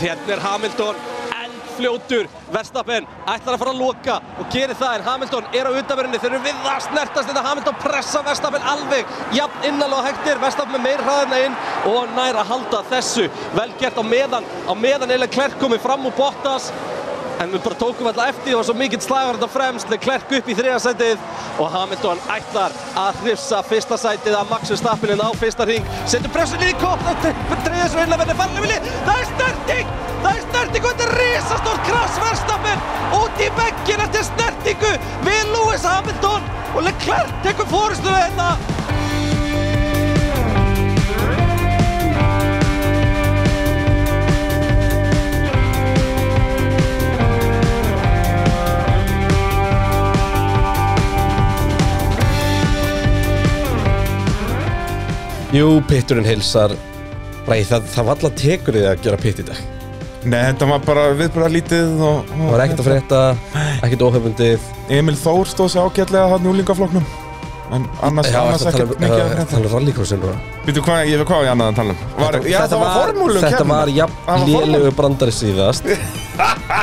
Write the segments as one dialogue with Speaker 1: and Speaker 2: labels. Speaker 1: Hérna er Hamilton eldfljótur. Verstappen ætlar að fara að loka og gerir það en Hamilton er á utanverðinni. Þeir eru við það að snertast þetta. Hamilton pressa Verstappen alveg. Jafn innalega hægtir. Verstappen með meir hraðina inn og nær að halda þessu. Vel gert á meðan. Á meðan eiginlega Klerk komið fram úr Bottas. En við bara tókum alltaf eftir, það var svo mikill slagur þetta fremst, Leclerc upp í þriðarsætið og Hamilton ætlar að hrifsa fyrsta sætið af Max Verstappen en á fyrsta ring. Setur pressunni í kopp, það treyðir svo inn að verða farlefili. Það er snerting! Það er snerting og þetta er risastórt krass Verstappen út í bekkinn eftir snertingu við Lewis Hamilton og Leclerc tekur fórstuna hérna.
Speaker 2: Jú, pitturinn hilsar Nei, það, það var alltaf tekur því að gera pitt í dag Það
Speaker 3: Nei, þetta var bara viðbröðarlítið og... og
Speaker 2: var ekkert að frétta, ekkert óhefundið
Speaker 3: Emil Þór stóð sér ágætlega hann í úlingafloknum. En annars,
Speaker 2: Já,
Speaker 3: annars
Speaker 2: það tala
Speaker 3: ekkert
Speaker 2: um,
Speaker 3: mikið að
Speaker 2: uh,
Speaker 3: frétta.
Speaker 2: tala um rallycrossin bara
Speaker 3: Býtu, hvað, ég veit hvað ég annað að tala um. Var, já, það var formúlu
Speaker 2: Þetta var jafn lélegu brandari síðast Já,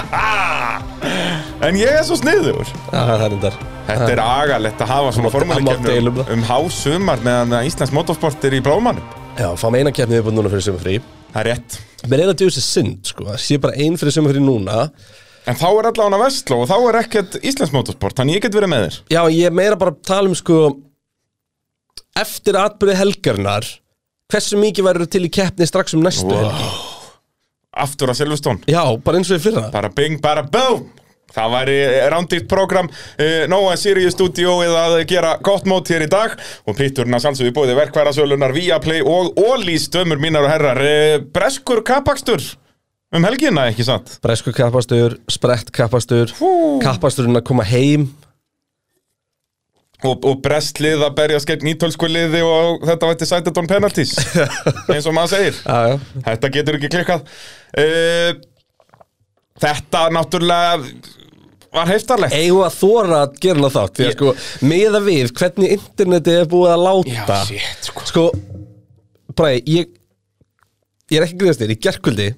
Speaker 3: En ég er svo sniður.
Speaker 2: Það er endar
Speaker 3: Þetta er agalegt að hafa svona
Speaker 2: Það mátti- það mátti deila
Speaker 3: formúlikeppnum
Speaker 2: um það.
Speaker 3: um hásumar meðan að Íslands motorsport er í blámanum.
Speaker 2: Já, fáum eina keppni viðbúin núna fyrir sumafrí
Speaker 3: Það er rétt.
Speaker 2: Mér er að djóðu sér synd, sko Það sé bara ein fyrir sumafrí núna
Speaker 3: En þá er allavega vestló og þá er ekkert Íslands motorsport, þannig ég get verið með þér.
Speaker 2: Já, ég er meira bara að tala um, sko Eftir atbyrði helgarnar Hversu mikið verður til í keppni strax um næstu
Speaker 3: Wow.
Speaker 2: helgi?
Speaker 3: Aftur að Silvestón.
Speaker 2: Já, bara eins og í fyrra
Speaker 3: Bara bing, bara boom Það væri rándýrt program uh, Nóa Sirius Studio eða að gera gott mót hér í dag og pitturinn að sannsögðu bóði verkværasölunar Viaplay og Ólís dömur mínar og herrar uh, Breskur kapakstur um helgina ekki satt
Speaker 2: Bresku kappastur, sprett kappastur Kappasturinn að koma heim
Speaker 3: og, og brestlið að berja skepp nýtölsku liði og þetta vætti sætatón penaltís eins og maður segir
Speaker 2: Já, já
Speaker 3: Þetta getur ekki klikkað uh, Þetta náttúrulega var heftarlegt
Speaker 2: eigum við að þóra að gera hana þátt því að
Speaker 3: Ég-
Speaker 2: sko, meða við hvernig internetið er búið að láta
Speaker 3: shit, sko.
Speaker 2: sko, bara ég ég er ekki að gríðast þér, í gerkvöldi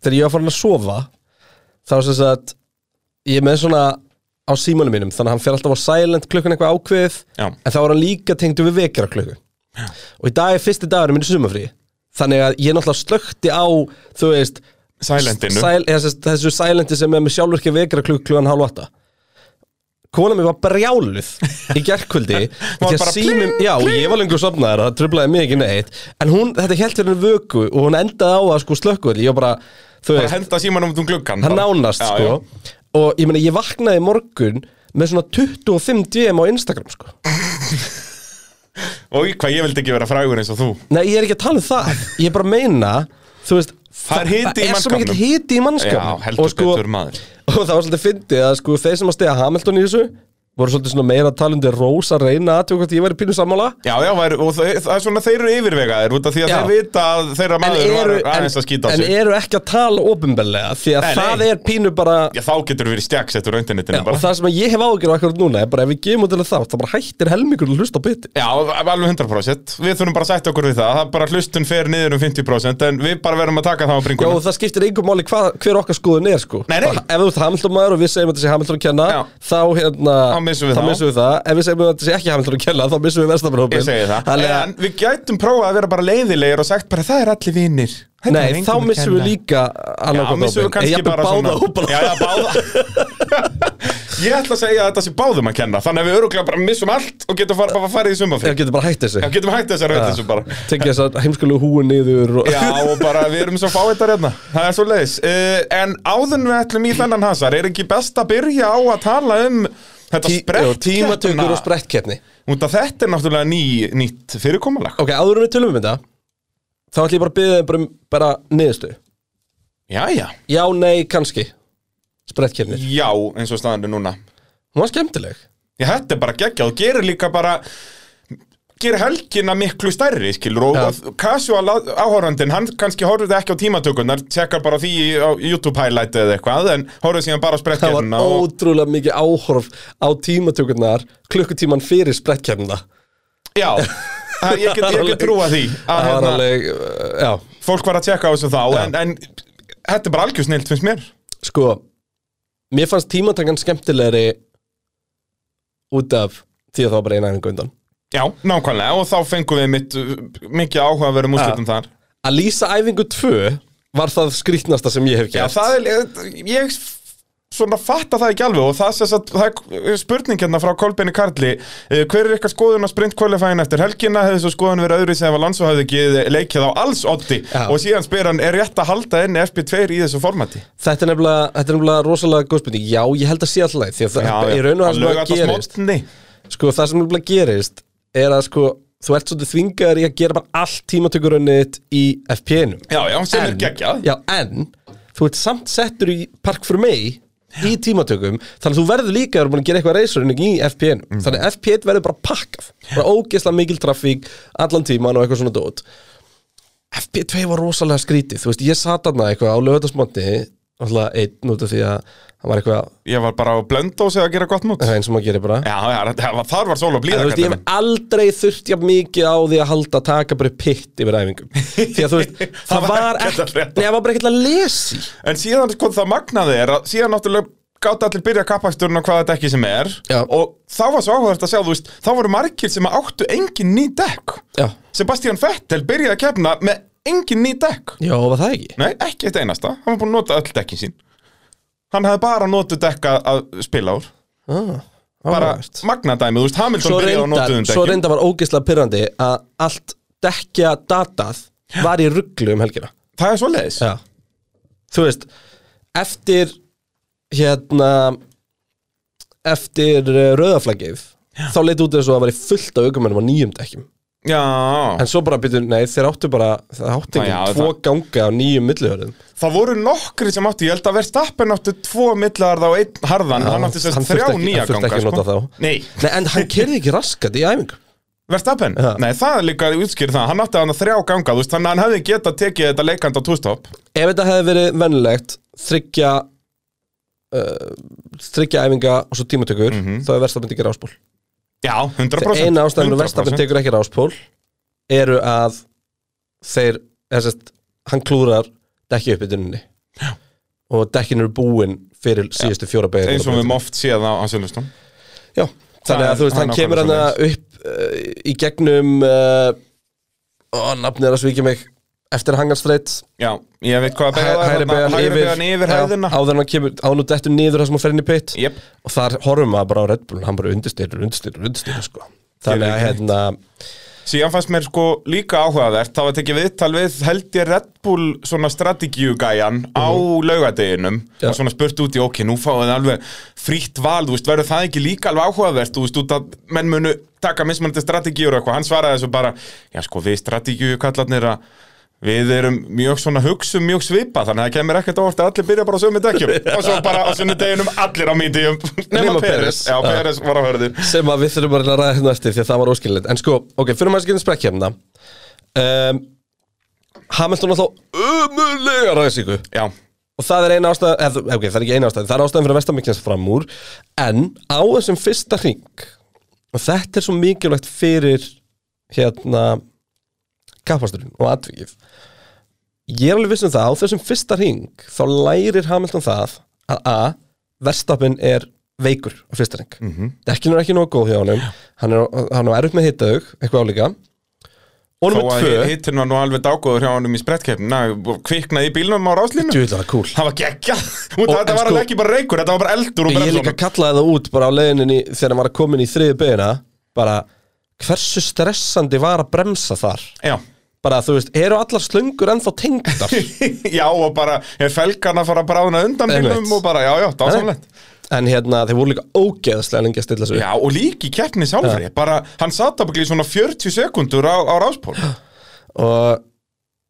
Speaker 2: þegar ég var farin að sofa þá sem sagt, ég er með svona á símanum mínum, þannig að hann fer alltaf á silent klukkan eitthvað ákveðið,
Speaker 3: Já.
Speaker 2: en þá er hann líka tengdu við vekjara og í dag er fyrsti dagur minn í sumafrí þannig að ég náttúrulega slökti á þú veist,
Speaker 3: Sælendinu
Speaker 2: Sæl, eða, þessi, þessu sælenti sem er með sjálfurki vekra klukk klugan hálf átta kona mér var brjáluð í gerkvöldi
Speaker 3: Var
Speaker 2: því
Speaker 3: bara
Speaker 2: að símum,
Speaker 3: pling,
Speaker 2: já, ég var lengur sopnaður það trublaði mig ekki neitt en hún, þetta held hérna vöku og hún endaði á að sko slökkuðli, ég var bara, þú
Speaker 3: bara
Speaker 2: veist
Speaker 3: henda símanum út um gluggan
Speaker 2: hann
Speaker 3: bara.
Speaker 2: nánast,
Speaker 3: Já,
Speaker 2: sko
Speaker 3: já.
Speaker 2: og ég meina, ég vaknaði í morgun með svona 25 DM á Instagram, sko
Speaker 3: Og í hvað ég vildi ekki vera frægur eins og þú
Speaker 2: nei, ég er ekki að tala um það, ég er bara að meina þú veist,
Speaker 3: Það er hiti í
Speaker 2: það er svo mikill
Speaker 3: mannskapnum.
Speaker 2: hiti í
Speaker 3: Já,
Speaker 2: mannskapnum
Speaker 3: heldur
Speaker 2: Og sko,
Speaker 3: betur maður
Speaker 2: og það var svolítið fyndið að sko þeir sem að stega Hamilton í þessu voru svolítið svona meira talandi rós að reyna að tjóka hvort ég væri pínu sammála
Speaker 3: Já, já, væri, og það, það er svona þeir eru yfirvegaðir út af því að
Speaker 2: Já.
Speaker 3: þeir vita að þeirra
Speaker 2: en
Speaker 3: maður
Speaker 2: eru,
Speaker 3: var
Speaker 2: en,
Speaker 3: aðeins að skýta á
Speaker 2: en
Speaker 3: sig
Speaker 2: eru ekki að tala ofinbellega því að
Speaker 3: Nei,
Speaker 2: það
Speaker 3: nei.
Speaker 2: er pínu bara
Speaker 3: Já, þá getur þú verið stjagsettur á internetinu
Speaker 2: já, og
Speaker 3: bara
Speaker 2: það sem að ég hef ágjörð akkur núna er bara ef við gefum út til þá þá bara hættir helmingur að hlusta á biti
Speaker 3: Já, alveg 100% Við þurfum bara að setja okkur við það Það er bara hlustun fer niður um 50% En við bara verðum að taka það á
Speaker 2: Já,
Speaker 3: bringunum
Speaker 2: og það skiptir einhver máli hva, hver okkar skoðun er sko
Speaker 3: Nei, nei.
Speaker 2: Bara, Ef þú ert Hamilton maður og við segjum að þetta sé Hamilton að kenna
Speaker 3: Já.
Speaker 2: þá hérna
Speaker 3: Þá missum við
Speaker 2: þá
Speaker 3: þá.
Speaker 2: missum við það Ef við segjum að þetta sé ekki Hamilton að kenna þá missum við verðstafnarhópin
Speaker 3: Ég segi það
Speaker 2: Þannig að
Speaker 3: En við gætum prófað að vera bara leiðilegir og sagt bara það er allir Hérna vinnir
Speaker 2: Nei, þá missum við líka
Speaker 3: Já,
Speaker 2: annarkvæmt
Speaker 3: missum við kannski bara
Speaker 2: báða
Speaker 3: svona
Speaker 2: hópana
Speaker 3: Já, já, báða Ég ætla að segja að þetta sé báðum að kenna Þannig að við öruglega bara missum allt og getum fara, bara farið í
Speaker 2: Ég
Speaker 3: sumafrið
Speaker 2: getur bara hætt þessu
Speaker 3: Já, getum hægt þessar rauð þessu bara
Speaker 2: Tekja þess að heimskjölu húin niður og...
Speaker 3: Já, og bara við erum svo fáið þetta hérna Það er svo leiðis uh, En áðun við ætlum í þennan hasar Er ekki best að byrja á að tala um Þetta
Speaker 2: Tí- já, Tímatökur og
Speaker 3: sprettkeppna
Speaker 2: sprettkeppni
Speaker 3: Út af þetta er náttúrulega ný, nýtt fyrirkomulag
Speaker 2: Ok, áður en við tölum um þetta Þá ætlum ég bara að byggja þeim bara, um- bara niðurstu
Speaker 3: Já, já
Speaker 2: Já, nei, kannski Sprettkeppnir
Speaker 3: Já, eins og staðan er núna
Speaker 2: Hún var skemmtileg
Speaker 3: Já, þetta er bara geggjað og gerir líka bara gerir helgina miklu stærri skilur og
Speaker 2: Já.
Speaker 3: ja. casual á- áhorfandinn hann kannski horfði ekki á tímatökurnar tekkar bara því á YouTube highlight eða eitthvað en horfði síðan bara á
Speaker 2: Það var
Speaker 3: sprettkeppnina og...
Speaker 2: ótrúlega mikið áhorf á tímatökurnar klukkutíman fyrir sprettkeppnina
Speaker 3: Já, það- ég get, ég get trúa því að
Speaker 2: Það var
Speaker 3: hérna,
Speaker 2: alveg, uh, já
Speaker 3: fólk var að tekka á þessu þá en, en þetta er bara algjör snilt finnst mér
Speaker 2: Sko, mér fannst tímatakkan skemmtilegri út af því að það var bara eina einingu undan
Speaker 3: Já, nákvæmlega, og þá fengum við mitt uh, mikið áhugaverðum úrslitum þar
Speaker 2: Að lýsa æfingu 2 var það skrýtnasta sem ég hef
Speaker 3: Já,
Speaker 2: gert
Speaker 3: það er, ég- ég svona fatta það ekki alveg og það, sem sagt, það er spurning hérna frá Kolbeini Karli Eh, hver er ykkar skoðun á sprint qualifying eftir helgina hefði svo skoðun verið öðru sem að landsó hafði ekki leikjað á alls oddi
Speaker 2: Já.
Speaker 3: og síðan spyr hann, er rétt að halda inn FP2 í þessu formati?
Speaker 2: Þetta er nefnilega, þetta er nefnilega rosalega góð spurning Já, ég held að sé alltaf því að það er raun og
Speaker 3: að
Speaker 2: hans
Speaker 3: löga
Speaker 2: að
Speaker 3: þetta
Speaker 2: gerist
Speaker 3: smotni
Speaker 2: Sko, það sem nefnilega gerist er að sko, þú ert svolítið þvingaður í að gera bara allt tímatökurönnið þitt í FPN-um
Speaker 3: Já, já, sem er geggjað
Speaker 2: Já, en þú ert samt settur í Park for May í tímatökum þannig að þú verður líka að vera búin að gera eitthvað reysurinn í FPN
Speaker 3: Mm.
Speaker 2: þannig að FPN verður bara pakkað bara ógeðslega mikil trafík allan tíman og eitthvað svona dót FP2 var rosalega skrítið þú veist, ég sat þarna eitthvað á lögðasmotti alltaf einn út af því að það var eitthvað
Speaker 3: Ég var bara á blöndósi að gera gott mút
Speaker 2: það er eins og maður gerir bara
Speaker 3: Já, já, það var- þar var sól og
Speaker 2: En
Speaker 3: blíða
Speaker 2: þú veist, ég hef aldrei þurft jafn mikið á því að halda að taka bara upp pitt yfir æfingum Því að þú veist, það,
Speaker 3: Það var
Speaker 2: var
Speaker 3: ekkert
Speaker 2: ekki,
Speaker 3: að frétta.
Speaker 2: nei, það var bara ekkert að lesi
Speaker 3: En síðan sko það magnaði er að síðan náttúrulega gátt allir byrja kappaksturinn og hvað þetta ekki sem er
Speaker 2: Já.
Speaker 3: og þá var svo áhugavert að sjá, þú veist, þá voru margir sem áttu engin ný dekk
Speaker 2: Já,
Speaker 3: Sebastian Vettel byrjaði að kefna með engin ný dekk
Speaker 2: já, var það ekki?
Speaker 3: Nei, ekki eitt einasta, hann var búin að nota öll dekkin sín Hann hafði bara notað dekka að spila úr
Speaker 2: Ah,
Speaker 3: bara
Speaker 2: áhugavert.
Speaker 3: magnadæmi, þú veist, Hamilton
Speaker 2: svo
Speaker 3: byrjaði að nota
Speaker 2: reyndar,
Speaker 3: um
Speaker 2: svo
Speaker 3: dekkin
Speaker 2: reyndar var ógeðslega pyrrandi að allt dekja datað var í rugglu um helgina
Speaker 3: Það er svoleiðis
Speaker 2: Já Þú veist, eftir hérna eftir eh, rauðaflaggið þá leit út eins og það var í fullt af aukumennum á nýjum dekkjum
Speaker 3: Já,
Speaker 2: En svo bara byrju, nei, þeir áttu bara það
Speaker 3: Já,
Speaker 2: áttu ekki
Speaker 3: já,
Speaker 2: tvo
Speaker 3: það-
Speaker 2: ganga á nýjum millihörðum
Speaker 3: það voru nokkri sem áttu, ég held að Verstappen áttu tvo millarða og einn harðan, hann átti sem sagt
Speaker 2: þurfti
Speaker 3: þrjá
Speaker 2: ekki-
Speaker 3: nýja
Speaker 2: hann þurfti
Speaker 3: ganga
Speaker 2: ekki að nota
Speaker 3: sko.
Speaker 2: þá
Speaker 3: Nei,
Speaker 2: Nei, en hann kerði ekki raskat í æfingu
Speaker 3: Verstappen?
Speaker 2: Já.
Speaker 3: Nei, það er líka útskýrð það, hann átti hann þrjá ganga, þú veist, þannig að hann hefði getað tekið þetta leikand á tústopp.
Speaker 2: Ef þetta hefði verið vennilegt þryggja uh, þryggja æfinga og svo tímatökur
Speaker 3: Mhm.
Speaker 2: þá er verstafinn ekki ráspól
Speaker 3: Já, 100%.
Speaker 2: Eina ástæðan að verstafinn
Speaker 3: 100%.
Speaker 2: tekur ekki ráspól eru að þeir, þessast, hann klúrar dekki upp í dunni og dekkin eru búin fyrir síðustu fjóra beigir
Speaker 3: Eins og við höfum oft séð á, á Silveston.
Speaker 2: Já, þannig
Speaker 3: Það
Speaker 2: að
Speaker 3: er-
Speaker 2: þú veist,
Speaker 3: það er
Speaker 2: hann kemur hann
Speaker 3: nákvæmlega
Speaker 2: upp uh, í gegnum uh, ó, nafnir að svíkja mig eftir að hanga streitt
Speaker 3: Já, ég veit hvað að bega það,
Speaker 2: hægri
Speaker 3: þarna,
Speaker 2: beigjan
Speaker 3: hægri
Speaker 2: yfir,
Speaker 3: began yfir hæðina.
Speaker 2: áður en hann kemur, áður og dettur niður það sem hann fer inn í pitt
Speaker 3: Jep.
Speaker 2: og þar horfum maður bara á Red Bull hann bara undirstyrur, undirstyrur, undirstyrur sko. þannig að
Speaker 3: Gerir ekki
Speaker 2: hérna
Speaker 3: Síðan fannst mér sko líka áhugavert, það var tekið viðtal við held ég Red Bull svona strategíugæjan á laugadeginum
Speaker 2: Já.
Speaker 3: og svona spurt út í ok, nú fáið þið alveg frítt val, þú veist, verður það ekki líka alveg áhugavert, þú veist, út að menn munu taka mismunandi strategíur og eitthvað, hann svaraði þessu bara, já sko við strategíukallarnir að Við erum mjög svona hugsum mjög svipa þannig að það kemur ekkert óvart að allir byrja bara á sömu dekkjum og svo bara á sömu deginum allir á mídjum nema
Speaker 2: Nema
Speaker 3: Peres
Speaker 2: Perez.
Speaker 3: Já,
Speaker 2: Já.
Speaker 3: Peres var á hörðu
Speaker 2: sem að við þurfum bara að ræða hérna eftir því að það var óskilinleitt en sko, ok, fyrir maður að skilja sprekk hérna um, Hamilton alltaf ömulega ræðsíku
Speaker 3: Já,
Speaker 2: og það er eina ástæð eð, ok, það er ekki eina ástæð, það er ástæðan fyrir vestamiknins fram úr en á þessum fyrsta ring og þetta er svo mikilvægt fyrir hérna kapasturinn og atvikið ég er alveg viss um það, á þessum fyrsta ring þá lærir Hamilton það að a, verstapinn er veikur á fyrsta ring mm
Speaker 3: Mhm.
Speaker 2: -hmm. dekkin er ekki nóg góð hjá honum hann er, hann er upp með hittaug, eitthvað álíka og
Speaker 3: Þó
Speaker 2: nummer
Speaker 3: að
Speaker 2: tvö,
Speaker 3: hittin var nú alveg dágóður hjá honum í sprettkeppn Kviknaði í bílnum á ráslínu
Speaker 2: djúðlega cool
Speaker 3: Það var geggja Út
Speaker 2: Og-
Speaker 3: að þetta
Speaker 2: en
Speaker 3: var
Speaker 2: sko-
Speaker 3: alveg ekki bara reykur Þetta var bara eldur úr
Speaker 2: Ég líka
Speaker 3: bremsunum
Speaker 2: kallaði það út bara á leiðinni þegar hann var að komin í þriði beina bara hversu stressandi var að bremsa þar
Speaker 3: Já.
Speaker 2: bara þú veist, eru allar slöngur ennþá tengdar
Speaker 3: já og bara Ég felgan að fara að brána undan
Speaker 2: Einmitt.
Speaker 3: bílnum Og bara já já, það var samlegt
Speaker 2: en hérna, þeir voru líka ógeðslega lengi að stilla sig upp
Speaker 3: Já og líki keppni sjálfri Bara hann satt að byggja í svona 40 sekundur á, á ráspól
Speaker 2: og,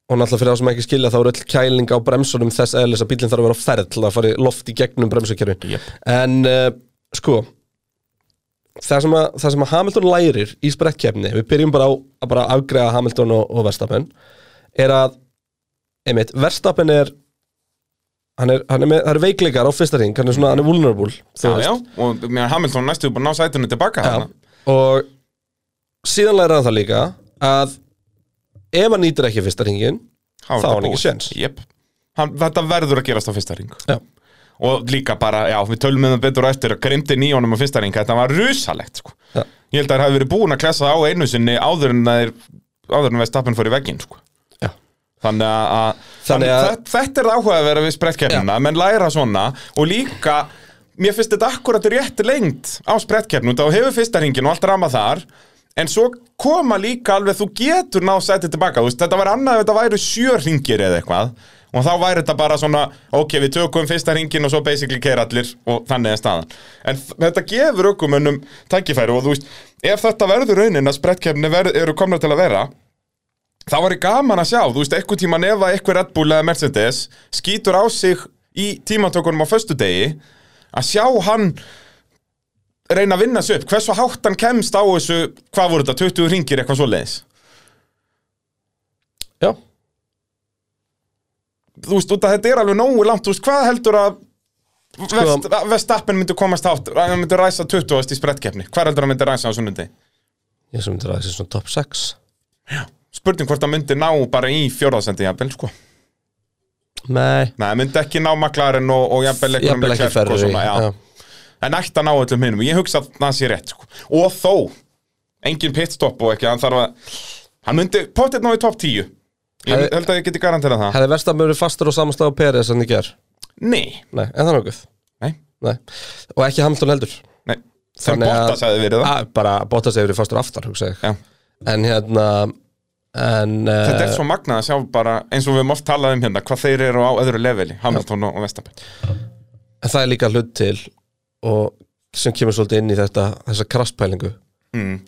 Speaker 2: og náttúrulega fyrir þá sem ekki skilja þá eru öll kæling á bremsunum þess eðlis að bílinn þarf að vera á ferð til að fara í loft í gegnum bremsukerfin
Speaker 3: Jep.
Speaker 2: en uh, sko það sem, að, það sem að Hamilton lærir í sprettkefni, við byrjum bara á að bara afgreða Hamilton og, og Verstappen er að einmitt, Verstappen er hann er, hann er með, það eru veikleikar á fyrsta ring hann er svona, hann er vulnerable þú
Speaker 3: Já
Speaker 2: veist.
Speaker 3: já Og mér Hamilton næstu búin að ná sætunni tilbaka
Speaker 2: Já,
Speaker 3: þarna.
Speaker 2: og síðan læra hann það líka að ef hann nýtir ekki fyrsta ringin
Speaker 3: Þá er
Speaker 2: Þá
Speaker 3: þetta
Speaker 2: á hann ekki
Speaker 3: búið.
Speaker 2: séns.
Speaker 3: Jep hann, þetta verður að gerast á fyrsta ring
Speaker 2: Já.
Speaker 3: og líka bara, já, við tölum með það betur á eftir að grimdi nýjónum á fyrsta ring, þetta var rusalegt sko.
Speaker 2: Já.
Speaker 3: ég held að það hafi verið búin að klessa á einu sinni áður en það er áður en Verstappen fór í vegginn sko.
Speaker 2: Já.
Speaker 3: þannig að, að,
Speaker 2: Þannig
Speaker 3: þannig
Speaker 2: að-
Speaker 3: þetta, þetta er áhuga að vera við sprettkeppnina, menn læra svona og líka, mér finnst þetta akkurat rétt lengt á sprettkeppnum þá hefur fyrsta ringin og allt rama þar en svo koma líka alveg þú getur ná sætið tilbaka, þú veist, þetta var annað ef þetta væru sjö ringir eða eitthvað og þá væri þetta bara svona, ok, við tökum fyrsta ringin og svo basically keir allir og þannig er staðan, en þ- þetta gefur ökumönnum tækifæri og þú veist ef þetta verður raunin að sprettkeppni eru komna til að vera það var í gaman að sjá, þú veist, eitthvað tíma nefa eitthvað Red Bull eða Mercedes skýtur á sig í tímatökunum á föstudegi að sjá hann reyna að vinna sig upp hversu hátt hann kemst á þessu hvað voru þetta, 20 ringir eitthvað svo leiðis
Speaker 2: Já,
Speaker 3: þú veist, út að þetta er alveg nógu langt, þú veist, hvað heldur að
Speaker 2: Sko-
Speaker 3: Vest, Vestappen myndi komast hátt hann myndi ræsa 20. í sprettkeppni hvað heldur hann myndi ræsa á sunnundi
Speaker 2: ég sem myndir að það sé svona top 6
Speaker 3: spurning hvort hann myndi ná bara í fjórðasendi jafnvel sko
Speaker 2: Nei,
Speaker 3: Nei, myndi ekki ná maklarinn og, og jafnvel
Speaker 2: ég
Speaker 3: eitthvað
Speaker 2: ekki ferri já.
Speaker 3: En ætti að ná öllum hinum, ég hugsa að það sé rétt sko. Og þó, engin pitstopp og ekki, hann þarf að Hann myndi pottet ná í topp 10 Ég
Speaker 2: Hefði-
Speaker 3: held að ég geti garantera það
Speaker 2: Hefði verst að mjög fastur og samanstað á Peres en ég ger
Speaker 3: Nei,
Speaker 2: Nei, en það er nokkuð
Speaker 3: nei,
Speaker 2: Nei. Og ekki Hamilton heldur
Speaker 3: nei Þann
Speaker 2: Þannig að-
Speaker 3: Bottas hefði verið það
Speaker 2: A, Bara Bottas hefur verið fastur aftar, hugsa ég
Speaker 3: Já.
Speaker 2: En hérna en, eh,
Speaker 3: Þetta er svo magnað að sjá bara, eins og við höfum oft talað um hérna, hvað þeir eru á öðru leveli, Hamilton og Vestapen.
Speaker 2: en það er líka hlut til og sem kemur svolítið inn í þetta þessa kraspælingu
Speaker 3: Mm.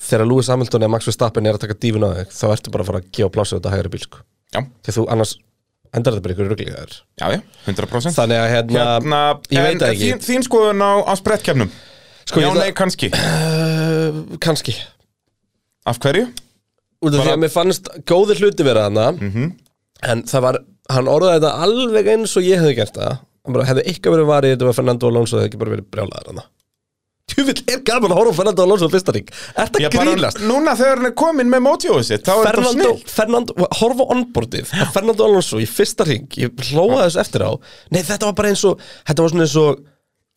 Speaker 2: þegar Lewis Hamilton eða Max Verstappen er að taka dífun á þig þá ertu bara að fara að gefa plásu þetta hægri bíl sko.
Speaker 3: Já,
Speaker 2: þegar þú annars endar þetta bara ykkur ruglíkaður
Speaker 3: já, já, 100%.
Speaker 2: þannig að hérna,
Speaker 3: hérna,
Speaker 2: ég veit
Speaker 3: en
Speaker 2: það ekki.
Speaker 3: Þín, þín skoðun á, á sprettkeppnum?
Speaker 2: sko,
Speaker 3: Já,
Speaker 2: ég
Speaker 3: nei,
Speaker 2: ætla-
Speaker 3: kannski.
Speaker 2: uh, kannski
Speaker 3: Af hverju?
Speaker 2: út af
Speaker 3: Bara- Mhm.
Speaker 2: því að mér fannst góði hluti vera hana en það var, hann orðaði þetta alveg eins og ég hefði gert það hann bara hefði eitthvað verið varið þetta var Fernando Alonso hefði ekki bara verið brjálaður hana Tjúvill er gaman að horfa á Fernando Alonso á fyrsta ring Er þetta
Speaker 3: Já, bara
Speaker 2: grínast?
Speaker 3: núna þegar hann er komin með mótjóðu sitt þá er þetta
Speaker 2: Fernando,
Speaker 3: snill
Speaker 2: Fernando, horfa á onboardið að Fernando Alonso í fyrsta ring ég hlóa þessu eftir á nei þetta var bara eins og þetta var svona eins og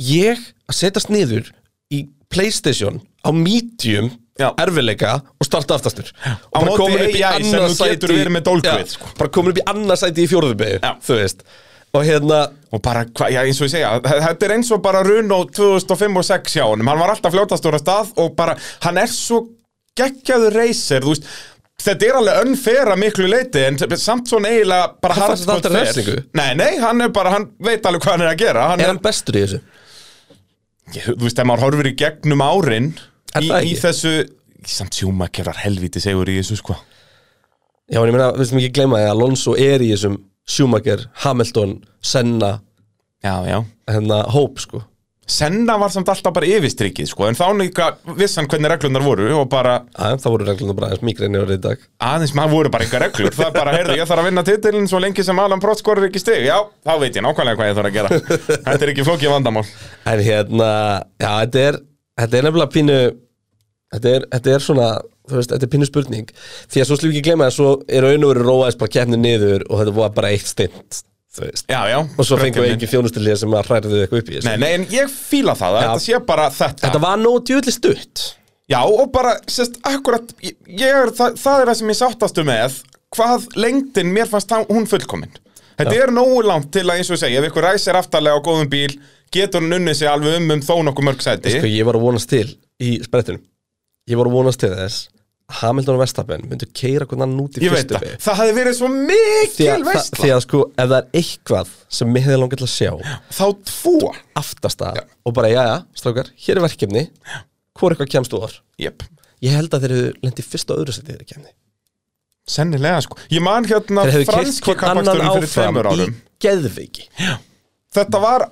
Speaker 2: ég að setjast niður í Playstation á medium
Speaker 3: Já.
Speaker 2: erfileika og starta aftastur og
Speaker 3: móti AI sem
Speaker 2: annað
Speaker 3: þú getur verið með dólkvið,
Speaker 2: Já,
Speaker 3: sko.
Speaker 2: bara komin upp í annað sæti í fjórðubegi
Speaker 3: Já.
Speaker 2: þú veist og hérna
Speaker 3: og bara, hva, já, eins og ég segja, þe- þetta er eins og bara Runo 2005 og 6 hjá honum hann var alltaf fljótastur að stað og bara hann er svo geggjaður reysir þú veist, þetta er alveg önnfera miklu leiti en samt svona eiginlega bara
Speaker 2: Hann fannst
Speaker 3: hardcore
Speaker 2: þetta aldrei
Speaker 3: fair.
Speaker 2: refsingu?
Speaker 3: Nei, nei, hann er bara, hann veit alveg hvað hann er að gera hann
Speaker 2: er
Speaker 3: er,
Speaker 2: hann bestur í þessu
Speaker 3: ég, þú veist, ef maður horfir í gegnum árin
Speaker 2: Er
Speaker 3: í,
Speaker 2: það
Speaker 3: í
Speaker 2: ekki?
Speaker 3: þessu samt sjúma kefrar helvíti segur í þessu sko
Speaker 2: já en ég meina við sem ekki gleyma því að Alonso er í þessum Schumacher, Hamilton, Senna
Speaker 3: já, já
Speaker 2: hérna hóp sko
Speaker 3: Senna var samt alltaf bara yfirstrikið sko, en þá líka vissan hvernig reglunar voru og bara
Speaker 2: Æ, það voru reglunum bara aðeins mýgrinni og reyðdag
Speaker 3: aðeins maður voru bara einhver reglur það er bara, heyrðu, ég þarf að vinna titilin svo lengi sem Alan Prost skorur ekki stig já, þá veit ég nákvæmlega hvað ég þarf að gera þetta er ekki flókið vandamál
Speaker 2: En hérna, já, þetta er, þetta er nefnilega pínu þetta er, þetta er svona, þú veist, þetta er pínu spurning Því að svo slíf ekki gleyma að svo er raun og verið róaðist bara keppni niður og þetta var bara eitt stint, þú veist
Speaker 3: já, já,
Speaker 2: Og svo fengum við ekki þjónustilíða sem að hræriðu eitthvað upp í þessu
Speaker 3: nei, nei, en ég fíla það, að
Speaker 2: Já.
Speaker 3: þetta sé bara þetta,
Speaker 2: Þetta var nóg djúðli stutt
Speaker 3: já, og bara, sérst, akkurat ég, ég er, það, það er það sem ég sáttastu með hvað lengdin mér fannst þá- hún fullkomin þetta er nógu langt til að, eins og ég segja, ef ykkur ræsir aftarlega á góðum bíl getur hann unnið sig alveg um um þó nokkuð mörg sæti
Speaker 2: Sko, ég var að vonast til í sprettinum Ég var að vonast til þess að Hamilton og Vestapen myndu keira hvernig hann út í
Speaker 3: ég veit
Speaker 2: fyrstu
Speaker 3: það,
Speaker 2: beygju.
Speaker 3: það hefði verið svo
Speaker 2: Því
Speaker 3: mikil
Speaker 2: að, það,
Speaker 3: veistla,
Speaker 2: því að sko, ef það er eitthvað sem mér hefði langið til að sjá
Speaker 3: þá tvo
Speaker 2: aftasta og bara jæja, strákar, hér er verkefni hvor eitthvað kemst úr
Speaker 3: Jep.
Speaker 2: ég held að þeir eru lendið fyrst og öðru setið þeir kemni
Speaker 3: Sennilega sko Ég man hérna
Speaker 2: þeir hefðu keyrt
Speaker 3: franski
Speaker 2: hvort annan
Speaker 3: kappaksturinn fyrir
Speaker 2: áfram
Speaker 3: tveimur
Speaker 2: í
Speaker 3: árum
Speaker 2: geðveiki
Speaker 3: Þetta var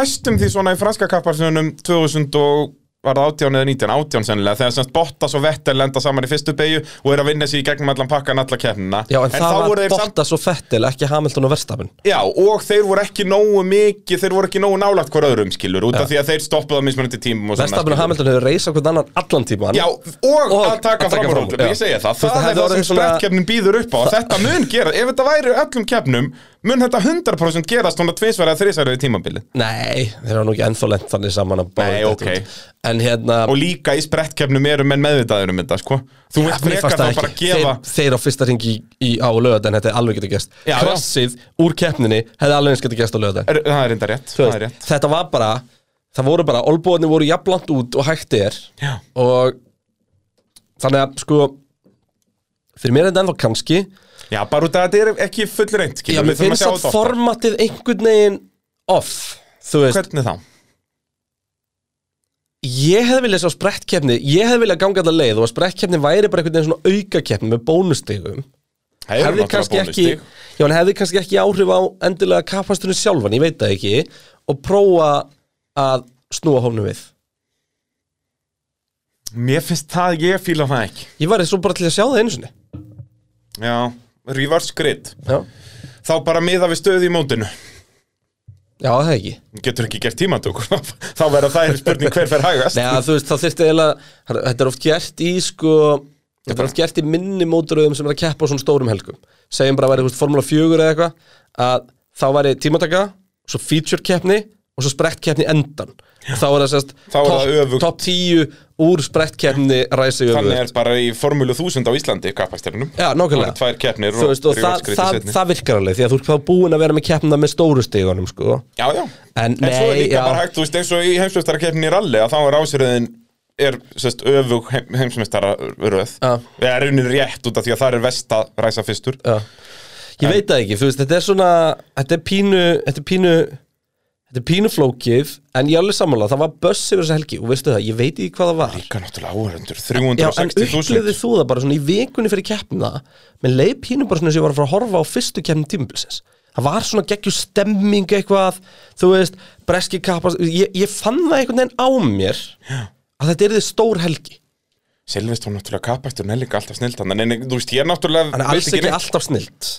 Speaker 3: næstum því svona í franska kappaksturinn 2000 og var það 18 eða 19, 18 sennilega þegar semst Bottas og Vettel lenda saman í fyrstu beigju og er að vinna sér í gegnum allan pakkan alla keppnina
Speaker 2: já, en, það
Speaker 3: þá voru
Speaker 2: var
Speaker 3: þeir samt
Speaker 2: Bottas og Fettil, ekki Hamilton og Verstafn
Speaker 3: Já, og þeir voru ekki nógu mikið þeir voru ekki nógu nálægt hver öðrum skilur út af því að þeir stoppuðu á mismunandi tímum og svona,
Speaker 2: Verstafn og
Speaker 3: skilurðu.
Speaker 2: Hamilton hefur reysað hvern annan allan tíma
Speaker 3: Já, og, að taka fram úr öllum, ég segja það
Speaker 2: Þú
Speaker 3: Það
Speaker 2: veist, það
Speaker 3: er
Speaker 2: hefði
Speaker 3: það
Speaker 2: orðið
Speaker 3: sem
Speaker 2: svona-
Speaker 3: sprettkeppnin býður upp á og Þetta mun gera, ef þetta væri öllum keppnum mun þetta 100% gerast svona tvisverða þrisverði tímabilið
Speaker 2: Nei, þeir eru nú ekki ennþá lent þannig saman að báðir
Speaker 3: Nei,
Speaker 2: þetta
Speaker 3: ok.
Speaker 2: út. En hérna
Speaker 3: og líka í sprettkefnum eru menn meðvitaður um þetta sko. þú vilt
Speaker 2: mér
Speaker 3: frekar
Speaker 2: fannst
Speaker 3: þá
Speaker 2: það
Speaker 3: bara
Speaker 2: ekki.
Speaker 3: gefa
Speaker 2: þeir, þeir á fyrsta ringi í, í, á löðan Þetta er alveg getur gæst
Speaker 3: Já, já.
Speaker 2: Krassið úr keppninni hefði alveg eins getur gæst á löðan
Speaker 3: er, það er enda rétt, það er rétt.
Speaker 2: Þetta var bara Það voru bara, olbúðanir voru jafnlant út og hægt er
Speaker 3: Já.
Speaker 2: Og Þannig að sko Fyrir mér er þetta ennþá kannski
Speaker 3: Já, bara út af að þetta er ekki fullreint
Speaker 2: Já,
Speaker 3: skilur,
Speaker 2: mér
Speaker 3: þurfum að
Speaker 2: finnst
Speaker 3: sjá
Speaker 2: að
Speaker 3: þetta oftar.
Speaker 2: formatið einhvern veginn off Þú veist,
Speaker 3: Hvernig þá?
Speaker 2: ég hefði viljað sjá sprettkefni Ég hefði viljað ganga allar leið og að sprettkefni væri bara einhvern veginn svona aukakefni með bónustigum
Speaker 3: Það eru
Speaker 2: hefði
Speaker 3: náttúrulega
Speaker 2: kannski ekki
Speaker 3: bónusstig.
Speaker 2: já, en hefði kannski ekki áhrif á endilega kapasturinn sjálfan, ég veit það ekki og prófa að snúa hófnum við
Speaker 3: Mér finnst það, ég fíla það ekki
Speaker 2: ég var svo bara til að sjá það einu sinni
Speaker 3: Já, reverse grid
Speaker 2: já,
Speaker 3: Þá bara miða við stöðu í mótinu
Speaker 2: já það ekki
Speaker 3: Getur ekki gert tímatökur Þá verða það er spurning hver fer hægast
Speaker 2: Nei, að, þú veist, það þyrfti eiginlega þetta er oft gert í sko þetta er oft gert í minni móturöðum sem er að keppa á svona stórum helgum segjum bara að væri þú veist, Formula 4 eða eitthvað að þá væri tímataka svo feature keppni og svo sprett keppni endan og þá er það sérst
Speaker 3: Þá er það
Speaker 2: topp
Speaker 3: öfugt.
Speaker 2: top 10 úr sprett keppni ræsi öfugt
Speaker 3: Þannig er bara í formúlu 1000 á Íslandi kappaksterinum
Speaker 2: Já, nákvæmlega.
Speaker 3: Tvær keppnir
Speaker 2: Þú veist, og það, það, það virkar alveg því að þú ert þá búin að vera með keppna með stóru stigunum sko.
Speaker 3: Já, já
Speaker 2: En
Speaker 3: svo er
Speaker 2: nei,
Speaker 3: líka
Speaker 2: já.
Speaker 3: bara hægt, þú veist, eins og í heimsmestarakeppnin í rally að þá er ásýrðin er sest, öfug heim, heimsmestararöð
Speaker 2: Já.
Speaker 3: Við erum raunin rétt út af því að það er vest að ræsa fyrstur
Speaker 2: Já. ég veit það ekki, þú veist, þetta er svona þetta er pínu þetta er pínu, þetta er pínu flókið en ég er alveg sammála, það var buss yfir þessa helgi og veistu það, ég veit ekki hvað það var
Speaker 3: Líka náttúrulega áhörundur,
Speaker 2: Já, en
Speaker 3: 360.000
Speaker 2: upplifið þú það bara svona í vikunni fyrir keppna menn leið pínu bara svona eins og ég var að fara að horfa á fyrstu keppni tímabilsins það var svona geggjur stemming eitthvað þú veist, breski kappa ég, ég fann það einhvern veginn á mér að þetta er þið stór helgi
Speaker 3: Silveston náttúrulega kapasturinn er líka alltaf snilt hann en en, þú veist, ég náttúrulega
Speaker 2: hann er alls ekki
Speaker 3: neitt.
Speaker 2: alltaf snilt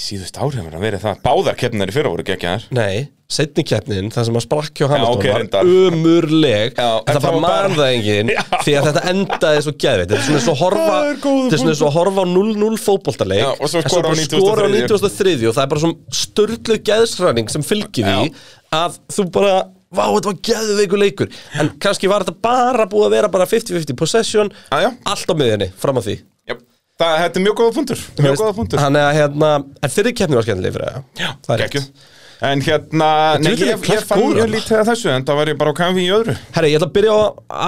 Speaker 3: Síðust árið verið að verið það Báðar keppnir í fyrra voru ekki þær
Speaker 2: Nei, setni keppnin, það sem að sprakki á Hamilton
Speaker 3: ok, reyndar.
Speaker 2: var umurleg
Speaker 3: Já,
Speaker 2: en
Speaker 3: en
Speaker 2: það
Speaker 3: það
Speaker 2: bara
Speaker 3: var bara-
Speaker 2: man það enginn
Speaker 3: Já.
Speaker 2: því að þetta endaði svo geðveitt þetta er svona eins og horfa
Speaker 3: Það er góður
Speaker 2: þetta er svona eins og horfa á 0-0 fótboltaleik
Speaker 3: Já, og svo
Speaker 2: en
Speaker 3: skora á
Speaker 2: bara
Speaker 3: 93.
Speaker 2: skora á 93 og það er bara svona störlu geðsræning sem fylgir því
Speaker 3: Já.
Speaker 2: að þú bara Vá, þetta var geðveikur leikur En kannski var þetta bara búið að vera bara 50-50 possession
Speaker 3: Ah, Já, já.
Speaker 2: Allt á miðinni, fram á því
Speaker 3: Já. Það, þetta er mjög góða punktur Mjög góða punktur
Speaker 2: Þannig að hérna En fyrir keppni var skemmtileg fyrir það
Speaker 3: Já,
Speaker 2: það er
Speaker 3: geggjuð.
Speaker 2: rétt.
Speaker 3: En hérna, nei,
Speaker 2: djöfull er
Speaker 3: ég, ég
Speaker 2: Clark
Speaker 3: fann
Speaker 2: góður
Speaker 3: mjög
Speaker 2: þarna.
Speaker 3: lítið að þessu En það var ég bara á kanfi í öðru
Speaker 2: Herri, ég ætla að byrja á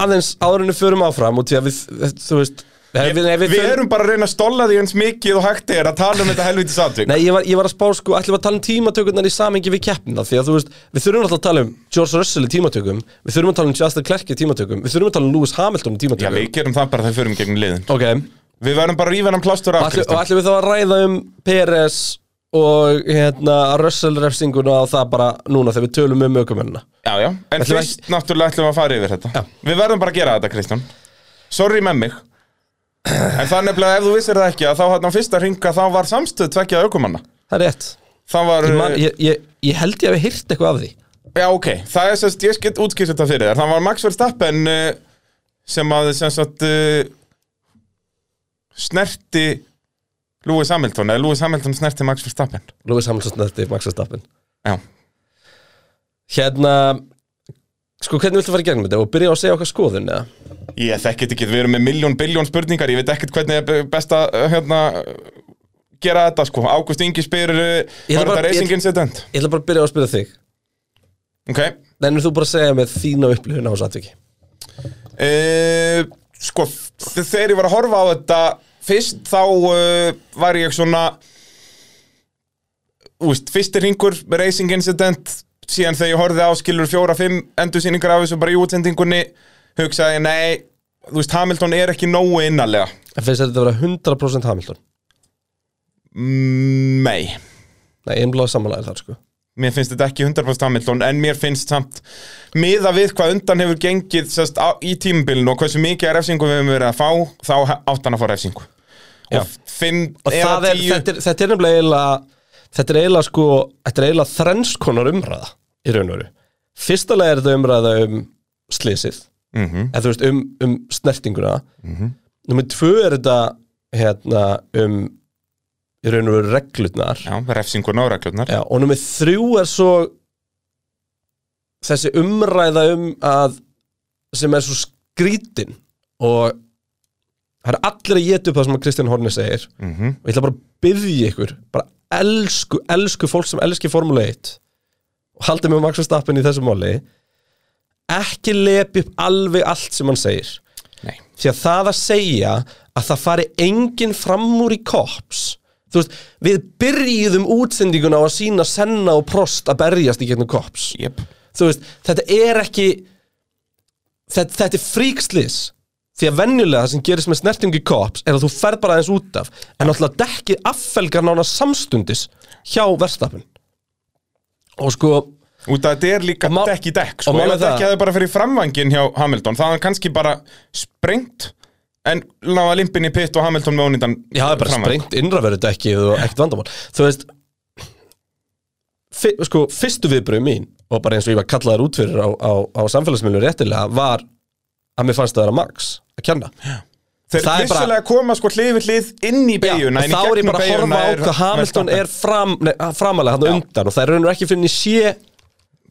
Speaker 2: aðeins áðurinu förum áfram og því að við, þú veist Herri, við, nei,
Speaker 3: Við erum bara að reyna að stolla því eins mikið og hægt er að tala um þetta helviti satvík
Speaker 2: Nei, ég var, ég var að spá sko, ætlum við að tala um tímatökurnar í samengi við keppnina Því að þú veist, við þurfum alltaf að tala um George Russell í tímatökum Við þurfum að tala um Justin Clark í tímatökum Við þurfum að tala um Lewis Hamilton í
Speaker 3: Já,
Speaker 2: tímatökum
Speaker 3: við gerum það bara þegar við förum gegnum liðin
Speaker 2: Ok, og
Speaker 3: Við verðum bara að rífa hann plastur af
Speaker 2: ætlum, og
Speaker 3: Kristján.
Speaker 2: ætlum við þá að ræða um Peres og hérna, Russell refsinguna og það bara núna þegar við tölum um aukumennina
Speaker 3: Já, já, en
Speaker 2: Ætlum við
Speaker 3: fyrst náttúrulega ætlum við að fara yfir þetta
Speaker 2: Já.
Speaker 3: Við verðum bara að gera þetta, Kristján Sorry með mig En það er nefnilega, ef þú vissir það ekki að þá hann á fyrsta ringa þá var samstöð tvekjað aukumanna
Speaker 2: Það er rétt
Speaker 3: Það var,
Speaker 2: Ég, man, ég, ég, ég held ég að við hýrt eitthvað af því
Speaker 3: já ok Það er sérst, ég get útskýrt þetta fyrir þér Það var Max Verstappen eh, sem að sem sagt eh, snerti Lewis Hamilton, eða Lewis Hamilton snerti Max Verstappen
Speaker 2: Lewis Hamilton þetta er Max Verstappen
Speaker 3: Já,
Speaker 2: Hérna Sko, hvernig viltu fara í gegnum þetta og byrja á að segja okkar skoðun eða?
Speaker 3: Ég þekkit ekki, við erum með miljón, biljón spurningar Ég veit ekkert hvernig er be- best að uh, hérna, gera þetta sko Ágúst Ingi spyr, uh,
Speaker 2: Ég ætla
Speaker 3: var
Speaker 2: bara-
Speaker 3: þetta racing
Speaker 2: ég-
Speaker 3: incident?
Speaker 2: Ég ætla bara að byrja á að spyrja þig
Speaker 3: Ok
Speaker 2: Nennir þú bara að segja með þína upplifun á þessu atviki
Speaker 3: uh, Sko, þ- þegar ég var að horfa á þetta Fyrst þá uh, var ég svona Úst, fyrsti ringur, racing incident Síðan þegar ég horfði á skilur fjóra, fimm endursýningar af þessu bara í útsendingunni Hugsaði, ég, nei, þú veist, Hamilton er ekki nógu innarlega
Speaker 2: En finnst þér þetta að vera 100% Hamilton
Speaker 3: Mm, Nei
Speaker 2: Nei, einbláð samanlæðir þar sko
Speaker 3: mér finnst þetta ekki 100% Hamilton en mér finnst samt miða við hvað undan hefur gengið sest, á, í tímubilinu og hversu mikið af refsingu við hefum verið að fá þá he- átti hann að fá refsingu
Speaker 2: Já.
Speaker 3: og fimm
Speaker 2: Og
Speaker 3: eða
Speaker 2: það er,
Speaker 3: tíu
Speaker 2: þetta, er, þetta er nefnilega eiginlega Þetta er eiginlega sko Þetta er eiginlega þrenskonar umræða Í raun og veru Fyrsta lega er þetta umræða um slysið
Speaker 3: Mhm.
Speaker 2: Eða þú veist um, um snertinguna mm -hmm. Númer tvö er þetta hérna, um í raun og veru reglutnar
Speaker 3: Já, refsinguna og reglurnar
Speaker 2: Já, og nummið þrjú er svo þessi umræða um að sem er svo skrítin og það er allir að geta upp það sem að Kristján Horni segir
Speaker 3: Mhm.
Speaker 2: og ég ætla bara að byggja ykkur bara elsku, elsku fólk sem elski Formule 1 og haldið með Max Verstappen í þessu máli ekki lepi upp alveg allt sem hann segir
Speaker 3: Nei,
Speaker 2: því að það að segja að það fari enginn fram úr í kops þú veist, við byrjuðum útsendinguna á að sína Senna og Prost að berjast í gegnum kops
Speaker 3: jöp
Speaker 2: þú veist, þetta er ekki þetta, þetta er fríkslis því að venjulega það sem gerist með snertingu í kops er að þú ferð bara aðeins út af en náttúrulega dekkið affelgar nána samstundis hjá verstafin og sko
Speaker 3: Út að þetta er líka
Speaker 2: Og mál-
Speaker 3: dekk í dekk sko.
Speaker 2: og mál
Speaker 3: Ef
Speaker 2: er
Speaker 3: þetta
Speaker 2: það-
Speaker 3: ekki hefði bara fyrir framvangin hjá Hamilton Það hafði kannski bara sprengt En náða limpin í pitt og Hamilton með ónýndan
Speaker 2: Já, það er bara
Speaker 3: framvang.
Speaker 2: sprengt innraverðu dekkið og ekkert vandamál Þú veist fi, sko, Fyrstu viðbröðu mín og bara eins og ég var kallaður út fyrir á, á, á samfélagsmiðlum réttilega var að mér fannst það vera Max að kenna
Speaker 3: Þeir
Speaker 2: það er bara-
Speaker 3: vissulega koma sko hlið við hlið inn í beiguna
Speaker 2: og þá er ég bara að horfa á hvað Hamilton er fram, nei, framalega hann undan og það er raunir ekki fyrir henni sé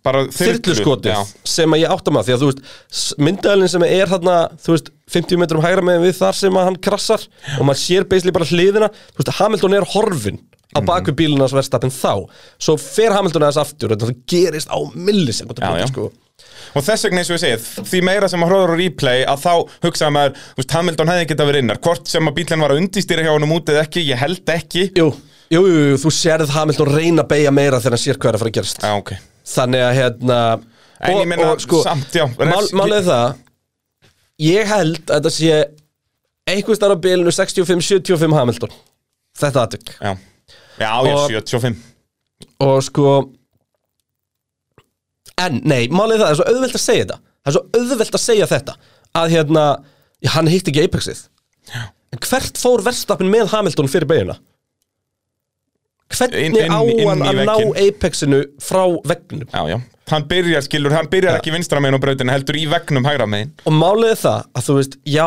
Speaker 3: bara
Speaker 2: þyrluskotið
Speaker 3: Já,
Speaker 2: sem að ég átta maður því að þú veist myndaðalinn sem er þarna þú veist 50 metrum hægra meðan við þar sem að hann krassar og maður sér beisli bara hliðina þú veist Hamilton er horfin á
Speaker 3: Mhm.
Speaker 2: baku bíluna hans verðstapin þá svo fer Hamilton aðeins aftur og það gerist á millisekundum
Speaker 3: Já, já.
Speaker 2: sko.
Speaker 3: Og þess vegna eins og ég segið, því meira sem maður horfður á replay að þá hugsaði maður, þú veist, Hamilton hefði getað verið innar, hvort sem að bílinn var að undistýra hjá honum út eða ekki, ég held ekki.
Speaker 2: jú, jú, jú, jú, þú sérð Hamilton reyna að beigja meira þegar hann sér hvað er að fara að gerast
Speaker 3: Já, ok.
Speaker 2: þannig að hérna
Speaker 3: En ég meina samt, já,
Speaker 2: sko, mál,
Speaker 3: refs-
Speaker 2: Málið er það Ég held að þetta sé einhvers þar á bilinu 65-75 Hamilton Þetta aðtök
Speaker 3: Já, já, ég
Speaker 2: Og-
Speaker 3: er 75.
Speaker 2: Og sko En, nei, málið er það, það er svo auðvelt að segja þetta Það er svo auðvelt að segja þetta Að hérna, já, hann hitti ekki Apexið En hvert fór verstapin með Hamilton fyrir beiguna? Hvernig
Speaker 3: Inn- inn-
Speaker 2: á
Speaker 3: inn
Speaker 2: hann
Speaker 3: í
Speaker 2: að ná
Speaker 3: vegginn.
Speaker 2: Apexinu frá vegnum?
Speaker 3: Já, já. Hann byrjar, skilur, hann byrjar ekki vinstra meginn á brautinu, heldur í vegnum hægra meginn.
Speaker 2: Og málið er það að þú veist, já,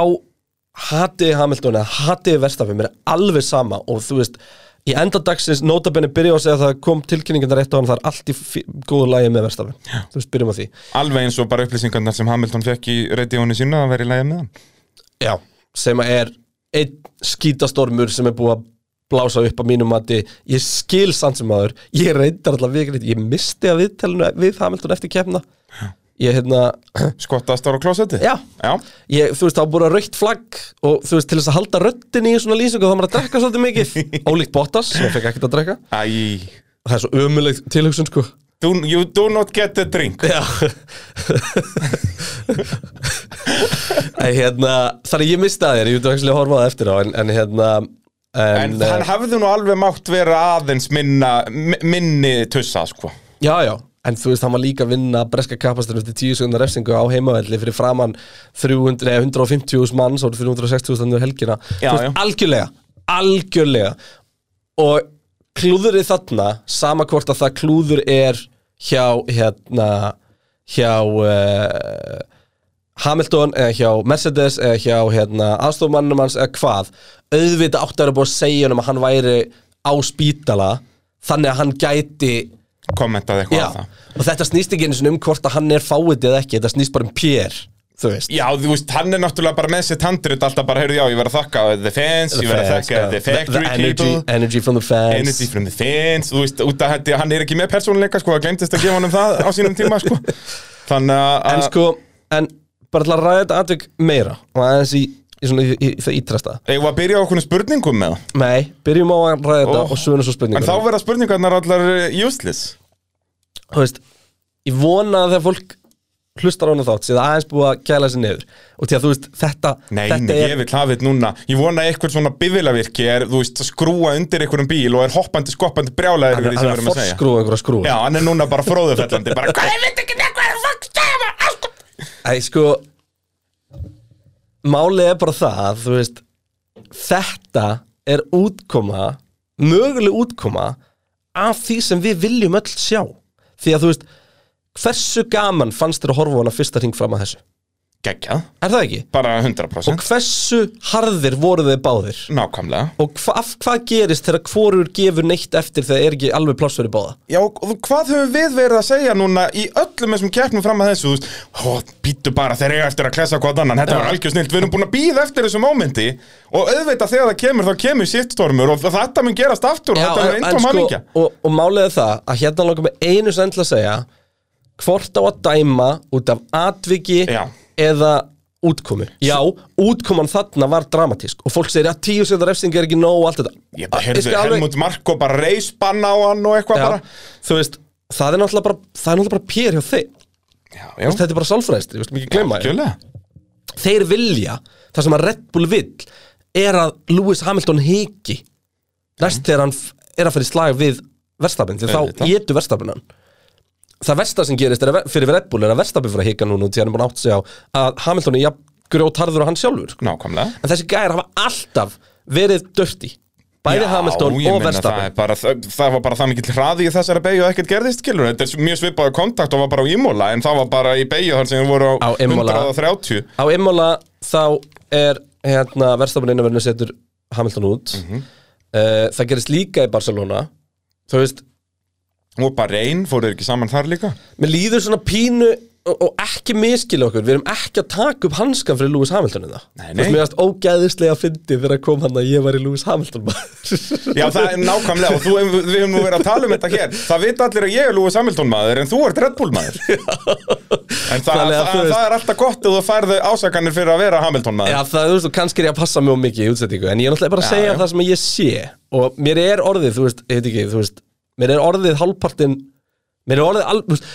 Speaker 2: hatiði Hamilton eða hatiði Verstappen, mér er alveg sama og þú veist, í enda dagsins notabenni byrja á að segja að það kom tilkynningarnar rétt á hann, það er allt í fí- góðu lægi með Verstappen, þú veist, byrjum á því.
Speaker 3: Alveg eins og bara upplýsingarnar sem Hamilton fekk í reytíðunni sína að vera í lægja með hann.
Speaker 2: Já, sem að er einn skítastormur sem er búið að blása upp á mínum mati, ég skil samt sem aður, ég reyndar alltaf vikriðt, ég misti að viðtælinu við Hamilton eftir kemna, ég hérna,
Speaker 3: Skottast ára á klósetti?
Speaker 2: Já.
Speaker 3: Já,
Speaker 2: ég, þú veist, þá búið að raukt flagg og þú veist, til þess að halda röddinni í svona lýsingu þá maður að drekka svolítið mikið ólíkt Bottas, sem fekk ekkert að drekka
Speaker 3: æj.
Speaker 2: það er svo ömuleg tilhugsun, sko
Speaker 3: Do, you do not get a drink.
Speaker 2: já en hérna þannig ég misti að þér, ég veit ekki að horfa á það eftir á en, en hérna en, eh,
Speaker 3: En hann hafði nú alveg mátt vera aðeins minna, mi- minni tussa, sko.
Speaker 2: já, já, en þú veist, hann var líka að vinna breska kapastur eftir 10 sekundar refsingu á heimavelli fyrir framann 300, nei, 150.000 manns og 460.000 þannig helgina
Speaker 3: Já,
Speaker 2: Þú veist,
Speaker 3: já.
Speaker 2: algjörlega, algjörlega og klúðurið þarna sama hvort að það klúður er hjá hérna hjá uh, Hamilton eða hjá Mercedes eða hjá hérna, aðstofmannum hans eða hvað auðvitað áttu að vera búið að segja honum að hann væri á spítala þannig að hann gæti
Speaker 3: Kommentaði eitthvað
Speaker 2: Já,
Speaker 3: á það.
Speaker 2: og þetta snýst ekki einu sinni um hvort að hann er fáið eða ekki, þetta snýst bara um Pér þú veist
Speaker 3: Já, þú veist, hann er náttúrulega bara með sitt handrit alltaf bara, heyrðu, já, ég verð að þakka the fans, ég verð að
Speaker 2: Fans,
Speaker 3: þakka
Speaker 2: já.
Speaker 3: the factory
Speaker 2: energy,
Speaker 3: people
Speaker 2: energy from the fans
Speaker 3: Energy from the fans, þú veist, út að hætti, hann er ekki með persónuleika, sko, það glemtist að gefa honum það á sínum tíma, sko Þannig að
Speaker 2: en sko, en bara til að ræða þetta atvik meira og aðeins í, í, svona, í, í það ítrasta
Speaker 3: eigum við að byrja á okkur spurningum með það
Speaker 2: Nei, byrjum á að ræða þetta
Speaker 3: Ó.
Speaker 2: og svönu svo spurningar
Speaker 3: Oh. En þá verða spurningarnar allar eh, useless
Speaker 2: þú veist, ég vona að þegar fólk hlustar á hana þátt, sé það aðeins búið að kæla sér niður og því að þú veist, þetta
Speaker 3: Nei,
Speaker 2: þetta
Speaker 3: nei, ég vil hafið núna Ég vona að eitthvað svona bifilavirki er, þú veist, að skrúa undir einhverjum bíl og er hoppandi, skoppandi, brjálæður
Speaker 2: hann
Speaker 3: yfir
Speaker 2: er,
Speaker 3: því sem við
Speaker 2: hann er að
Speaker 3: erum um að segja
Speaker 2: forskrúa einhverja skrúa
Speaker 3: Já, hann er núna bara fróðufellandi, bara, hvað er við ekki með hvað er það, stæma, sko
Speaker 2: Æ, sko Málið er bara það, að, þú veist Þetta er útkoma Möguleg útkoma Af því sem við viljum öll sjá Því að þú veist Hversu gaman fannst þér að horfa á hana fyrsta hring fram að þessu?
Speaker 3: geggjað,
Speaker 2: Er það ekki?
Speaker 3: bara 100%
Speaker 2: Og hversu harðir voru þeir báðir?
Speaker 3: nákvæmlega
Speaker 2: Og hva, af hvað gerist þegar hvorur gefur neitt eftir þegar er ekki alveg pláss fyrir báða?
Speaker 3: Já, og þú- hvað höfum við verið að segja núna í öllum þessum kjartnum fram að þessu, þú veist, ó, býttu bara þeir eiga eftir að klessa hvað annan, þetta var algjör snilt, við erum búin að býða eftir þessu mómenti og auðvitað þegar það kemur, þá kemur sýttstormur og þetta mun gerast aftur og þetta er einn tóm hamingja.
Speaker 2: sko, og, og málið er það að hérna langar með einu sem endla að segja hvort á að dæma út af atviki
Speaker 3: Já.
Speaker 2: eða útkomu já, útkoman þarna var dramatísk og fólk segir að tíu segðar refsing er ekki nóg og allt þetta
Speaker 3: Ég bara
Speaker 2: Ég
Speaker 3: heyrði
Speaker 2: skal alveg-
Speaker 3: Helmut Marko bara reisbanna á hann og eitthvað
Speaker 2: já,
Speaker 3: bara.
Speaker 2: þú veist, það er náttúrulega bara það er náttúrulega bara pér hjá þeim
Speaker 3: Já, já.
Speaker 2: þetta er bara sálfræðistri, við skulum ekki glemma því.
Speaker 3: Algjörlega.
Speaker 2: þeir vilja, það sem að Red Bull vill er að Lewis Hamilton hiki næst þegar hann f- er að fyrir slag við verstafinn, því þá
Speaker 3: Auðvitað.
Speaker 2: getur verstafinn hann það versta sem gerist er að, ve- fyrir Red Bull er að verstafinn fyrir að hika núna því hann er búin að átt sig á að Hamilton er jafn grjótarður og hann sjálfur sko.
Speaker 3: Nákvæmlega.
Speaker 2: en þessi gæjar hafa alltaf verið dörti bæði
Speaker 3: Já,
Speaker 2: Hamilton
Speaker 3: ég
Speaker 2: og
Speaker 3: meina, það,
Speaker 2: verstafinn
Speaker 3: er bara, það, það var bara það mikill hraði í þessari beigju að ekkert gerðist, skilur Þetta er mjög svipaði kontakt og var bara á Imola En það var bara í beigju þar sem við voru á,
Speaker 2: Á Imola.
Speaker 3: 130
Speaker 2: á Imola þá er hérna, verstafinn innanverðinu setur Hamilton út
Speaker 3: Mhm.
Speaker 2: mm það gerist líka í Barcelona þú veist,
Speaker 3: Og bara reyn, fóru þeir ekki saman þar líka
Speaker 2: Mér líður svona pínu og, og ekki miskila okkur, við erum ekki að taka upp hanskan fyrir Lewis Hamilton en það
Speaker 3: Nei, nei.
Speaker 2: Þú veist, mér varst ógæðislega fyndi þegar kom hann að ég var í Lewis Hamilton maður.
Speaker 3: Já, það er nákvæmlega, og þú, við við höfum nú verið að tala um þetta hér Það vita allir að ég er Lúi Samilton maður En þú ert Red Bull maður En það,
Speaker 2: Þannig að
Speaker 3: það,
Speaker 2: þú
Speaker 3: það,
Speaker 2: veist-
Speaker 3: er alltaf gott ef þú færðu ásakanir fyrir að vera Hamilton maður
Speaker 2: Já, það, þú veist, og kannski er ég að passa mjög mikið í útsettingu en ég er náttúrulega bara að
Speaker 3: Já,
Speaker 2: segja
Speaker 3: já.
Speaker 2: það sem ég sé og mér er orðið, þú veist, ég veit ekki, þú veist mér er orðið hálfpartin mér er orðið, al, þú veist,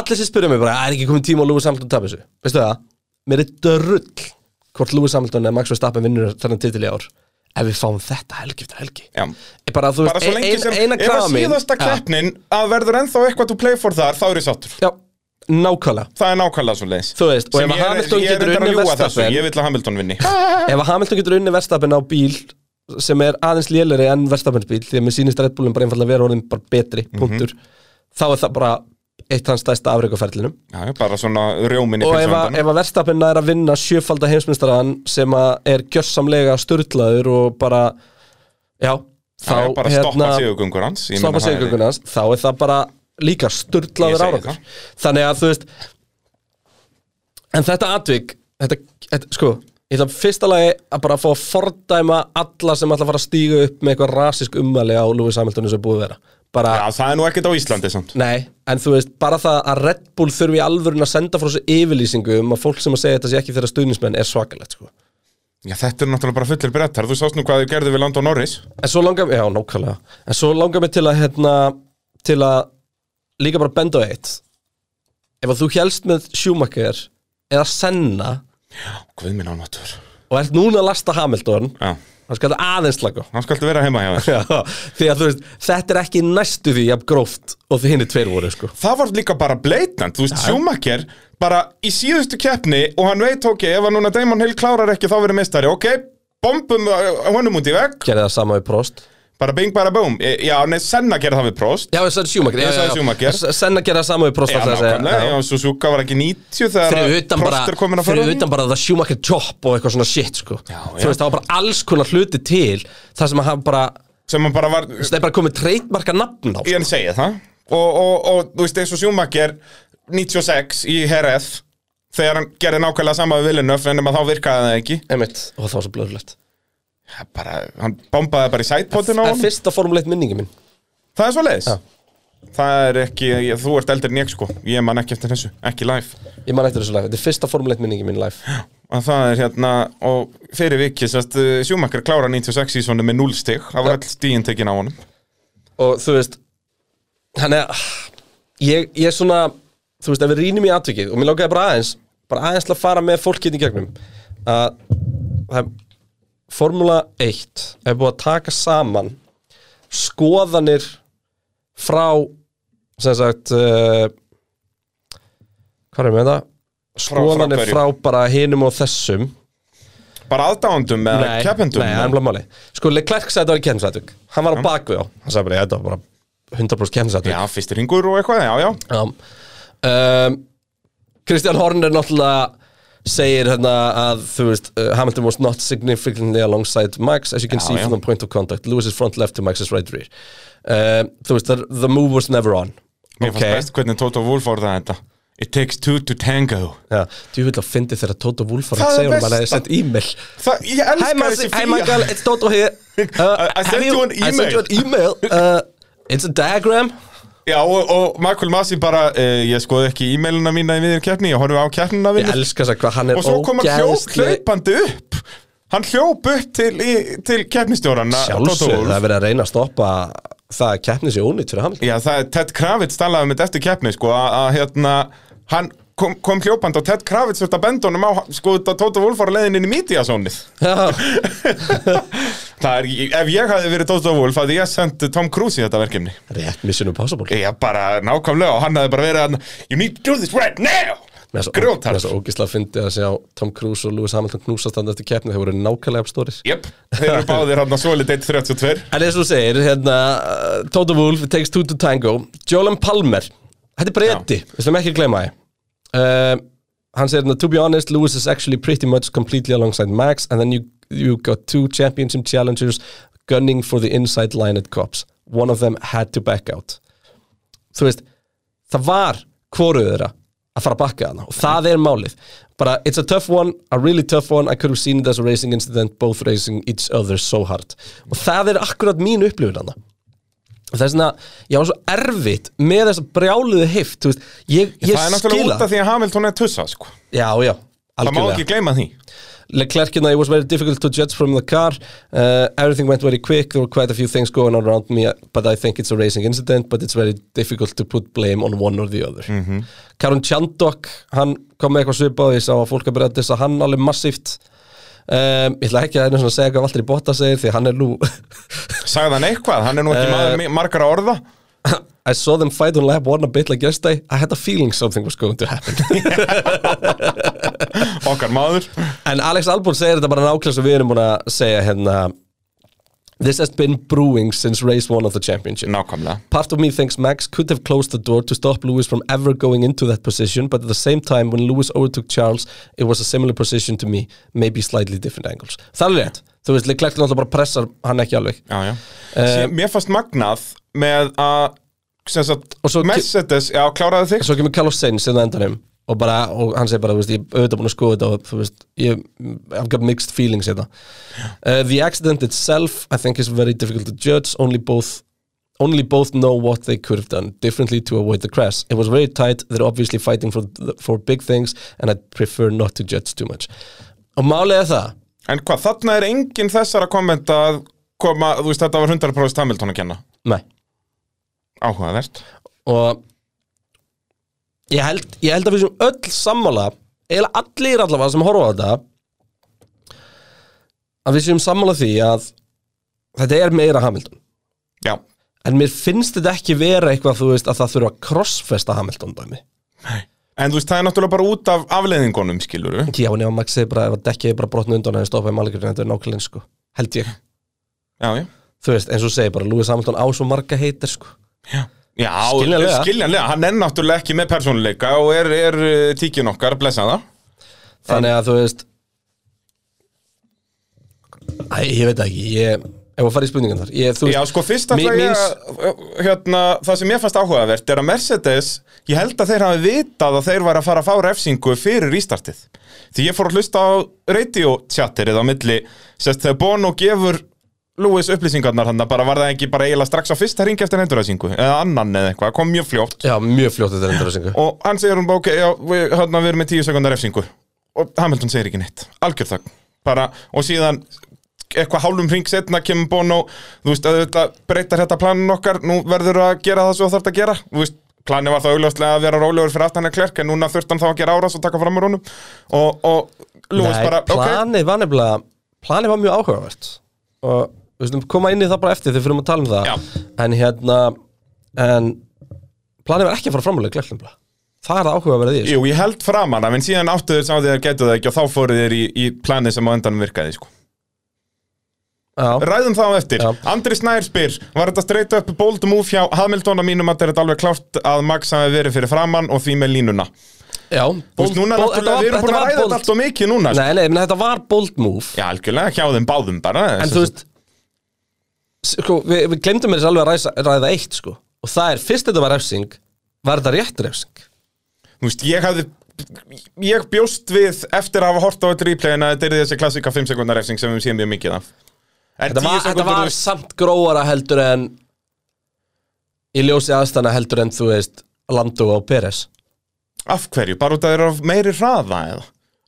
Speaker 2: allir sem spyrja mig bara, "Ah, er ekki komið tíma á Lewis Hamilton tap þessu veistu það, mér er dörrull hvort Lewis Hamilton eða Max Verstappen vinnur þennan titil í ár ef við fáum þetta helgi eftir helgi
Speaker 3: Já.
Speaker 2: Ég bara, þú
Speaker 3: Bara
Speaker 2: veist, e-
Speaker 3: svo lengi
Speaker 2: ein,
Speaker 3: sem,
Speaker 2: eina
Speaker 3: ef að
Speaker 2: krafa mín
Speaker 3: síðasta keppnin Að verður ennþá eitthvað to play for þar, þá er ég sáttur
Speaker 2: Já, já, nákvæmlega
Speaker 3: Það er nákvæmlega svo leiðis
Speaker 2: Þú veist, og ef að Hamilton
Speaker 3: Ég er
Speaker 2: getur
Speaker 3: reyndar að
Speaker 2: unnið
Speaker 3: ljúa þessu,
Speaker 2: Verstappen-
Speaker 3: ég vil að Hamilton vinni
Speaker 2: Ef að Hamilton getur unni verstafinn á bíl sem er aðeins léleri enn verstafins bíl því að mér sýnist Red Bullin bara einfallega vera orðin bara betri,
Speaker 3: Mhm.
Speaker 2: punktur þá er það bara eitt hans stæsta afreikaferlinum
Speaker 3: Já, já, bara svona rjómin í
Speaker 2: og ef að,
Speaker 3: pilsuöndan
Speaker 2: ef að verstafinn er að vinna sjöfalda heimsmyndstarðan sem að er gjörsamlega störtlaður og bara já, þá hérna-
Speaker 3: Það er bara að stoppa sigurgöngur hans Ég meina,
Speaker 2: stoppa
Speaker 3: það er-
Speaker 2: sigurgönguna hans, þá er það bara líka
Speaker 3: Ég
Speaker 2: sturdlaður
Speaker 3: segi
Speaker 2: árangur þannig að þú veist en þetta atvik þetta, þetta, sko, ég ætla fyrsta lagi að bara fá að fordæma alla sem ætla að fara að stíga upp með eitthvað rasisk ummæli á Lewis Hamilton eins og er búið að vera bara,
Speaker 3: Já, það er nú ekkert á Íslandi samt
Speaker 2: nei, en þú veist, bara það að Red Bull þurfi í alvörun að senda frá þessu yfirlýsingu um að fólk sem að segja þetta sé ekki þeirra stuðnismenn er svakalegt, sko
Speaker 3: Já, þetta er náttúrulega bara fullir brettar Þú sást nú hvað þau gerðu við Landon Norris
Speaker 2: En svo langar mér, já, nákvæmlega En svo langar mér til að, hérna Til að líka bara benda á eitt Ef að þú hélst með Schumacher Eða Senna
Speaker 3: Guð minn ánáttur
Speaker 2: Og ert núna að lasta Hamilton
Speaker 3: Já,
Speaker 2: Það skal þetta aðeins laga
Speaker 3: hann skaltu vera heima hjá þér
Speaker 2: Já, því að þú veist, þetta er ekki næstu því jafn gróft og því henni tveir voru, sko
Speaker 3: Það var líka bara bleitnant, þú veist, Schumacher bara í síðustu keppni og hann veit, ok, ef að núna Damon Hill klárar ekki þá verið mistari, ok, bombum uh, honum út í vegg,
Speaker 2: Gerði það sama við Prost
Speaker 3: bara bing, bara boom E, Já, nei, Senna gerði það við Prost
Speaker 2: Já, það er Schumacher, já,
Speaker 3: Ég
Speaker 2: já,
Speaker 3: sagði Schumacher.
Speaker 2: já. Senna gerði það sama við Prost
Speaker 3: Já,
Speaker 2: ætlaði að segja.
Speaker 3: nákvæmlega, já, Suzuka var ekki 90 þegar að
Speaker 2: fyrir utan bara
Speaker 3: Prost er komin að fara
Speaker 2: fyrir utan bara það Schumacher job og eitthvað svona shit sko
Speaker 3: Já, já.
Speaker 2: þú veist það var bara alls konar hluti til það sem að hafa bara það
Speaker 3: sem hann bara var,
Speaker 2: er bara komið treytmarka nafn á sko.
Speaker 3: ég hann segja það og, og, og þú veist eins og Schumacher 96 í HRF þegar hann gerði nákvæmlega sama við Villeneuve en nema þá virkaði það ekki
Speaker 2: Einmitt. og það var svo blöðlegt
Speaker 3: Það bara, hann bombaði bara í sætpotin á
Speaker 2: það er
Speaker 3: hann
Speaker 2: fyrsta formuleitt minningi minn
Speaker 3: það er svo leiðis
Speaker 2: Já.
Speaker 3: það er ekki, ég, þú ert eldri en ég sko ég man ekki eftir þessu, ekki live
Speaker 2: ég man eftir þessu live þetta er fyrsta formuleitt minningi minn live
Speaker 3: og það er hérna, og fyrir vikið sérst, uh, Schumacher klára 96 sísonu með 0 stig, það var all stíin tekin á honum
Speaker 2: og þú veist hann er ég, ég er svona þú veist ef við rýnum í atvikið og mér lákaði bara aðeins bara aðeins til að fara með fólkið í gegnum að það er Formula 1 er búið að taka saman skoðanir frá sem sagt uh, hvað er með það? skoðanir
Speaker 3: hverju?
Speaker 2: frá, bara hinum og þessum
Speaker 3: bara aðdándum eða keppendum
Speaker 2: nei, það er
Speaker 3: og-
Speaker 2: bara máli sko, Leclerc sagði þetta var kemsatvik hann var á bakvið á, hann sagði bara, "Ég, þetta var bara 100% kemsatvik
Speaker 3: já, fyrst ringur og eitthvað, já, já
Speaker 2: Já um, Kristján Horn er náttúrulega segir hérna að þú veist uh, Hamilton was not significantly alongside Max as you can
Speaker 3: Já,
Speaker 2: see
Speaker 3: já.
Speaker 2: from the point of contact Lewis's front left to Max's right rear uh, þú veist, the, the move was never on
Speaker 3: Mér fannst best hvernig Toto Wolff orðaði þetta It takes two to tango
Speaker 2: Já, þú vil að fyndi þegar Toto Wolff var
Speaker 3: Það
Speaker 2: að
Speaker 3: er
Speaker 2: segja um að
Speaker 3: besta.
Speaker 2: hann hefði sett e-mail
Speaker 3: Þa, Ég
Speaker 2: Hi
Speaker 3: elska
Speaker 2: Michael,
Speaker 3: þessi
Speaker 2: hi Michael,
Speaker 3: fíja
Speaker 2: it's Toto here uh,
Speaker 3: I- I sent
Speaker 2: have
Speaker 3: you an
Speaker 2: I sent you an email uh, It's a diagram
Speaker 3: Já, og, og Michael Masi bara uh, Ég skoði ekki e-mailina mína í miður keppni Ég horfði á keppnina
Speaker 2: Ég
Speaker 3: mína
Speaker 2: elska þess að hvað hann er
Speaker 3: Og svo kom hann hljóp
Speaker 2: ógeðsleg
Speaker 3: hlaupandi upp Hann hljóp upp til, í, til keppnistjóran
Speaker 2: Sjálfsög, það er verið að reyna að stoppa það að keppni sér ónýtt fyrir Hamilton
Speaker 3: Já, það er Ted Kravitz talaði um þetta eftir keppni sko, að, að hérna, hann kom, kom hljópand og Ted Kravitz þurfti að benda honum á sko, þetta Tóta Wolf var leiðin inn í mídíasónið
Speaker 2: Já,
Speaker 3: Það er, ef ég hafði verið Tóta Wolf að ég sendi Tom Cruise í þetta verkefni
Speaker 2: rétt Mission Impossible
Speaker 3: Já, bara nákvæmlega og hann hafði bara verið að You need to do this right now
Speaker 2: Mér er svo- mér
Speaker 3: Grjótar
Speaker 2: er svo ógislega að fyndi að sjá Tom Cruise og Lewis Hamilton knúsast hann eftir keppni þeir voru nákvæmlega uppstóris
Speaker 3: Jöp, þeir eru báðir hann að solid 1.32
Speaker 2: En eins og þú segir, hérna uh, Toto Wolff it takes two to tango Jolene Palmer, þetta er breyti við slum ekki að gleyma því uh, Hann segir, hérna, to be honest, Lewis is actually pretty much completely alongside Max and then you, you got two championship challengers gunning for the inside line at cops one of them had to back out Þú veist, það var hvoruð þeirra að fara að bakka þarna og það er málið bara it's a tough one, a really tough one I could have seen it as a racing incident both racing each other so hard og það er akkurat mín upplifun þarna Og það er svona, ég var svo erfitt með þess að brjáluðu heift, þú veist ég, ég
Speaker 3: Það er náttúrulega
Speaker 2: skila,
Speaker 3: út af því að Hamilton er tussa sko.
Speaker 2: já, já
Speaker 3: Það má
Speaker 2: algjörlega,
Speaker 3: ekki gleyma því
Speaker 2: Leclerc hérna, it was very difficult to judge from the car uh, everything went very quick, there were quite a few things going on around me, but I think it's a racing incident but it's very difficult to put blame on one or the other mm
Speaker 3: Mhm.
Speaker 2: -hmm. Karun Chandok, hann kom með eitthvað svipað ég sá að fólk að byrja að dissa hann alveg massíft um, ég ætla ekki að einu svona að segja hvað Valtteri Botta segir því hann er nú
Speaker 3: Sagði hann eitthvað, hann er nú ekki
Speaker 2: Eh,
Speaker 3: maður mi- margra orða
Speaker 2: I saw them fight on lap one a bit like yesterday I had a feeling something was going to happen
Speaker 3: Okkar maður
Speaker 2: En Alex Albon segir þetta bara nákvæmlega sem við erum búin að segja hérna This has been brewing since race one of the championship
Speaker 3: Nákvæmlega
Speaker 2: Part of me thinks Max could have closed the door to stop Lewis from ever going into that position, but at the same time, when Lewis overtook Charles, it was a similar position to me, maybe slightly different angles. Það er rétt. Þú veist, Leclerc náttúrulega bara pressar hann ekki alveg.
Speaker 3: já, já.
Speaker 2: Eh,
Speaker 3: Um, Mér fannst magnað með að sem sagt,
Speaker 2: Og svo-
Speaker 3: Mercedes, já, kláraði þig
Speaker 2: Svo kemur Carlos Sainz inn á endanum og, bara, og hann segir bara, þú veist, ég hef auðvitað búin að skoða þetta og þú veist, ég, I've got mixed feelings hérna. Uh, the accident itself, I think, is very difficult to judge, only both Only both know what they could have done differently to avoid the crash. It was very tight, they're obviously fighting for, the, for big things and I prefer not to judge too much. Og málið er það,
Speaker 3: En hvað, þarna er enginn þessara kommenta að koma, þú veist, þetta var 100% Hamilton að kenna
Speaker 2: nei.
Speaker 3: Áhugavert
Speaker 2: og ég held, ég held að við sem öll sammála eiginlega allir allavega sem horfa á þetta að við séum sammála því að þetta er meira Hamilton
Speaker 3: Já,
Speaker 2: en mér finnst þetta ekki vera eitthvað þú veist að það þurfa að crossfesta Hamilton dæmi
Speaker 3: en þú veist, það er náttúrulega bara út af afleiðingunum, skilur við
Speaker 2: já en ef að Max segir bara ef að dekkið er bara brotna undan en stoppaði malgrinn þetta er nákvæmlega eins, sko held ég
Speaker 3: Já, já
Speaker 2: þú veist eins og þú segir bara Lewis Hamilton á svo marga heitir sko
Speaker 3: Já,
Speaker 2: Skiljanlega.
Speaker 3: skiljanlega, hann er náttúrulega ekki með persónuleika og er, er eh, tíkin okkar, blessa það
Speaker 2: Þannig að þú veist Æ, ég veit það ekki ég, Ef að fara í spurningan þar ég, þú veist,
Speaker 3: Já, sko, fyrst
Speaker 2: mi-
Speaker 3: alltaf ég,
Speaker 2: mín-
Speaker 3: eh, hérna, það sem mér fannst áhugavert er að Mercedes, ég held að þeir hafi vitað að þeir væri að fara að fá refsingu fyrir ístartið. Því ég fór að hlusta á radio-tjatterið á milli, sérst þegar Bono gefur Lewis upplýsingarnar hann, bara var það ekki bara eiginlega strax á fyrsta ringi eftir endurræsingu, eða annan eða eitthvað, kom mjög fljótt
Speaker 2: Já, mjög fljótt þetta er endur að syngu
Speaker 3: og hann segir hún bara, ok, já, við, hérna, við erum með 10 sekundar refsingu og Hamilton segir ekki neitt, algjör þögn bara, og síðan eitthvað hálfum hring setna kemur Bono þú veist, að þetta breytar þetta planin okkar nú verður að gera það sem þú þarft að gera þú veist, planin var það augljóslega að vera rólegur fyrir aftan að klerk, en núna þurft hann þá að gera árás og taka fram úr honum og, og Lewis
Speaker 2: Nei,
Speaker 3: bara, ok,
Speaker 2: planið var nefnilega Planið var mjög áhugavert Og við slum koma inn í það bara eftir þegar við fyrir að tala um það
Speaker 3: Já.
Speaker 2: En hérna En planið var ekki að fara framlega glæknumla Það er það áhugaverið í þessu.
Speaker 3: jú, ég held framan af en síðan áttu þeir sá því að getu það ekki og þá fóru þeir í, í planið sem á endanum virkaði, sko
Speaker 2: Já,
Speaker 3: Ræðum það á eftir.
Speaker 2: Já.
Speaker 3: Andri Snær spyr, var þetta straight up bold move hjá Hamilton að mínum að þetta er þetta alveg klárt að Max hafi verið fyrir framann og því með línuna.
Speaker 2: Já,
Speaker 3: Þú veist, núna náttúrulega, við erum búin að ræða þetta allt og mikið núna sko.
Speaker 2: Nei, nei, menn, þetta var bold move
Speaker 3: Já, algjörlega, hjá þeim báðum bara
Speaker 2: En þú veist sko, Við, við glemdum mér þess alveg að ræsa, ræða eitt sko. Og það er, fyrst þetta var refsing Var þetta rétt refsing?
Speaker 3: Þú veist, ég hafði Ég bjóst við eftir að hafa hort á þetta replayin að þetta er þessi klassika 5 sekundar refsing sem við séum mjög mikið af En 10
Speaker 2: Þetta var, þetta
Speaker 3: sekúndur
Speaker 2: var samt gróara heldur en Í ljósi aðstæna heldur en þú veist Landó og Peres
Speaker 3: Af hverju? Bara út að þeir eru af meiri hraða eða?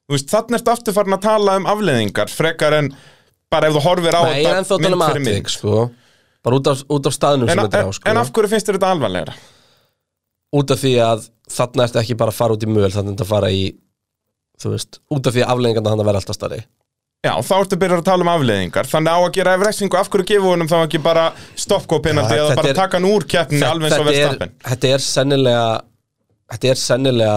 Speaker 3: Þú veist, þannig ertu aftur farin að tala um afleðingar frekar en bara ef þú horfir á
Speaker 2: Nei, ég er ennþá að tala um atvik sko. Bara út af, út af staðnum
Speaker 3: En,
Speaker 2: sem þetta er á
Speaker 3: en,
Speaker 2: sko.
Speaker 3: en af hverju finnst þér þetta alvarlegra?
Speaker 2: Út af því að þarna ertu ekki bara að fara út í möl Þannig ertu að fara í Þú veist, út af því að afleggingarna hann að vera alltaf starri
Speaker 3: Já, þá ertu byrjar að tala um afleðingar Þannig á að gera efreksingu, af hverju gefa honum þá ekki bara stoppkópinandi
Speaker 2: Já,
Speaker 3: eða
Speaker 2: þetta
Speaker 3: bara
Speaker 2: er-
Speaker 3: taka hann úr keppni alveg eins og
Speaker 2: þetta,
Speaker 3: verðstappin
Speaker 2: er, þetta er sennilega Þetta er sennilega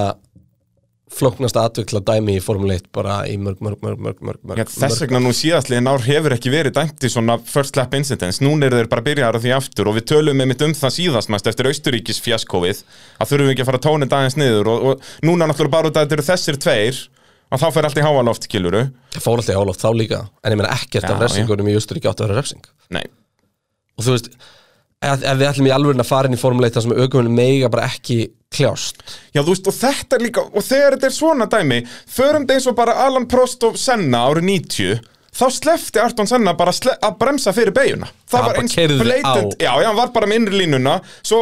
Speaker 2: Flóknasta atvik til að dæmi í Formule 1 Bara í mörg, mörg, mörg, mörg, mörg, mörg,
Speaker 3: Já, þess vegna nú síðastliðin ár hefur ekki verið dæmt í svona first lap incidents Nún eru þeir bara byrjar á því aftur og við tölum einmitt um það síðast mæst eftir Austuríkis fjaskófið að þurfum við ekki að fara tónið aðeins niður og, og núna náttúrulega bara út að þetta eru þessir tveir og þá fer allt í háaloft, kiluru
Speaker 2: Það fór alltaf í álof þá líka En ég meina ekkert
Speaker 3: Já,
Speaker 2: af refsingunum í Austuríki átt að vera refsing
Speaker 3: Nei,
Speaker 2: Og þú veist Ef, ef við ætlum í alvörin að fara inn í Formule 1 þar sem aukumunum mega bara ekki kljást
Speaker 3: Já, þú veist, og þetta er líka, og þegar þetta er svona dæmi, förum þetta eins og bara Alan Prost og Senna árið 90, þá slefti Arton Senna bara sle að bremsa fyrir beiguna.
Speaker 2: Já,
Speaker 3: Það var
Speaker 2: bara
Speaker 3: eins
Speaker 2: keyrði
Speaker 3: blatant,
Speaker 2: á.
Speaker 3: já, já, hann var bara með innri línuna, svo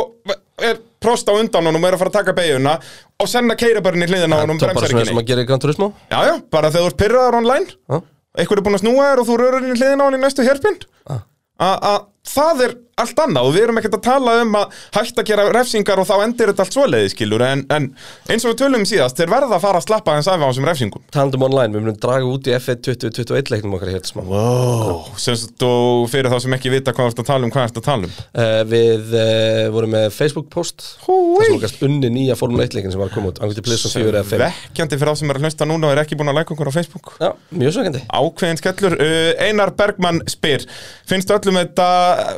Speaker 3: er Prost á undan honum og er að fara að taka beiguna og Senna keira bara inn í hliðina á honum og
Speaker 2: Það er bara
Speaker 3: bremsar ekki
Speaker 2: svona sem
Speaker 3: neitt.
Speaker 2: að gera í Gran Turismo
Speaker 3: Já, já, bara þegar þú ert pyrraðar online,
Speaker 2: Já.
Speaker 3: einhver er búin að snúa þér og þú rörur inn í hliðina á hann í næstu herpind.
Speaker 2: Ah.
Speaker 3: Að að það er allt annað og við erum ekkert að tala um að hægt að gera refsingar og þá endir þetta allt svoleiði skilur en, en eins og við tölum síðast, þeir verða að fara að slappa hans af á þessum refsingum
Speaker 2: Tandem online, við munum draga út í F1 2021 leiknum okkar hér smá
Speaker 3: wow. sem sagt og fyrir þá sem ekki vita hvað þú ert að tala um, hvað ert að tala um
Speaker 2: uh, Við uh, vorum með Facebook post Það sem okkast unni nýja Formule 1 leikin sem var að koma út Angriði Plissum 4 eða 5
Speaker 3: Vekkjandi fyrir þá sem er að hlusta núna og er ekki búin að læka okkur á Facebook
Speaker 2: Já, mjög sveikandi
Speaker 3: Ákveðin skellur, uh, Einar Bergmann spyr Finnst öllum, þetta,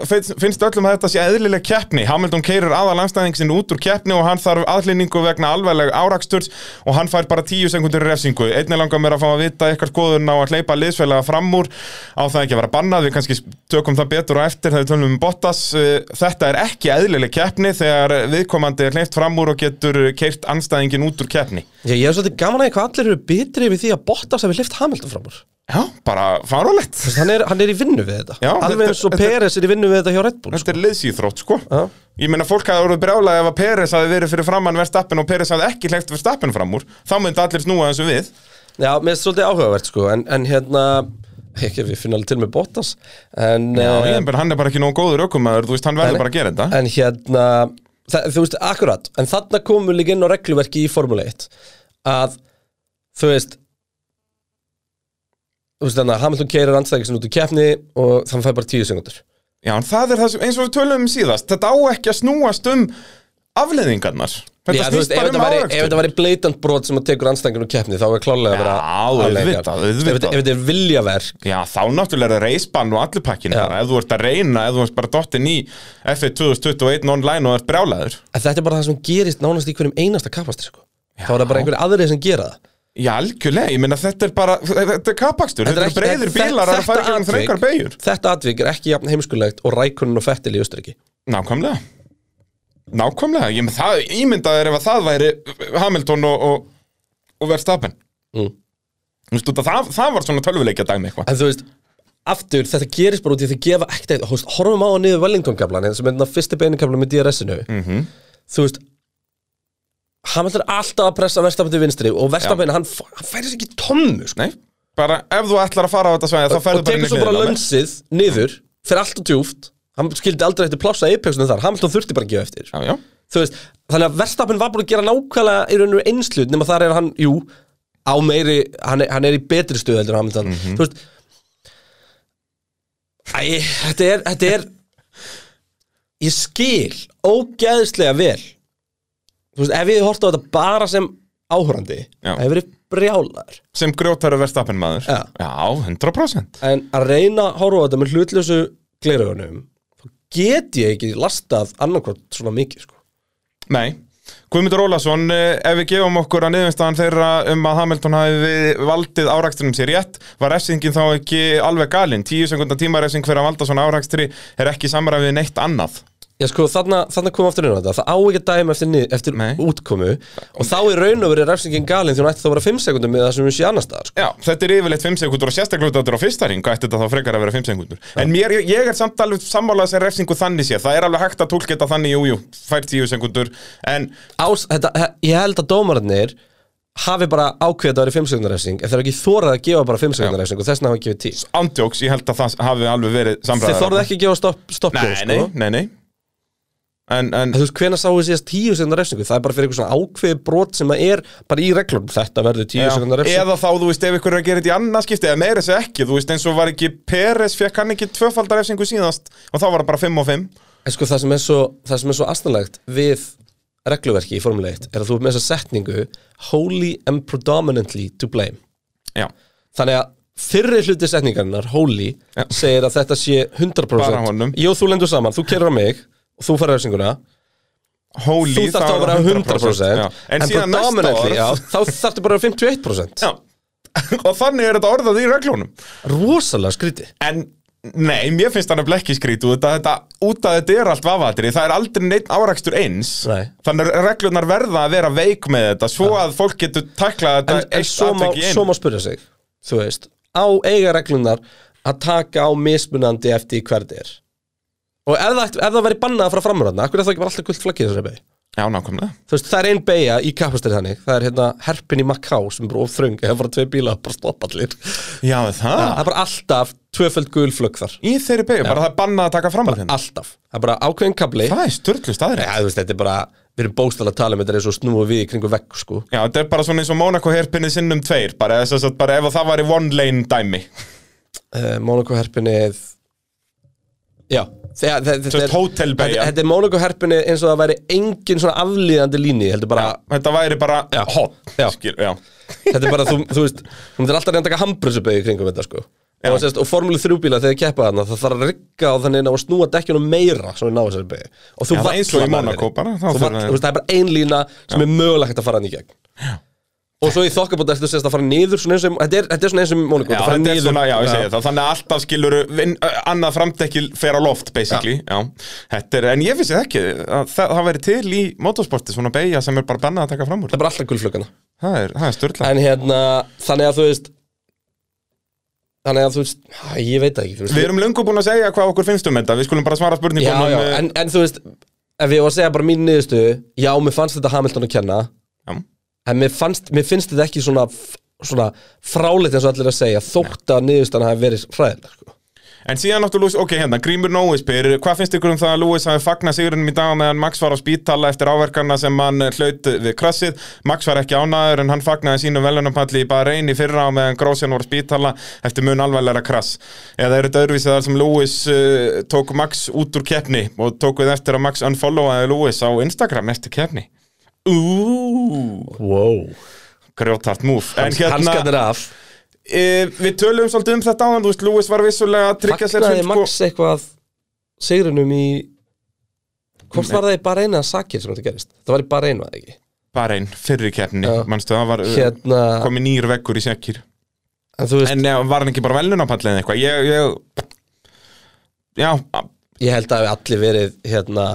Speaker 3: finnst finnst öllum að þetta sé eðlileg keppni? Hamilton keirir aðal anstæðing sinn út úr keppni og hann þarf aðlýningu vegna alvegleg áraksturs og hann fær bara tíu sekundur refsingu Einnig langar mér að fá að vita ykkar skoðun á að hleypa liðsfélaga fram úr á það ekki að vera bannað, við kannski tökum það betur á eftir þegar við tölum um Bottas Uh, Þetta er ekki eðlileg keppni þegar viðkomandi er hleypt fram úr og getur keirt anstæðingin út úr keppni
Speaker 2: Ég, ég er svolítið gaman að því hvað allir eru bitri við því að Bottas hefur lift Hamilton fram úr
Speaker 3: Já, bara farulegt
Speaker 2: Þess, hann, er, hann er í vinnu við þetta
Speaker 3: Já, þetta-
Speaker 2: Alveg eins og
Speaker 3: þetta-
Speaker 2: Peres er í vinnu við þetta hjá Red Bull sko.
Speaker 3: Þetta er liðsýþrótt sko
Speaker 2: Já.
Speaker 3: Ég meina fólk hafði voruð brjálega ef að Peres hafði verið fyrir framann verðstappin og Peres hafði ekki hleyft verðstappin fram úr þá myndi allir snúa þessu við
Speaker 2: Já, mér er svolítið áhugavert sko En, en hérna, ekki, við finnum alveg til með Bottas En,
Speaker 3: Já,
Speaker 2: eh,
Speaker 3: ég meina hann er bara ekki nógu góður ökumæður þú veist hann verður bara að gera þetta
Speaker 2: en hérna það, Þú veist, akkurat, en þarna komum við líka inn á regluverki í Formule 1 Að, þú veist Þú veist, þannig að Hamilton keirir andstækisinn út í keppni Og þannig fær bara tíu sekundur
Speaker 3: Já, en það er það sem, eins og við tölum um síðast þetta á ekki að snúast um afleðingarnar Þetta
Speaker 2: Já, þú
Speaker 3: snýst
Speaker 2: veist, ef
Speaker 3: bara
Speaker 2: þetta
Speaker 3: um
Speaker 2: væri, ef
Speaker 3: árakstur
Speaker 2: þetta væri bleitant brot sem að tekur anstængin og keppni þá er klálega að vera
Speaker 3: Já,
Speaker 2: afleiðingar.
Speaker 3: auðvitað, auðvitað.
Speaker 2: Ef þetta- Ef þetta er viljaverk
Speaker 3: Já, þá náttúrulega er það reisbann og allir pakkin
Speaker 2: Já.
Speaker 3: bara ef þú ert að reyna, ef þú ert bara dottin í F1 2021 online og ert brjálæður
Speaker 2: en þetta er bara það sem gerist nánast í hverjum einasta kappastri sko. þá er það bara einhverju aðrið sem gera það
Speaker 3: Já, algjörlega, ég meina þetta er bara þetta er kapakstur, þetta, eru
Speaker 2: ekki-
Speaker 3: breyðir bílar að fara ekki um
Speaker 2: atvik-
Speaker 3: þrengar beigur
Speaker 2: Þetta atvik er ekki jafn heimskulegt og rækunin og fettil í Östuríki
Speaker 3: Nákvæmlega Nákvæmlega, ég með það ímyndað er ef að það væri Hamilton og, og, og Verstappen
Speaker 2: Mm.
Speaker 3: Þú veist, út að það, það var svona tölvuleikja dæmi eitthvað
Speaker 2: En þú veist, aftur, þetta gerist bara út í að þau gefa ekkert eitt Þú veist, Horfum á að niður Wellington-kablan sem er þannig að fyrsti beiningkablan með DRS-inu
Speaker 3: Mhm.
Speaker 2: Þú veist Hamilton er alltaf að pressa Verstafn til vinstri og Verstafn, hann, f- hann færi sér ekki tómmu sko.
Speaker 3: Nei, bara ef þú ætlar að fara á þetta svæði þá
Speaker 2: og
Speaker 3: ferðu bara inn
Speaker 2: tekur
Speaker 3: í
Speaker 2: svo bara
Speaker 3: hliðina.
Speaker 2: lönsið niður fyrir allt og djúft hann skildi aldrei eftir plássa Apexinu þar Hamilton þurfti bara að gefa eftir
Speaker 3: Já, já
Speaker 2: Þú veist, þannig að Verstappen var búin að gera nákvæmlega í raun og veru einslut nema þar er hann, jú á meiri, hann er, hann er í betri stöð heldur en Hamilton, þú veist Æ, þetta er, þetta er ég skil ógeðslega vel þú veist, ef ég horta á þetta bara sem áhorandi,
Speaker 3: Já.
Speaker 2: það hefur verið brjálar
Speaker 3: Sem grjótari Verstappen maður
Speaker 2: Já.
Speaker 3: 100%
Speaker 2: en að reyna að horfa á þetta með hlutlösu gleraugunum þá get ég ekki lastað annarkvort svona mikið sko.
Speaker 3: Nei Guðmundur Ólason, eh, ef við gefum okkur að niðurstaðan þeirra um að Hamilton hafi valdið árakstrinum sér rétt, var refsingin þá ekki alveg galinn? Tíu sekundar tímarefsing fyrir að valda svona árakstri er ekki samræfið neitt annað.
Speaker 2: Já sko, þarna, þarna kom aftur inn á þetta Það á ekki að dæma eftir, nið, eftir
Speaker 3: Nei.
Speaker 2: útkomu Og þá er raun og verið refsingin galinn Því hún ætti þá að vera 5 sekundum með það sem hún sé annars staðar sko.
Speaker 3: Já, þetta er yfirleitt 5 sekundur og sérstaklega út að þetta er á fyrsta ring og ætti þetta þá frekar að vera 5 sekundur. En mér, ég, ég er samt alveg sammálað sem refsingu þannig séð. Það er alveg hægt að tólka þetta þannig, jú, jú, fær 10 sekundur, en
Speaker 2: Ás, þetta, he- Ég held að dómararnir Hafi bara ákveðið að það vera 5 sekundar refsing Ef það er ekki þórað að gefa bara 5 sekundar refsing Og þessna hafa gefið 10
Speaker 3: ándjóks, ég held að það hafi alveg verið samræðið.
Speaker 2: Þeir þórað ekki að gefa stopp, stopp
Speaker 3: Nei,
Speaker 2: sko.
Speaker 3: nei, nei, nei. En, en,
Speaker 2: En Þú veist, hvena sáu síðast 10 sekundar refsingu Það er bara fyrir eitthvað svona ákveðið brot sem að er Bara í reglum, þetta verður 10
Speaker 3: Já,
Speaker 2: sekundar refsing
Speaker 3: Eða þá, þú veist, ef ykkur er að gera þetta í annað skipti eða meira þessi ekki, þú veist, eins og var ekki Peres fekk hann ekki tvöfaldar efsingu síðast og þá var það bara 5 og 5
Speaker 2: En sko það sem er svo, það sem er svo astanlegt við regluverki í Formule 1 er að þú er með þessa setningu wholly and predominantly to blame.
Speaker 3: Já,
Speaker 2: Þannig að fyrri hluti setningarinnar, wholly, segir að þetta sé 100%
Speaker 3: Bara honum.
Speaker 2: Jó, þú lendur saman, þú kerur á mig og þú færði refsinguna
Speaker 3: Holy,
Speaker 2: Þú þarft að
Speaker 3: það
Speaker 2: vera
Speaker 3: var
Speaker 2: 100%,
Speaker 3: já. En, síðan næsta
Speaker 2: predominantly,
Speaker 3: orð
Speaker 2: já, þá þarftu bara að vera 51%
Speaker 3: Já. Og þannig er þetta orðað í reglunum
Speaker 2: Rosalega skríti
Speaker 3: En Nei, mér finnst hann að blekki skrýtu þetta, þetta, út að þetta er allt vafatri það er aldrei neitt árakstur eins
Speaker 2: Nei.
Speaker 3: þannig að reglunar verða að vera veik með þetta svo að fólk getur taklað þetta
Speaker 2: en, en
Speaker 3: eitt
Speaker 2: svo, má,
Speaker 3: atvik í einu.
Speaker 2: svo má spyrja sig þú veist, á eiga reglunar að taka á mismunandi eftir í hverði er og ef það, ætti- ef það væri bannað frá framrönda akkur er það ekki bara alltaf gult flaggið í þessari beig
Speaker 3: Já, nákvæmlega
Speaker 2: þú veist, það er ein beigja í kapastir þannig það er hérna herpin í Macau sem er bara of þröng eða bara tvei bíla, bara stoppa allir
Speaker 3: Já, það,
Speaker 2: það er bara alltaf tvöföld gul flögg þar
Speaker 3: í þeirri beigja, bara það er bannað að taka fram af hérna
Speaker 2: alltaf, það er bara ákveðin kabli
Speaker 3: Það er störtlu staðrætt
Speaker 2: ja, þú veist, þetta er bara, við erum bóstala að tala um þetta er eins og snúa við í kringu vegg sko
Speaker 3: Já, þetta er bara svona eins og Monaco herpinni sinnum tveir bara, þess að bara ef það var í one lane dæmi
Speaker 2: uh, Monaco herpinið Já þegar- þe- þe-
Speaker 3: Sem sagt,
Speaker 2: þe-
Speaker 3: hótelbeygja.
Speaker 2: Þetta þetta er Monaco herpinið eins og það væri engin svona aflíðandi líni heldur bara,
Speaker 3: Þetta væri bara hot
Speaker 2: Já.
Speaker 3: skil, já.
Speaker 2: Þetta er bara, þú, þú veist Þú myndir alltaf að reyna að taka hambrusubeig í kringum þetta sko
Speaker 3: Já.
Speaker 2: og, sérst, og formúlu þrjúbíla þegar keppa þarna það þarf að rigga og þannig að snúa dekkjunum meira svo við ná þessari beig og þú
Speaker 3: Já, það er eins og í
Speaker 2: vallar nærri
Speaker 3: Monaco
Speaker 2: því.
Speaker 3: bara, þá
Speaker 2: Þú
Speaker 3: þarf
Speaker 2: vallar-
Speaker 3: að-
Speaker 2: þú veist, Það er bara ein lína sem er mögulegt að fara hann í gegn Og svo í þokkabóta eftir sérst að fara niður svona eins og, þetta, er, þetta er svona eins og í Monaco
Speaker 3: Já,
Speaker 2: þetta fara
Speaker 3: þetta er
Speaker 2: niður-
Speaker 3: svona, já, ég segi það Þannig að alltaf skilur annað framdekkil fer á loft, basically já. Þetta er, En ég vissi það ekki að það, það væri til í motorsporti svona beigja sem er bara bannað að taka fram úr
Speaker 2: Það er bara alltaf gulflöggana
Speaker 3: Það er, það er störtla
Speaker 2: En hérna, þannig að þú veist Þannig að þú veist, hæ, ég veit það ekki þú veist,
Speaker 3: Við erum löngu búin að segja hvað okkur finnst um þetta Við skulum bara svara
Speaker 2: Já,
Speaker 3: spurningum
Speaker 2: já,
Speaker 3: um, eh,
Speaker 2: en, en þú veist Ef ég var að segja bara mín niðurstu Já, mér fannst þetta Hamilton að kenna
Speaker 3: já.
Speaker 2: En mér, fannst, mér finnst þetta ekki svona f- Svona fráleitt eins og allir að segja Þótt að niðurstan hafi verið hræðileg sko.
Speaker 3: En síðan náttúrulega, Lewis- ok, hérna, Grímur Nói spyr Hvað finnst ykkur um það að Lewis hafi fagnað sigurinnum í dag á meðan Max var á spítala eftir áverkana sem hann eh, hlaut við krassið Max var ekki ánæður en hann fagnaði sínum velunapalli í bara reyni fyrra á meðan Grósjan var á spítala eftir mun alvarlega krass Eða er þetta öðruvísið þar sem Lewis uh, tók Max út úr keppni og tók við eftir að Max unfollowaði Lewis á Instagram eftir keppni Úúúú
Speaker 2: wow.
Speaker 3: Grjótart múf
Speaker 2: Hans, hérna, Hanskarnir af
Speaker 3: e, Við töluðum svolítið um þetta áðan, þú veist, Lewis var vissulega að tryggja sér
Speaker 2: Fagnaði
Speaker 3: sinn, sko-
Speaker 2: Max eitthvað Sigrunum í Hvort var það í bara eina sakir sem þetta gerist? Það var í bara einu að ekki
Speaker 3: bara einn fyrri keppni,
Speaker 2: Já.
Speaker 3: mannstu það var hérna.
Speaker 2: Hérna,
Speaker 3: komið nýr vekkur í sekkir
Speaker 2: en þú veist
Speaker 3: en já, var hann ekki bara velunapall eða eitthvað ég, ég já, a-
Speaker 2: Ég held að við allir verið hérna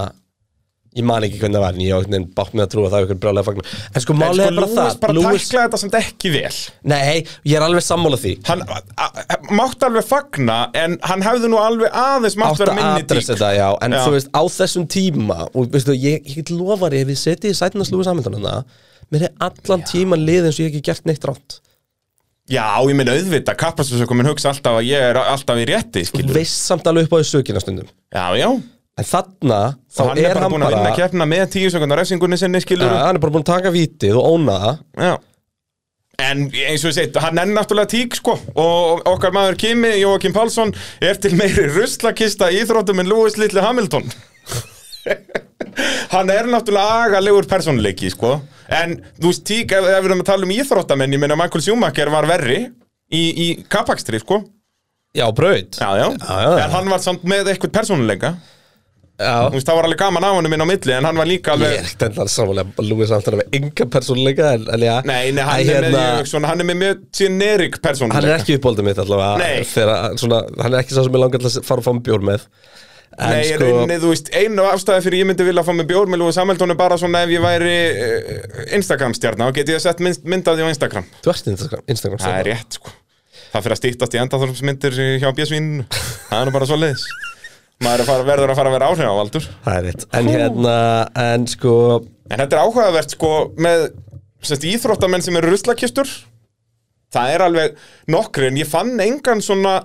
Speaker 2: Ég man ekki hvernig það var en ég ákveðin bátt með að trúa að það er ykkur brjálega fagnar En sko
Speaker 3: en
Speaker 2: málið
Speaker 3: sko
Speaker 2: er bara
Speaker 3: Lewis
Speaker 2: það
Speaker 3: bara
Speaker 2: Lewis,
Speaker 3: taklaði þetta samt ekki vel
Speaker 2: Nei, ég er alveg sammála því
Speaker 3: hann a- a- mátti alveg fagna en hann hefði nú alveg aðeins mátt
Speaker 2: Átt
Speaker 3: vera
Speaker 2: að
Speaker 3: minni
Speaker 2: adressa
Speaker 3: dík
Speaker 2: þetta, já En
Speaker 3: Já.
Speaker 2: þú veist, á þessum tíma Og veistu, ég, ég get lofar ef ég seti í sætinast Lúi Samhjöndunna hérna, Mér er allan tíman lið eins og ég hef ekki gert neitt rátt
Speaker 3: já, ég meina auðvitað, kappastursökum minn hugsa alltaf að ég er alltaf í rétti skilur.
Speaker 2: Veist samt alveg upp á þessu sökina stundum
Speaker 3: já, já,
Speaker 2: En þarna, Mhm. þá
Speaker 3: hann er bara búin að vinna
Speaker 2: ja,
Speaker 3: keppna með tíu sekundar refsingunni sinni skilur
Speaker 2: Hann er bara búin að taka vítið og óna það
Speaker 3: Já En eins og ég segi, hann er náttúrulega tík sko og okkar maður Kimi, Jóakim Pálsson er til meiri ruslakista í Íþróttum en Lewis Little Hamilton Hann er náttúrulega agalegur persónuleiki sko en þú veist tík, ef, ef við erum að tala um íþróttamenn ég meina Michael Schumacher var verri í, í kapakstri sko
Speaker 2: Já, braut
Speaker 3: Já, já,
Speaker 2: já, já.
Speaker 3: en hann var samt með eitthvað persónuleika
Speaker 2: Já.
Speaker 3: Þú veist, það var alveg gaman af honum inn á milli en hann var líka
Speaker 2: Ég
Speaker 3: alveg
Speaker 2: er ekkert endalega samanlega Lewis Hamilton er með enga persónuleika en, en já,
Speaker 3: Nei, nei, hann,
Speaker 2: að hérna,
Speaker 3: er með, mjög svona, hann er með mjög generik
Speaker 2: hann er
Speaker 3: persónuleika
Speaker 2: ekki uppbóldið mitt allavega
Speaker 3: Nei.
Speaker 2: þegar, að- svona, Hann er ekki sá sem ég langar til að fara og fá mig bjór með En
Speaker 3: Nei, sko...
Speaker 2: sko,
Speaker 3: rauninni, þú veist, einu afstæði fyrir ég myndi vilja fá með bjór með Lúi Samhjöldun er bara svona ef ég væri uh, Instagram stjarnar og geti ég sett mynd, mynd af því á Instagram
Speaker 2: þú ert Instagram,
Speaker 3: Það
Speaker 2: Instagram stjörna.
Speaker 3: er rétt, sko Það fyrir að stýttast í endaþormsmyndir hjá Björsvín Það er nú bara svo leiðis Maður er að fara, verður að fara að vera áhrifavaldur
Speaker 2: Það er rétt En hérna, en sko
Speaker 3: En þetta er áhugavert, sko, með sérst, íþróttamenn sem eru ruslakistur Það er alveg nokkri en ég fann engan svona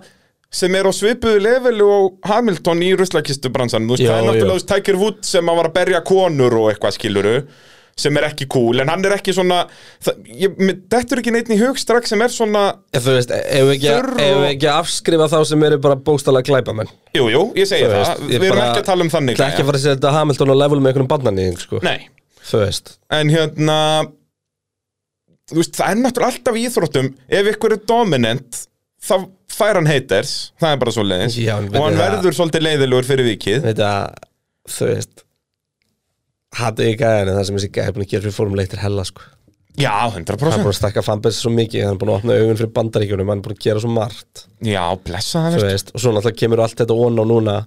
Speaker 3: sem er á svipuðu levelu og Hamilton í ruslakistubransanum, þú veist,
Speaker 2: Já,
Speaker 3: það er náttúrulega
Speaker 2: já.
Speaker 3: þú veist, Tiger Woods sem að var að berja konur og eitthvað skiluru sem er ekki cool, en hann er ekki svona það, ég, mér dettur ekki neitt í hug strax sem er svona,
Speaker 2: ef Þú veist, ef við ekki,
Speaker 3: Þurr og-
Speaker 2: ef við ekki að afskrifa þá sem eru bara bókstælega glæpamenn
Speaker 3: jú, jú, ég segi
Speaker 2: Þú
Speaker 3: það
Speaker 2: veist, ég
Speaker 3: við erum
Speaker 2: bara-
Speaker 3: ekki að tala um þannig
Speaker 2: Það er ekki að fara að setja Hamilton á level með einhvern bannanýðing sko.
Speaker 3: gæja. Nei,
Speaker 2: Þú veist
Speaker 3: en hérna þú veist, það er náttúrulega alltaf í íþróttum ef ykkur er dominant þá fær hann haters, það er bara svo leiðis
Speaker 2: Já, en
Speaker 3: og hann
Speaker 2: veitir það-
Speaker 3: verður svolítið leiðilegur fyrir vikið
Speaker 2: Þetta, þú veist Hattu ég gæðan en það sem þessi gæði búin að gera fyrir fórum leittir hella sko.
Speaker 3: já,
Speaker 2: Hann er
Speaker 3: 100%
Speaker 2: búin að stakka fanbase svo mikið Hann er búin að opna augun fyrir bandaríkjunum Hann er búin að gera svo margt
Speaker 3: já, blessa það
Speaker 2: þú
Speaker 3: veist
Speaker 2: veist, Og svo náttúrulega kemur allt þetta on á núna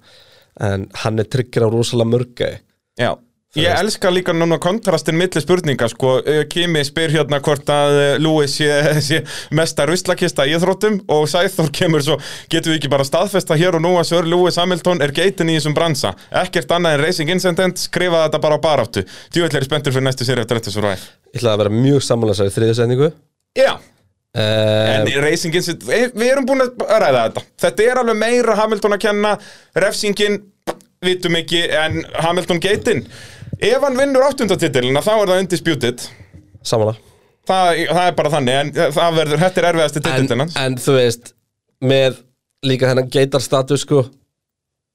Speaker 2: En hann er tryggur á rosalega mörgau
Speaker 3: já Ég
Speaker 2: veist.
Speaker 3: elska líka núna kontrastin milli spurninga sko, Eh, Kimi spyr hérna hvort að eh, Lewis sé, sé mesta ruslakista í íþróttum og Sæþór kemur svo getum við ekki bara staðfesta hér og nú að Sör Lewis Hamilton er geitin í þessum bransa ekkert annað en Racing Incident skrifa þetta bara á baráttu, djúvill er spenntur fyrir næstu séri eftir þetta svo ræð
Speaker 2: Ég ætla að vera mjög sammálasar í þriðju setningu
Speaker 3: Já, en
Speaker 2: Uh,
Speaker 3: reysingin sitt, eh, við erum búin að ræða þetta Þetta er alveg meira Hamilton að kenna Refsingin, vitum ekki En Hamilton geitin Ef hann vinnur áttundatitilina þá er það undisputed
Speaker 2: Sammála
Speaker 3: Það, það er bara þannig, en það verður, þetta er erfiðasti
Speaker 2: en,
Speaker 3: titillin hans
Speaker 2: en þú veist með líka þennan geitarstatus sko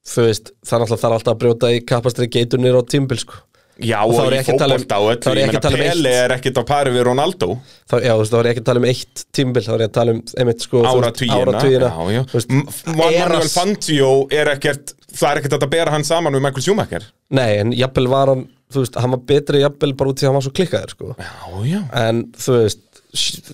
Speaker 2: þú veist, það er alltaf þarf alltaf að brjóta í kappastri geitunir á tímbil sko
Speaker 3: Já,
Speaker 2: þá
Speaker 3: og
Speaker 2: er
Speaker 3: í
Speaker 2: ég ekki að tala um-
Speaker 3: fótbolta og
Speaker 2: þá er
Speaker 3: öllu,
Speaker 2: ég
Speaker 3: ég
Speaker 2: ekki
Speaker 3: meina
Speaker 2: að tala um eitt.
Speaker 3: Pele er ekkit á pari við Ronaldo
Speaker 2: þá, já, þú veist, þá er ég ekki að tala um eitt tímbil þá er ég að tala um, einmitt sko þú veist,
Speaker 3: Áratugina,
Speaker 2: áratugina
Speaker 3: já, já.
Speaker 2: Þú veist,
Speaker 3: M- Juan Manuel
Speaker 2: eras-
Speaker 3: Fangio er ekkert, það er ekkert hægt að bera hann saman við Michael Schumacher
Speaker 2: nei, en jafnvel var hann, þú veist, hann var betri jafnvel bara út því að hann var svo klikkaður sko
Speaker 3: Já, já
Speaker 2: en þú veist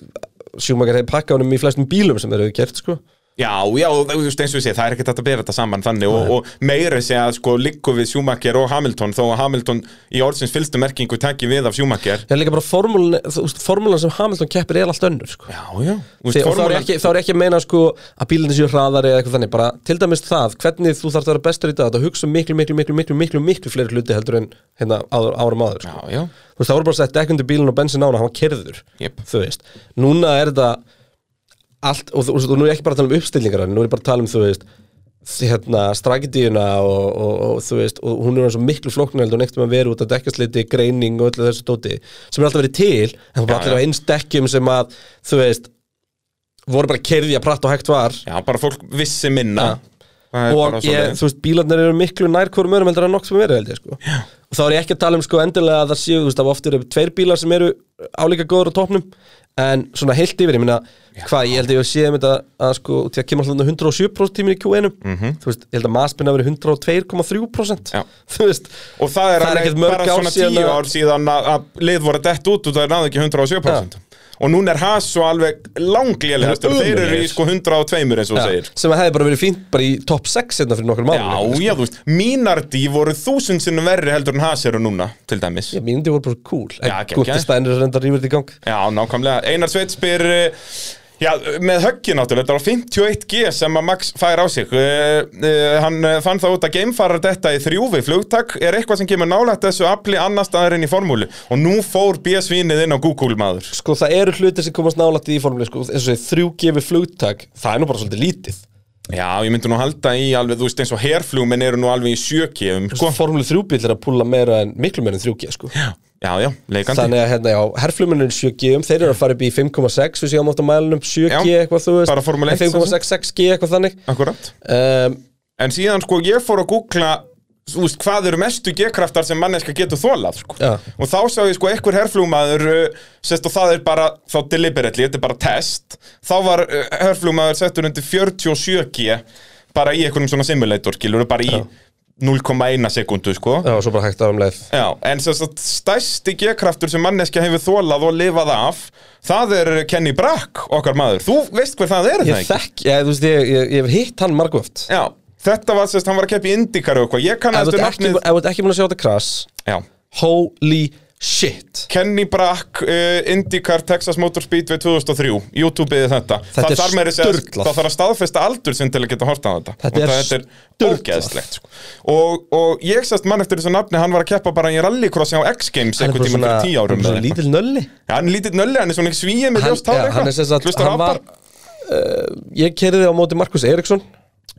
Speaker 2: sjúmakar hefði pakkað honum í flestum bílum sem þeir hefur gert sko
Speaker 3: Já, já, og þú veist eins og ég segi, það er ekkert hægt að bera þetta saman þannig og, og meira sé að sko liggu við Schumacher og Hamilton þó að Hamilton í orðsins fylgstu merkingu tekki við af Schumacher
Speaker 2: það er líka bara formúlan, þú veist, formúlan sem Hamilton keppir er allt önnur sko
Speaker 3: Já, já Þú veist,
Speaker 2: Þi, og þá er,
Speaker 3: formúlan-
Speaker 2: ég ekki, þá er ég ekki að meina sko að bílinni séu hraðari eða eitthvað þannig bara til dæmis það, hvernig þú þarfst að vera bestur í dag þetta hugsa um miklu, miklu, miklu, miklu, miklu, miklu fleiri hluti heldur en hérna áður, árum áður sko.
Speaker 3: Já, já
Speaker 2: þú veist, þá voru bara að setja ekkundu bílinn og bensin á hana, hann var kerður
Speaker 3: Jep.
Speaker 2: þú veist, núna er þetta allt, og, þú- og, og nú er ég ekki bara að tala um uppstillingar nú er ég bara að tala um, þú veist hérna, strakitíuna og, og, og þú veist, og hún er eins og miklu flóknar heldur en ekkert maður verið út að dekkjasliti, greining og öllu þessu dóti, sem er alltaf verið til en það er bara
Speaker 3: Já,
Speaker 2: allir
Speaker 3: já.
Speaker 2: á eins dekkjum sem að þú veist, voru bara kerði að pratt og hægt var
Speaker 3: Já, bara fólk vissi minna
Speaker 2: Ja.
Speaker 3: Það er bara
Speaker 2: og ég,
Speaker 3: svoleiðis.
Speaker 2: þú veist, bílarnir eru miklu nær hverjum örum heldur en nokk sem verið held ég sko. og þá er ég ekki að tala um sko endilega að það séu, þú veist, af oft eru tveir bílar sem eru álíka góður á topnum en svona heilt yfir, ég meina hvað, ég held ég að sé um þetta að sko til að kemur alltaf þarna 107% tíminn í Q1 þú veist, ég held að Maspin hafi verið
Speaker 3: Mhm.
Speaker 2: 102,3%
Speaker 3: Já.
Speaker 2: þú veist,
Speaker 3: Og það er,
Speaker 2: það er
Speaker 3: alveg
Speaker 2: ekkert mörg
Speaker 3: bara
Speaker 2: ár
Speaker 3: svona
Speaker 2: síðan
Speaker 3: tíu
Speaker 2: að-
Speaker 3: ár síðan að, að lið voru dett út og það er náðu ekki 107% Og núna er Haas svo alveg langlélegast
Speaker 2: Þeir eru
Speaker 3: Þeir eru í
Speaker 2: ömurlegir.
Speaker 3: sko 102 eins og þú
Speaker 2: ja,
Speaker 3: segir
Speaker 2: sem að hefði bara verið fínt bara í top 6 hérna fyrir nokkur
Speaker 3: Já,
Speaker 2: mánu
Speaker 3: já, þú veist, mínardi voru þúsund sinnum verri heldur en Haas eru núna, til dæmis
Speaker 2: Já, mínum því voru bara cool, en
Speaker 3: Já,
Speaker 2: Gutti
Speaker 3: geggjaðir.
Speaker 2: Steiner reyndar rýmur þetta í gang
Speaker 3: Já, nákvæmlega. Einar Sveit spyr, eh, já, með höggið náttúrulega, þetta var 51G sem að Max fær á sig. Uh, uh, hann eh, fann það út að gamefarar þetta í þrjúfi flugtak er eitthvað sem kemur nálægt þessu afli annars staðar inn í formúlu. Og nú fór BSV-nið inn á Google maður.
Speaker 2: sko það eru hlutir sem komast nálægt í formule sko, eins og þrjú gefi flugtak það er nú bara svolítið lítið Sko,
Speaker 3: Já, ég myndi nú halda í alveg, þú veist, eins og herflugminn eru nú alveg í sjökjum, sko.
Speaker 2: sko? formule 3 bíl er að púla meira en miklu meira en 3G sko.
Speaker 3: Já, já, leikandi.
Speaker 2: þannig að hérna já, herflumunin 7G um þeir eru að fara upp í 5,6 við séum átt á mælunum 7G
Speaker 3: Já,
Speaker 2: eitthvað þú veist
Speaker 3: bara Formule 1
Speaker 2: en 5,6 6G eitthvað þannig
Speaker 3: Akkurat.
Speaker 2: um,
Speaker 3: En síðan, sko, ég fór að googla, þú veist, hvað eru mestu G-kraftar sem manneska getur þólað, sko.
Speaker 2: já,
Speaker 3: og þá sá ég sko einhver herflugmaður uh, sest, og það er bara, þá deliberately þetta er bara test, þá var uh, herflugmaður settur undir 47G bara í einhverjum svona simulator, skilur bara í 0,1 sekundu sko
Speaker 2: Já, svo bara hægt á um leið
Speaker 3: Já, en sem sagt stæsti G-kraftur sem manneskja hefur þólað og lifað af það er Kenny Brack, okkar maður Þú veist hver það er, er það
Speaker 2: Ég þekk, ég, þú veist, ég, ég, ég hef hitt hann margóft
Speaker 3: Já, þetta var sérst, hann var að keppa í Indikar og eitthvað Ég
Speaker 2: Ef
Speaker 3: kannast
Speaker 2: þú
Speaker 3: um
Speaker 2: ert ekki-
Speaker 3: nafnið
Speaker 2: ef þú ert ekki búin að sjá þetta krass
Speaker 3: Já
Speaker 2: Holy shit
Speaker 3: Kenny Brack, uh, Indikar, Texas Motor Speedway 2003 YouTube-ið þetta
Speaker 2: Þetta
Speaker 3: það
Speaker 2: er
Speaker 3: þarf meira að segja-
Speaker 2: sturlað.
Speaker 3: Það þarf að staðfesta aldur sinn til að geta horta á þetta
Speaker 2: Þetta
Speaker 3: Og
Speaker 2: er
Speaker 3: það-
Speaker 2: sturlað.
Speaker 3: ógeðslegt sko. og, og ég sérst mann eftir þessu nafni Hann var að keppa bara í rallycrossi á X-Games einhvern tímann fyrir tíu árum
Speaker 2: svona
Speaker 3: eða eitthvað.
Speaker 2: lítil nölli
Speaker 3: Já, hann er lítill nölli, hann er svona svíið með
Speaker 2: Hann,
Speaker 3: ljóst hár
Speaker 2: já, hann er sem sagt,
Speaker 3: Hlustar
Speaker 2: hann
Speaker 3: apar.
Speaker 2: var uh, Ég kerði á móti Markus Eriksson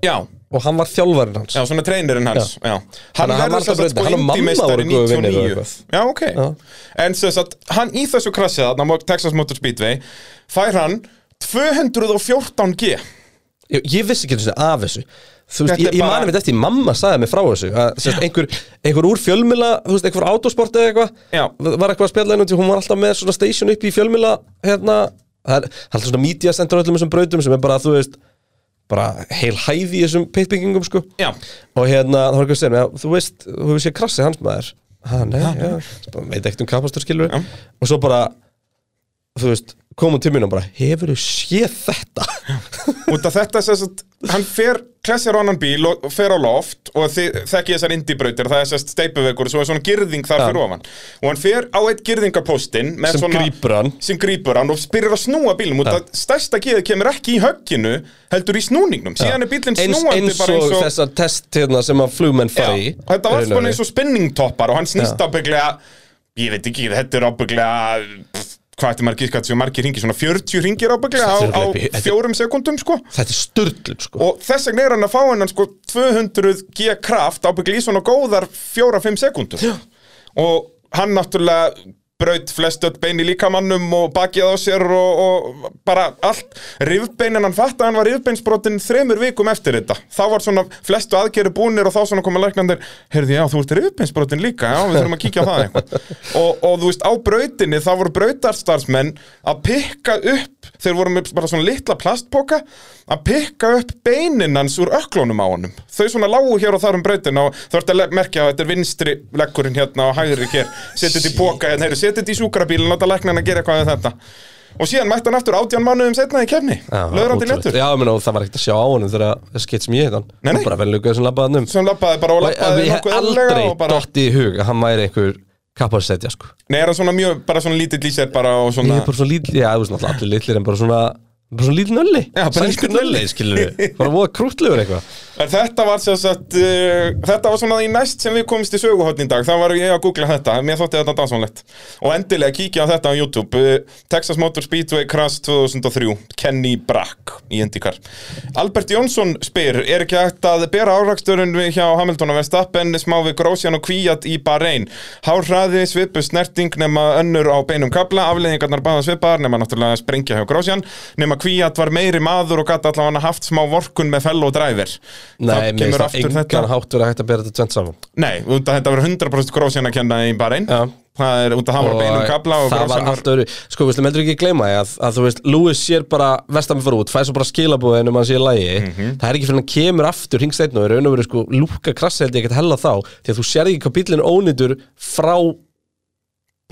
Speaker 3: Já,
Speaker 2: Og hann var þjálfarinn hans
Speaker 3: já, svona treinirinn hans Já,
Speaker 2: Þannig að hann
Speaker 3: verður
Speaker 2: var
Speaker 3: sem
Speaker 2: alltaf
Speaker 3: sagt
Speaker 2: breytið. Hann og mamma
Speaker 3: Indymeistari
Speaker 2: voru góðir vinir og
Speaker 3: 99.
Speaker 2: eitthvað.
Speaker 3: Já, ok En sem sagt, hann í þessu krassi þarna á Texas Motor Speedway fær hann 214G
Speaker 2: ég, ég vissi ekki einu sinni af þessu Þú veist,
Speaker 3: Þetta
Speaker 2: ég,
Speaker 3: er
Speaker 2: ég
Speaker 3: bara-
Speaker 2: mani mitt eftir, mamma sagði mig frá þessu að, sérst, einhver, einhver úr fjölmila, þú veist, einhver autosport eða
Speaker 3: Já.
Speaker 2: eitthvað var eitthvað að spjalla henni, hún var alltaf með svona station upp í fjölmila hérna, það er það er alltaf svona media center á öllum þessum brautum sem er bara, þú veist bara heil hæði í þessum pitbyggingum sko.
Speaker 3: Já.
Speaker 2: og hérna, það var eitthvað að segja mér, já, þú veist, þú hefur séð krassi hans maður ha, nei, já, Svo bara, veit ekkert um kapastur skilur
Speaker 3: Já.
Speaker 2: og svo bara, þú veist komum til mín og bara, hefur þú séð þetta?
Speaker 3: Út af þetta sem sagt, hann fer klessir á annan bíl og fer á loft og þið þekki þessar indibrautir, það er sérst steipuvegur og svo er svona girðing þar fyrir ofan og hann fer á eitt girðingapóstinn með
Speaker 2: Sem
Speaker 3: svona,
Speaker 2: grípur hann.
Speaker 3: sem grípur hann og byrjar að snúa bílum út að stærsta geðið kemur ekki í högginu heldur í snúningnum, síðan er bílinn
Speaker 2: eins,
Speaker 3: snúandi
Speaker 2: eins
Speaker 3: bara
Speaker 2: og þessar test hérna sem að flugmenn fara í
Speaker 3: Já, þetta var
Speaker 2: rauninni.
Speaker 3: svona eins og spinningtoppar og hann snýst
Speaker 2: Já.
Speaker 3: ábygglega ég veit ekki, þetta er ábygglega pff, hvað ætti maður að giska, þessu margir ringir svona 40 ringir ábygglega á,
Speaker 2: Þetta
Speaker 3: á
Speaker 2: er upp í- þetta-
Speaker 3: fjórum sekundum sko
Speaker 2: þetta er sturdlun sko
Speaker 3: og þess vegna er hann að fá hennan sko 200 G kraft ábygglega í svona góðar 4-5 sekundum og hann náttúrulega braut flest öll bein í líkamannum og bakið á sér og, og bara allt rifbeinin hann fatt að hann var rifbeinsbrotin þremur vikum eftir þetta þá var svona flestu aðgeri búnir og þá svona koma læknandir heyrði já þú ert rifbeinsbrotin líka já við þurfum að kíkja á það eitthvað og, og þú veist á brautinni þá voru brautarstarfsmenn að pikka upp þeir voru með bara svona litla plastpoka að pikka upp beinin hans úr öklónum á honum þau svona lágu hér og þar um brautina og þú ert að le- merkja að þetta er vinstri leggurinn hérna og hægri hér, setja þetta í póka hérna, heyrðu, setja þetta í sjúkrabílinn, láta læknan að gera eitthvað við þetta og síðan mætti hann aftur átján mánuðum setna í kefni, löðrandi léttur
Speaker 2: já, menn, og það var ekkert að sjá á honum þegar að- það skeitt sem ég heit hann
Speaker 3: Nei, nei.
Speaker 2: Hann bara vel lukaði sem labbaði hann um
Speaker 3: sem labbaði bara og
Speaker 2: Og
Speaker 3: labbaði
Speaker 2: ég hef
Speaker 3: nokkuð
Speaker 2: aldrei
Speaker 3: eðlilega og bara,
Speaker 2: dott í hug að hann væri einhver kapparsetja sko
Speaker 3: nei er hann svona mjög, bara svona lítill í sér bara og
Speaker 2: ég
Speaker 3: svona
Speaker 2: er bara svona lítil, já, þú veist náttúrulega allir litlir en bara svona bara svona lítil nölli,
Speaker 3: Já, bara lítill
Speaker 2: sænskur nölli skilur við, bara voða krútlegur eitthvað
Speaker 3: En þetta var sem sagt, uh, þetta var svona í næst sem við komist í söguhotn í dag, þá var ég að googla þetta, mér þótti þetta dásanlegt. Og endilega kíkja á þetta á YouTube, uh, Texas Motor Speedway Crash 2003, Kenny Brack í Indycar. Albert Jónsson spyr, er ekki hægt að bera áraksturinn við hjá Hamilton að Verstappen, smá við Grósjan og Kvíat í Bahrein. Hárhraði, svipu, snerting nema önnur á beinum kabla, afleðingarnar báða svipaðar nema náttúrulega sprengja hjá Grósjan, nema Kvíat var meiri maður og gæti allavega haft smá vorkun með fellow driver.
Speaker 2: nei,
Speaker 3: Það
Speaker 2: mér
Speaker 3: kemur
Speaker 2: finnst það
Speaker 3: aftur þetta
Speaker 2: engan hátt verið hægt að bera þetta tvent saman
Speaker 3: Nei, út að þetta verður 100% grósjan að kenna í bara einn
Speaker 2: Já.
Speaker 3: Það er út að hann var á beinum kabla og
Speaker 2: það var
Speaker 3: grósjan
Speaker 2: allt öðru sko við slum heldur ekki gleyma því að, að þú veist Lewis sér bara vestamir fyrir út fæði svo bara skilabúðin um hann sé í lægi
Speaker 3: Mhm.
Speaker 2: það er ekki fyrir hann kemur aftur hringsteinn og er raun og veru sko lúka krassi held ég ekkert hella þá því að þú sér ekki hvað bílinn er ónýtur frá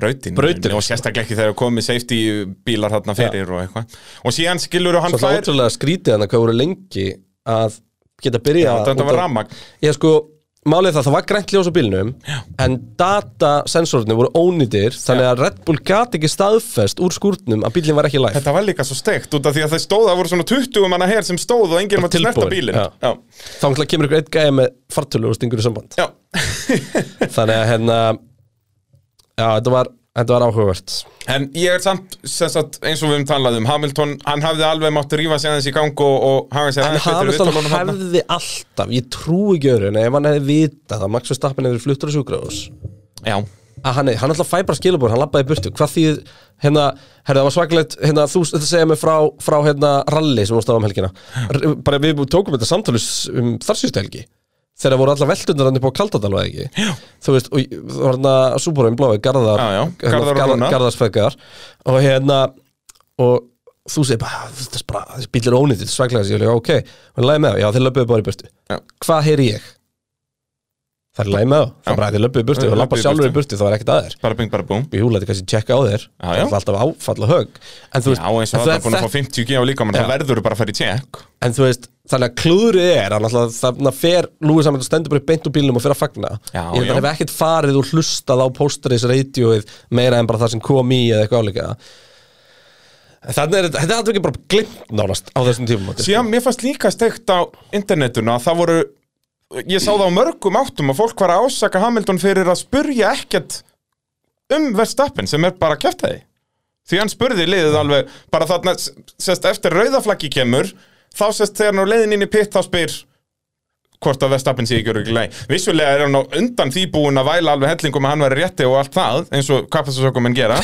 Speaker 3: brautin,
Speaker 2: Brautin.
Speaker 3: Og sérstaklega ekki þegar komið safety bílar þarna fyrir og eitthvað Og síðan skilur hann
Speaker 2: svo það
Speaker 3: fær
Speaker 2: ótrúlega skrítið hann að hvað voru lengi að geta byrja
Speaker 3: Já, þetta var rafmagn.
Speaker 2: ég sko Málið er það, það var grænt ljós á bílnum en datasensorinu voru ónýtir þannig að Red Bull gati ekki staðfest úr skúrtnum að bílinn var ekki læg
Speaker 3: Þetta var líka svo steikt út af því að þeir stóð Það voru svona 20 manna her sem stóð og enginn var til snerta
Speaker 2: Tilbúin,
Speaker 3: bílinn
Speaker 2: já.
Speaker 3: Já,
Speaker 2: þá náttúrulega kemur ykkur eitt gæja með fartölu og stingur í samband
Speaker 3: já.
Speaker 2: þannig að hérna já, þetta var, þetta var áhugavert
Speaker 3: En ég er samt, sem sagt, eins og við um talaðum Hamilton, hann hafði alveg mátt rífa sig aðeins í gang og, og hafa sér
Speaker 2: en
Speaker 3: aðeins betur í
Speaker 2: Hamilton
Speaker 3: viðtölunum þarna.
Speaker 2: hefði alltaf ég trúi ekki öðru en ef hann hefði vitað að Max Verstappen hefði verið fluttur á sjúkrafus
Speaker 3: Já,
Speaker 2: að hann, hann alltaf fæ bara skilabór, hann labbaði í burtu hvað því, hérna, herri, það var svakalegt hérna, þú þetta segja mig frá, frá hérna, rally sem hún stáðum helgina R- bara við tókum þetta samtalus um þarsýstu helgi þegar voru allar veldundar hann upp á Kaldadal var það ekki, já. þú veist og ég- það var hérna súbúröfum blái, Garðar
Speaker 3: Já, já,
Speaker 2: hérna,
Speaker 3: Garðar og
Speaker 2: Garðar,
Speaker 3: Rúna.
Speaker 2: Garðarsfeggar og hérna og þú segir bara, þetta er bara þessi bíl er ónýttir, svaklega þessi, ég er ok og hann læði með það, já þeir löpuðu bara í burtu
Speaker 3: Já.
Speaker 2: hvað heyri ég? Það er læg með það, það er bara að þið löpuðu burti
Speaker 3: Þau
Speaker 2: og lappa
Speaker 3: löbbuðu í
Speaker 2: sjálfur í
Speaker 3: burtu.
Speaker 2: burti, það var ekkert að þér
Speaker 3: bara bing, bara búm
Speaker 2: Jú, læti kannski tjekka á þér
Speaker 3: Já,
Speaker 2: Það
Speaker 3: já.
Speaker 2: er alltaf áfall og hög En þú
Speaker 3: Já, eins
Speaker 2: veist,
Speaker 3: og
Speaker 2: en
Speaker 3: það er
Speaker 2: það-
Speaker 3: búin að
Speaker 2: þetta-
Speaker 3: fá 50 G á líkamann
Speaker 2: Já.
Speaker 3: Það verður bara að fara í tjekk
Speaker 2: en þú veist, þannig að klúðrið er að náttúrulega þannig að fer Lúi saman og stendur bara í beint úr bílnum og fyrir að fagna
Speaker 3: Já,
Speaker 2: ég held
Speaker 3: já.
Speaker 2: að hef ekkert farið og hlustað á pósteris radioið meira en bara það sem kom í eða eitthvað álíka þannig er þetta, þetta er ekki bara glimt nánast á þessum tímum
Speaker 3: Síðan mér fannst líka steikt á internetuna að það voru, ég sá það á mörgum áttum að fólk var að ásaka Hamilton fyrir að spurja ekkert um Verstappen sem er bara að kæfta því. Því hann spurði liðið alveg, bara þarna, s- sest eftir rauðaflaggi kemur, þá sest þegar hann á leiðin inn í pitt þá spyr hvort að Verstappen sé ekki örugglega í. Vissulega er hann á undan því búin að væla alveg hellingum að hann væri rétti og allt það, eins og kappastasökumenn gera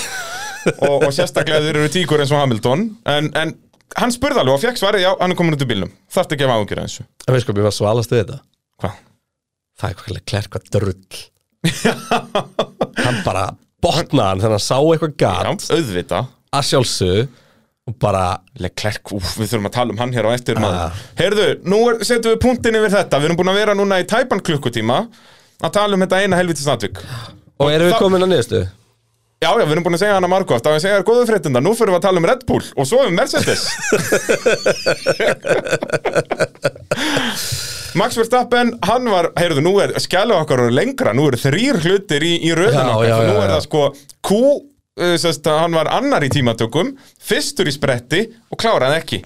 Speaker 3: og, og sérstaklega þeir eru tíkur eins og Hamilton en, en hann spurði alveg og fekk svarið já, hann er komin út í bílnum, þarfti ekki að hafa ágjur þessu
Speaker 2: en veist hvað mér var svalast við þetta
Speaker 3: hvað?
Speaker 2: það er hvað klærk hvað drull hann bara botnaði hann þannig að hann sá eitthvað
Speaker 3: Já,
Speaker 2: gat
Speaker 3: auðvita
Speaker 2: að sjálfsögðu og bara
Speaker 3: Leclerc, úf, við þurfum að tala um hann hér á eftir
Speaker 2: Ah.
Speaker 3: maður Heyrðu, nú er, setjum við punktin yfir þetta Við erum búin að vera núna í tæpan klukkutíma að tala um þetta eina helvítið snatvik
Speaker 2: og erum við
Speaker 3: það-
Speaker 2: komin að nýðustu?
Speaker 3: Já, já, við erum búin að segja hana margótt að við segja þér góðu fréttinda, nú fyrir við að tala um Red Bull og svo um Mercedes Max Verstappen, hann var, heyrðu, nú er skjæla okkar eru lengra, nú eru þrýr hlutir í, í röðun
Speaker 2: Já,
Speaker 3: okkar,
Speaker 2: já,
Speaker 3: já,
Speaker 2: já,
Speaker 3: nú er
Speaker 2: já.
Speaker 3: það sko Q, uh, sest, hann var annar í tímatökum, fyrstur í spretti og kláraði ekki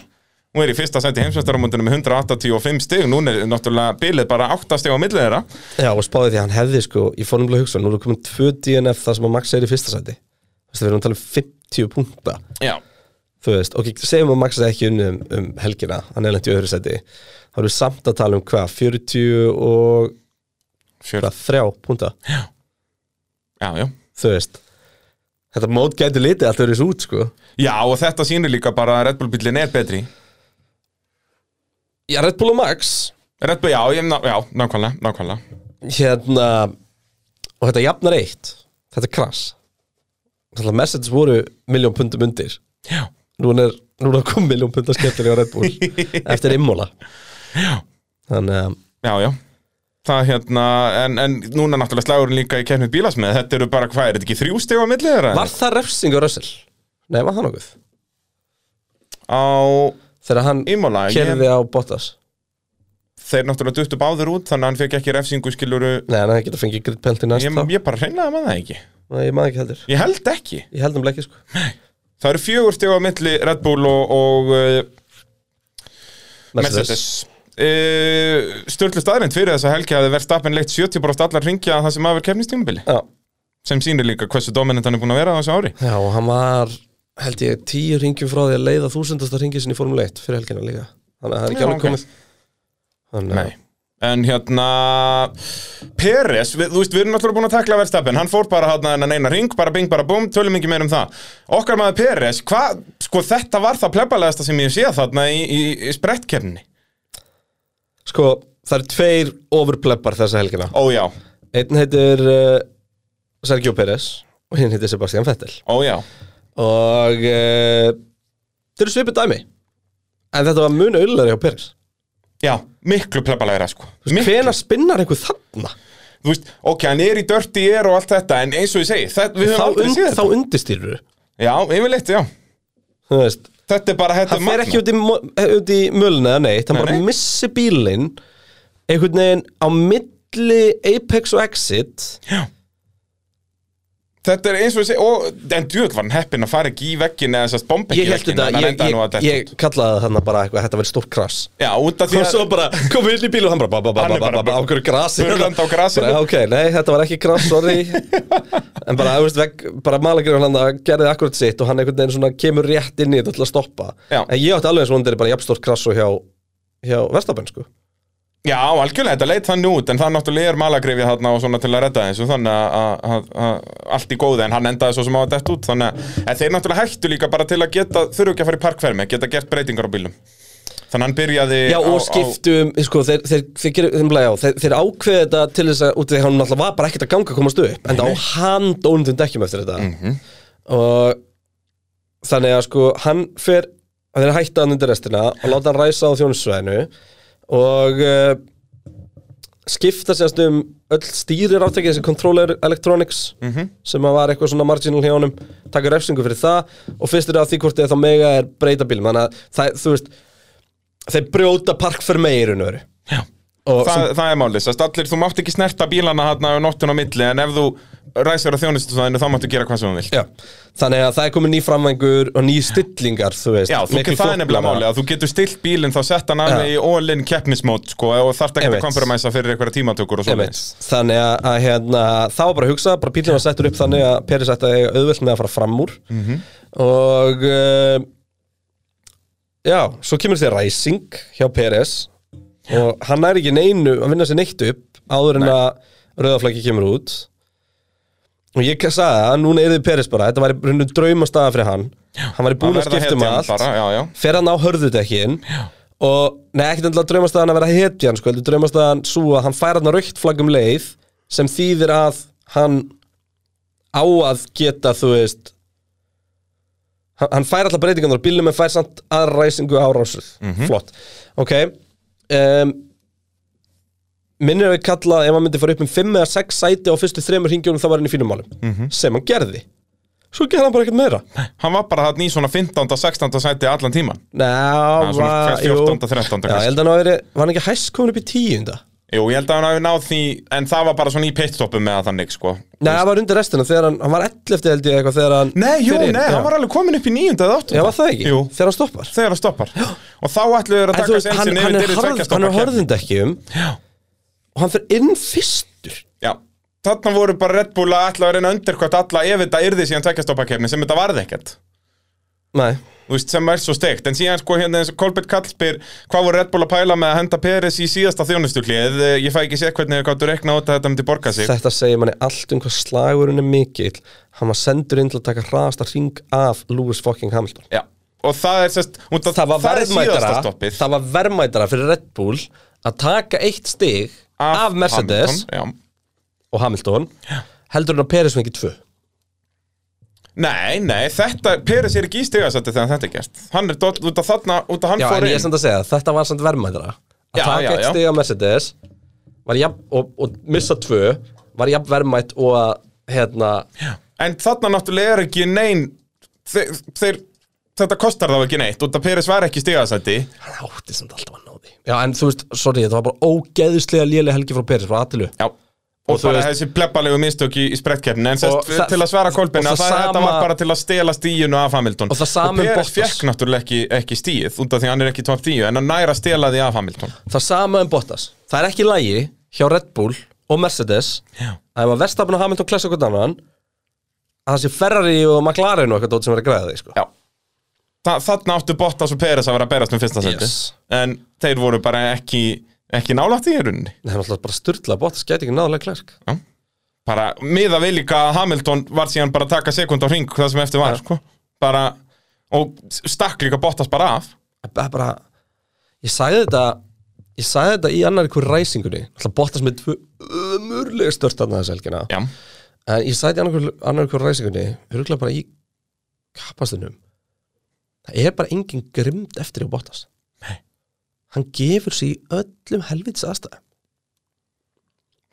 Speaker 3: Nú er í fyrsta senti heimsvestaramundinu með 185 stig, núna er náttúrulega bilið bara 8 stig á milli þeirra
Speaker 2: Já, og spáði því að hann hefði sko í formulega hugsa, nú eru komin tvö DNF þar sem að Max er í fyrsta sæti Þú veist, við erum að tala um 50 punkta
Speaker 3: Já,
Speaker 2: Þú veist, ok, segjum að Max er ekki unni um, um helgina, hann er lent í öðru sæti Þá erum við samt að tala um hvað, 40 og
Speaker 3: fjör,
Speaker 2: hvað, þrjá punkta
Speaker 3: já, já
Speaker 2: Þú veist, þetta mót gæti litið allt öðru út sko
Speaker 3: Já, og þetta sýnir líka bara að Red Bull bílinn er betri
Speaker 2: Já, Red Bull og Max,
Speaker 3: Red Bull, já, ég, ná- já, nákvæmlega, nákvæmlega
Speaker 2: hérna, og þetta jafnar eitt, þetta er krass Þannig að messages voru miljón pundum undir
Speaker 3: Já
Speaker 2: núna er, núna kom miljón pundar skemmtilega á Red Bull eftir immóla þannig að
Speaker 3: Já, já Það hérna, en, en núna náttúrulega slagurinn líka í kefnið bílasmið Þetta eru bara, hvað, er þetta ekki þrjú stig á milli þeirra?
Speaker 2: var það refsing á Russell? Nei, var það nokkuð?
Speaker 3: Á
Speaker 2: Þegar hann
Speaker 3: Imola, ég,
Speaker 2: kerði á Bottas
Speaker 3: þeir náttúrulega duttu báður út Þannig að hann fekk ekki refsingu skiluru
Speaker 2: Nei, hann hefði getað að fengið grid penalty næst
Speaker 3: Ég,
Speaker 2: þá
Speaker 3: ég bara hreinlega með það ekki
Speaker 2: Nei, ég maður ekki heldur
Speaker 3: Ég held ekki
Speaker 2: Ég held um bleki sko
Speaker 3: Það eru fjögur stig á milli Red Bull og, og uh, Mercedes Uh, Störlu staðrind fyrir þessa helgi hafði Verstappen leitt 70 bara allar ringja það sem maður kefnistímubili
Speaker 2: Já,
Speaker 3: sem sýnir líka hversu dominant hann er búin að vera á þessu ári
Speaker 2: Já og hann var held ég tíu ringjum frá því að leiða þúsundasta ringið sinni í Formule 1 fyrir helgina líka Þannig að það er ekki
Speaker 3: Já,
Speaker 2: alveg
Speaker 3: ok.
Speaker 2: komið Þannig
Speaker 3: Nei En hérna, Peres, við, þú veist, við erum náttúrulega búin að takla verðstapin, hann fór bara hérna en eina ring, bara bing, bara búm, tölum ekki meir um það. Okkar maður Peres, hvað, sko þetta var það plebbalegasta sem ég sé þarna í, í, í sprettkefninni.
Speaker 2: að Sko, það eru tveir overpleppar þessa helgina
Speaker 3: Ó já,
Speaker 2: Einn heitir uh, Sergio Pérez og hinn heitir Sebastian Vettel
Speaker 3: ó já,
Speaker 2: og uh, þeir eru svipið dæmi en þetta var muna ullari hjá Pérez
Speaker 3: já, miklu plebbalegra sko. Miklu.
Speaker 2: hvena spinnar einhver þarna
Speaker 3: Þú veist, ok, hann er í dörti, er og allt þetta, en eins og ég segi, það, við
Speaker 2: þá,
Speaker 3: höfum aldrei
Speaker 2: und,
Speaker 3: séð
Speaker 2: þá
Speaker 3: þetta.
Speaker 2: undistýrur
Speaker 3: Já, yfirleitt, já.
Speaker 2: þú veist
Speaker 3: Þetta er bara, þetta
Speaker 2: hann fer
Speaker 3: magnað.
Speaker 2: ekki út í, mo- eh, út í möluna eða neitt, hann
Speaker 3: Nei,
Speaker 2: bara
Speaker 3: nei.
Speaker 2: missi bílinn einhvern veginn á milli Apex og Exit
Speaker 3: Þetta er eins og ég segi, og, en djúið var hann heppin að fara ekki í veggin eða sérst bomba ekki
Speaker 2: ég held þetta,
Speaker 3: en hann
Speaker 2: ég,
Speaker 3: endaði nú að
Speaker 2: ég,
Speaker 3: detta út.
Speaker 2: ég kallaði þarna bara eitthvað, þetta verið stórt krass
Speaker 3: Já, út af því
Speaker 2: og
Speaker 3: að
Speaker 2: svo bara kom inn í bíl og hann bara ba, ba, ba,
Speaker 3: Hann
Speaker 2: ba,
Speaker 3: er
Speaker 2: ba,
Speaker 3: bara
Speaker 2: ba, ba, á hverju grasi
Speaker 3: Burlandi á sko. grasinu.
Speaker 2: Bara, ok, nei, þetta var ekki gras, sorry en bara, þú veist, veg, bara malagrið hann að gerði akkurat sitt og hann einhvern veginn svona kemur rétt inn í þetta til að stoppa
Speaker 3: Já.
Speaker 2: en ég átti alveg eins og hann er bara jafnstórt gras og hjá, hjá Verstapen, sko
Speaker 3: Já, algjörlega, þetta leit þannig út en það náttúrulega er malagrifja þarna og svona til að redda þessu þannig að- að- að að allt í góði en hann endaði svo sem á að detta út þannig að en þeir náttúrulega hættu líka bara til að geta þurfu ekki að fara í parkvermi, geta gert breytingar á bílum Þannig að hann byrjaði
Speaker 2: Já,
Speaker 3: á,
Speaker 2: og
Speaker 3: á-
Speaker 2: skiptum, sko, þeir, þeir, þeir, þeir, þeir, já, þeir, þeir ákveði þetta til þess að, út af því að hann náttúrulega var bara ekkert að ganga að komast upp, en
Speaker 3: Mhm.
Speaker 2: það á hann dónundum dekkjum eftir þetta og þannig að sko, hann fer hann er að hætta hann undir restina og láta hann ræsa á þjónusvæðinu og uh, eh, skipta sérst um öll stýri ráttækið þessi Controller Electronics
Speaker 3: Mhm.
Speaker 2: sem að var eitthvað svona marginal hjá honum taka refsingu fyrir það og fyrst er að því hvort eða þá mega er breyta bílum þannig að það, þú veist þeir brjóta park fyrir mig í raun og veru
Speaker 3: Já.
Speaker 2: og
Speaker 3: Þa, það er málið, sérst allir, þú mátt ekki snerta bílana hérna á nóttun á milli en ef þú ræsir á þjónustusvæðinu þá máttu gera hvað sem þú vilt
Speaker 2: Já, þannig að það er komin ný framvængur og ný stillingar, þú veist
Speaker 3: Já, þú
Speaker 2: miklu
Speaker 3: getur það er nefnilega
Speaker 2: flóknara.
Speaker 3: málið að þú getur stilt bílinn þá sett hann alveg
Speaker 2: Já.
Speaker 3: í all-in keppnismót sko, og þarft ekki
Speaker 2: Einmitt.
Speaker 3: að kompromæsa fyrir einhverja tímatökur og
Speaker 2: Ég
Speaker 3: svo
Speaker 2: veit, Þannig að, að hérna, það var bara að hugsa bara bílinn var settur upp þannig að Peris ætti að eiga auðvelt með að fara fram úr og uh, já, svo kemur þér ræsing hjá Peris og hann er ekki neinu að vinna sér neitt upp áður en að rauðaflæki kemur út og ég sagði að núna yrði Peris bara þetta væri runnu draumastaða fyrir hann hann væri búin að skipta um allt
Speaker 3: já, já.
Speaker 2: fer hann á hörðutekkin og nei, ekkert endilega draumast að hann að vera hetjan sko, heldur draumast að hann svo að hann fær hann raukt flaggum leið sem þýðir að hann á að geta, þú veist hann, hann fær alltaf breytingarnar á bílum en fær samt aðræsingu árásuð
Speaker 3: Mhm.
Speaker 2: flott, ok um, minnir að við kalla ef hann myndi fara upp um 5 eða 6 sæti á fyrstu þremur hringjónum þá var hann í fínum málum
Speaker 3: Mhm.
Speaker 2: sem hann gerði svo gerði hann bara ekkert meira
Speaker 3: Hann var bara hann í svona 15. 16. sæti allan tíman
Speaker 2: Ná,
Speaker 3: Það er svona
Speaker 2: var,
Speaker 3: kannski
Speaker 2: jú
Speaker 3: 14., 13.
Speaker 2: Já, ég
Speaker 3: kannski.
Speaker 2: held að hann hafi verið, var hann ekki hæst komin upp í tíunda?
Speaker 3: Jú, ég held að hann hafi náð því en það var bara svona í pitstoppum með þannig sko.
Speaker 2: Nei, það var undir restina, þegar hann, hann var 11 held ég eitthvað þegar hann
Speaker 3: Nei, jú,
Speaker 2: fyrir-
Speaker 3: nei,
Speaker 2: já.
Speaker 3: hann var alveg komin upp í nýjunda eða áttunda
Speaker 2: Já, var það ekki?
Speaker 3: Jú,
Speaker 2: Þegar hann stoppar
Speaker 3: þegar það stoppar Og þá ætluðu þeir að
Speaker 2: En þú
Speaker 3: taka
Speaker 2: veist, hann,
Speaker 3: sensin yfir
Speaker 2: hann er,
Speaker 3: dyrir
Speaker 2: harð,
Speaker 3: tveggja
Speaker 2: hann
Speaker 3: stoppa
Speaker 2: er
Speaker 3: keppni.
Speaker 2: horðind ekki um
Speaker 3: Já.
Speaker 2: Og hann fyrir inn fyrstur
Speaker 3: Já, þarna voru bara Red Bull að ætla að reyna undir hvað alla ef þetta yrði síðan tvekkjastoppakefni sem þetta varði ekkert
Speaker 2: Nei,
Speaker 3: Þú veist, sem er svo steikt, en síðan sko hérna eins og Kolbett Kall spyr, hvað voru Red Bull að pæla með að henda Peres í síðasta þjónustuklið ég fæ ekki séð hvernig þau gáttu reikna út að þetta myndi borga sig
Speaker 2: þetta segir manni allt um hvað slagurinn er mikill Hann var sendur inn til að taka hraðasta ring af Lewis fucking Hamilton
Speaker 3: Já, og það er sérst út að
Speaker 2: Það var
Speaker 3: er
Speaker 2: verðmætara
Speaker 3: síðasta stoppið
Speaker 2: Það var verðmætara fyrir Red Bull að taka eitt stig af, Mercedes
Speaker 3: Hamilton, já.
Speaker 2: og Hamilton heldur hann að Peres fengi tvö
Speaker 3: Nei, nei, þetta, Peres er ekki í stigasætti þegar þetta er gert Hann er dott, út að þarna, út að hann
Speaker 2: Já, en
Speaker 3: fór
Speaker 2: ég er
Speaker 3: inn
Speaker 2: samt að segja, þetta var samt verðmæðra að
Speaker 3: Já,
Speaker 2: taka
Speaker 3: já,
Speaker 2: eitt
Speaker 3: já.
Speaker 2: stig á Mercedes var jafn, og, og missa tvö var jafn verðmætt og að hérna,
Speaker 3: En þarna náttúrulega er ekki nein þeir, þeir, Þetta kostar þá ekki neitt Út að Peres var ekki í stigasætti
Speaker 2: hann átti samt alltaf að ná því Já, en þú veist, sorry, þetta var bara ógeðislega lélega helgi frá Peres, frá Atilu
Speaker 3: Já Og,
Speaker 2: þú
Speaker 3: bara
Speaker 2: veist-
Speaker 3: þessi plebbalegu mistök í, í sprettkeppnin En
Speaker 2: Og
Speaker 3: sérst,
Speaker 2: það-
Speaker 3: til að svara kolpinn
Speaker 2: og
Speaker 3: að
Speaker 2: það
Speaker 3: það- þetta var
Speaker 2: sama-
Speaker 3: bara til að stela stíinu af Hamilton
Speaker 2: Og það sama um
Speaker 3: Peres
Speaker 2: Bottas.
Speaker 3: fekk náttúrulega ekki, ekki stíð Út af því hann er ekki top 10 En hann næra stela því af Hamilton
Speaker 2: Það sama um Bottas, það er ekki lægi hjá Red Bull og Mercedes
Speaker 3: Já.
Speaker 2: að ef að Verstafn og Hamilton klessa okkur annan að það sé Ferrari og McLaren og eitthvað dót sem er að græða því, sko
Speaker 3: Já Þa, Þarna áttu Bottas og Peres að vera að berast um fyrsta sendi
Speaker 2: Yes.
Speaker 3: En þeir voru bara ekki, ekki nálægt í runni
Speaker 2: Nei, það er alltaf bara styrla, Bottas gæti ekki náðulega klærk
Speaker 3: Bara miða við líka að Hamilton var síðan bara að taka sekund á hring Það sem eftir var sko. bara, Og stakk líka Bottas bara af
Speaker 2: það er bara ég sagði þetta ég sagði þetta í annar ykkur ræsingunni alltaf bóttast með tvö ömurlega stört þarna þessu helgina
Speaker 3: Já,
Speaker 2: en ég sagði í annar ykkur, annar ykkur ræsingunni örgulega bara í kapastinum það er bara engin grimd eftir hjá bóttast hann gefur sig í öllum helvits aðstæðum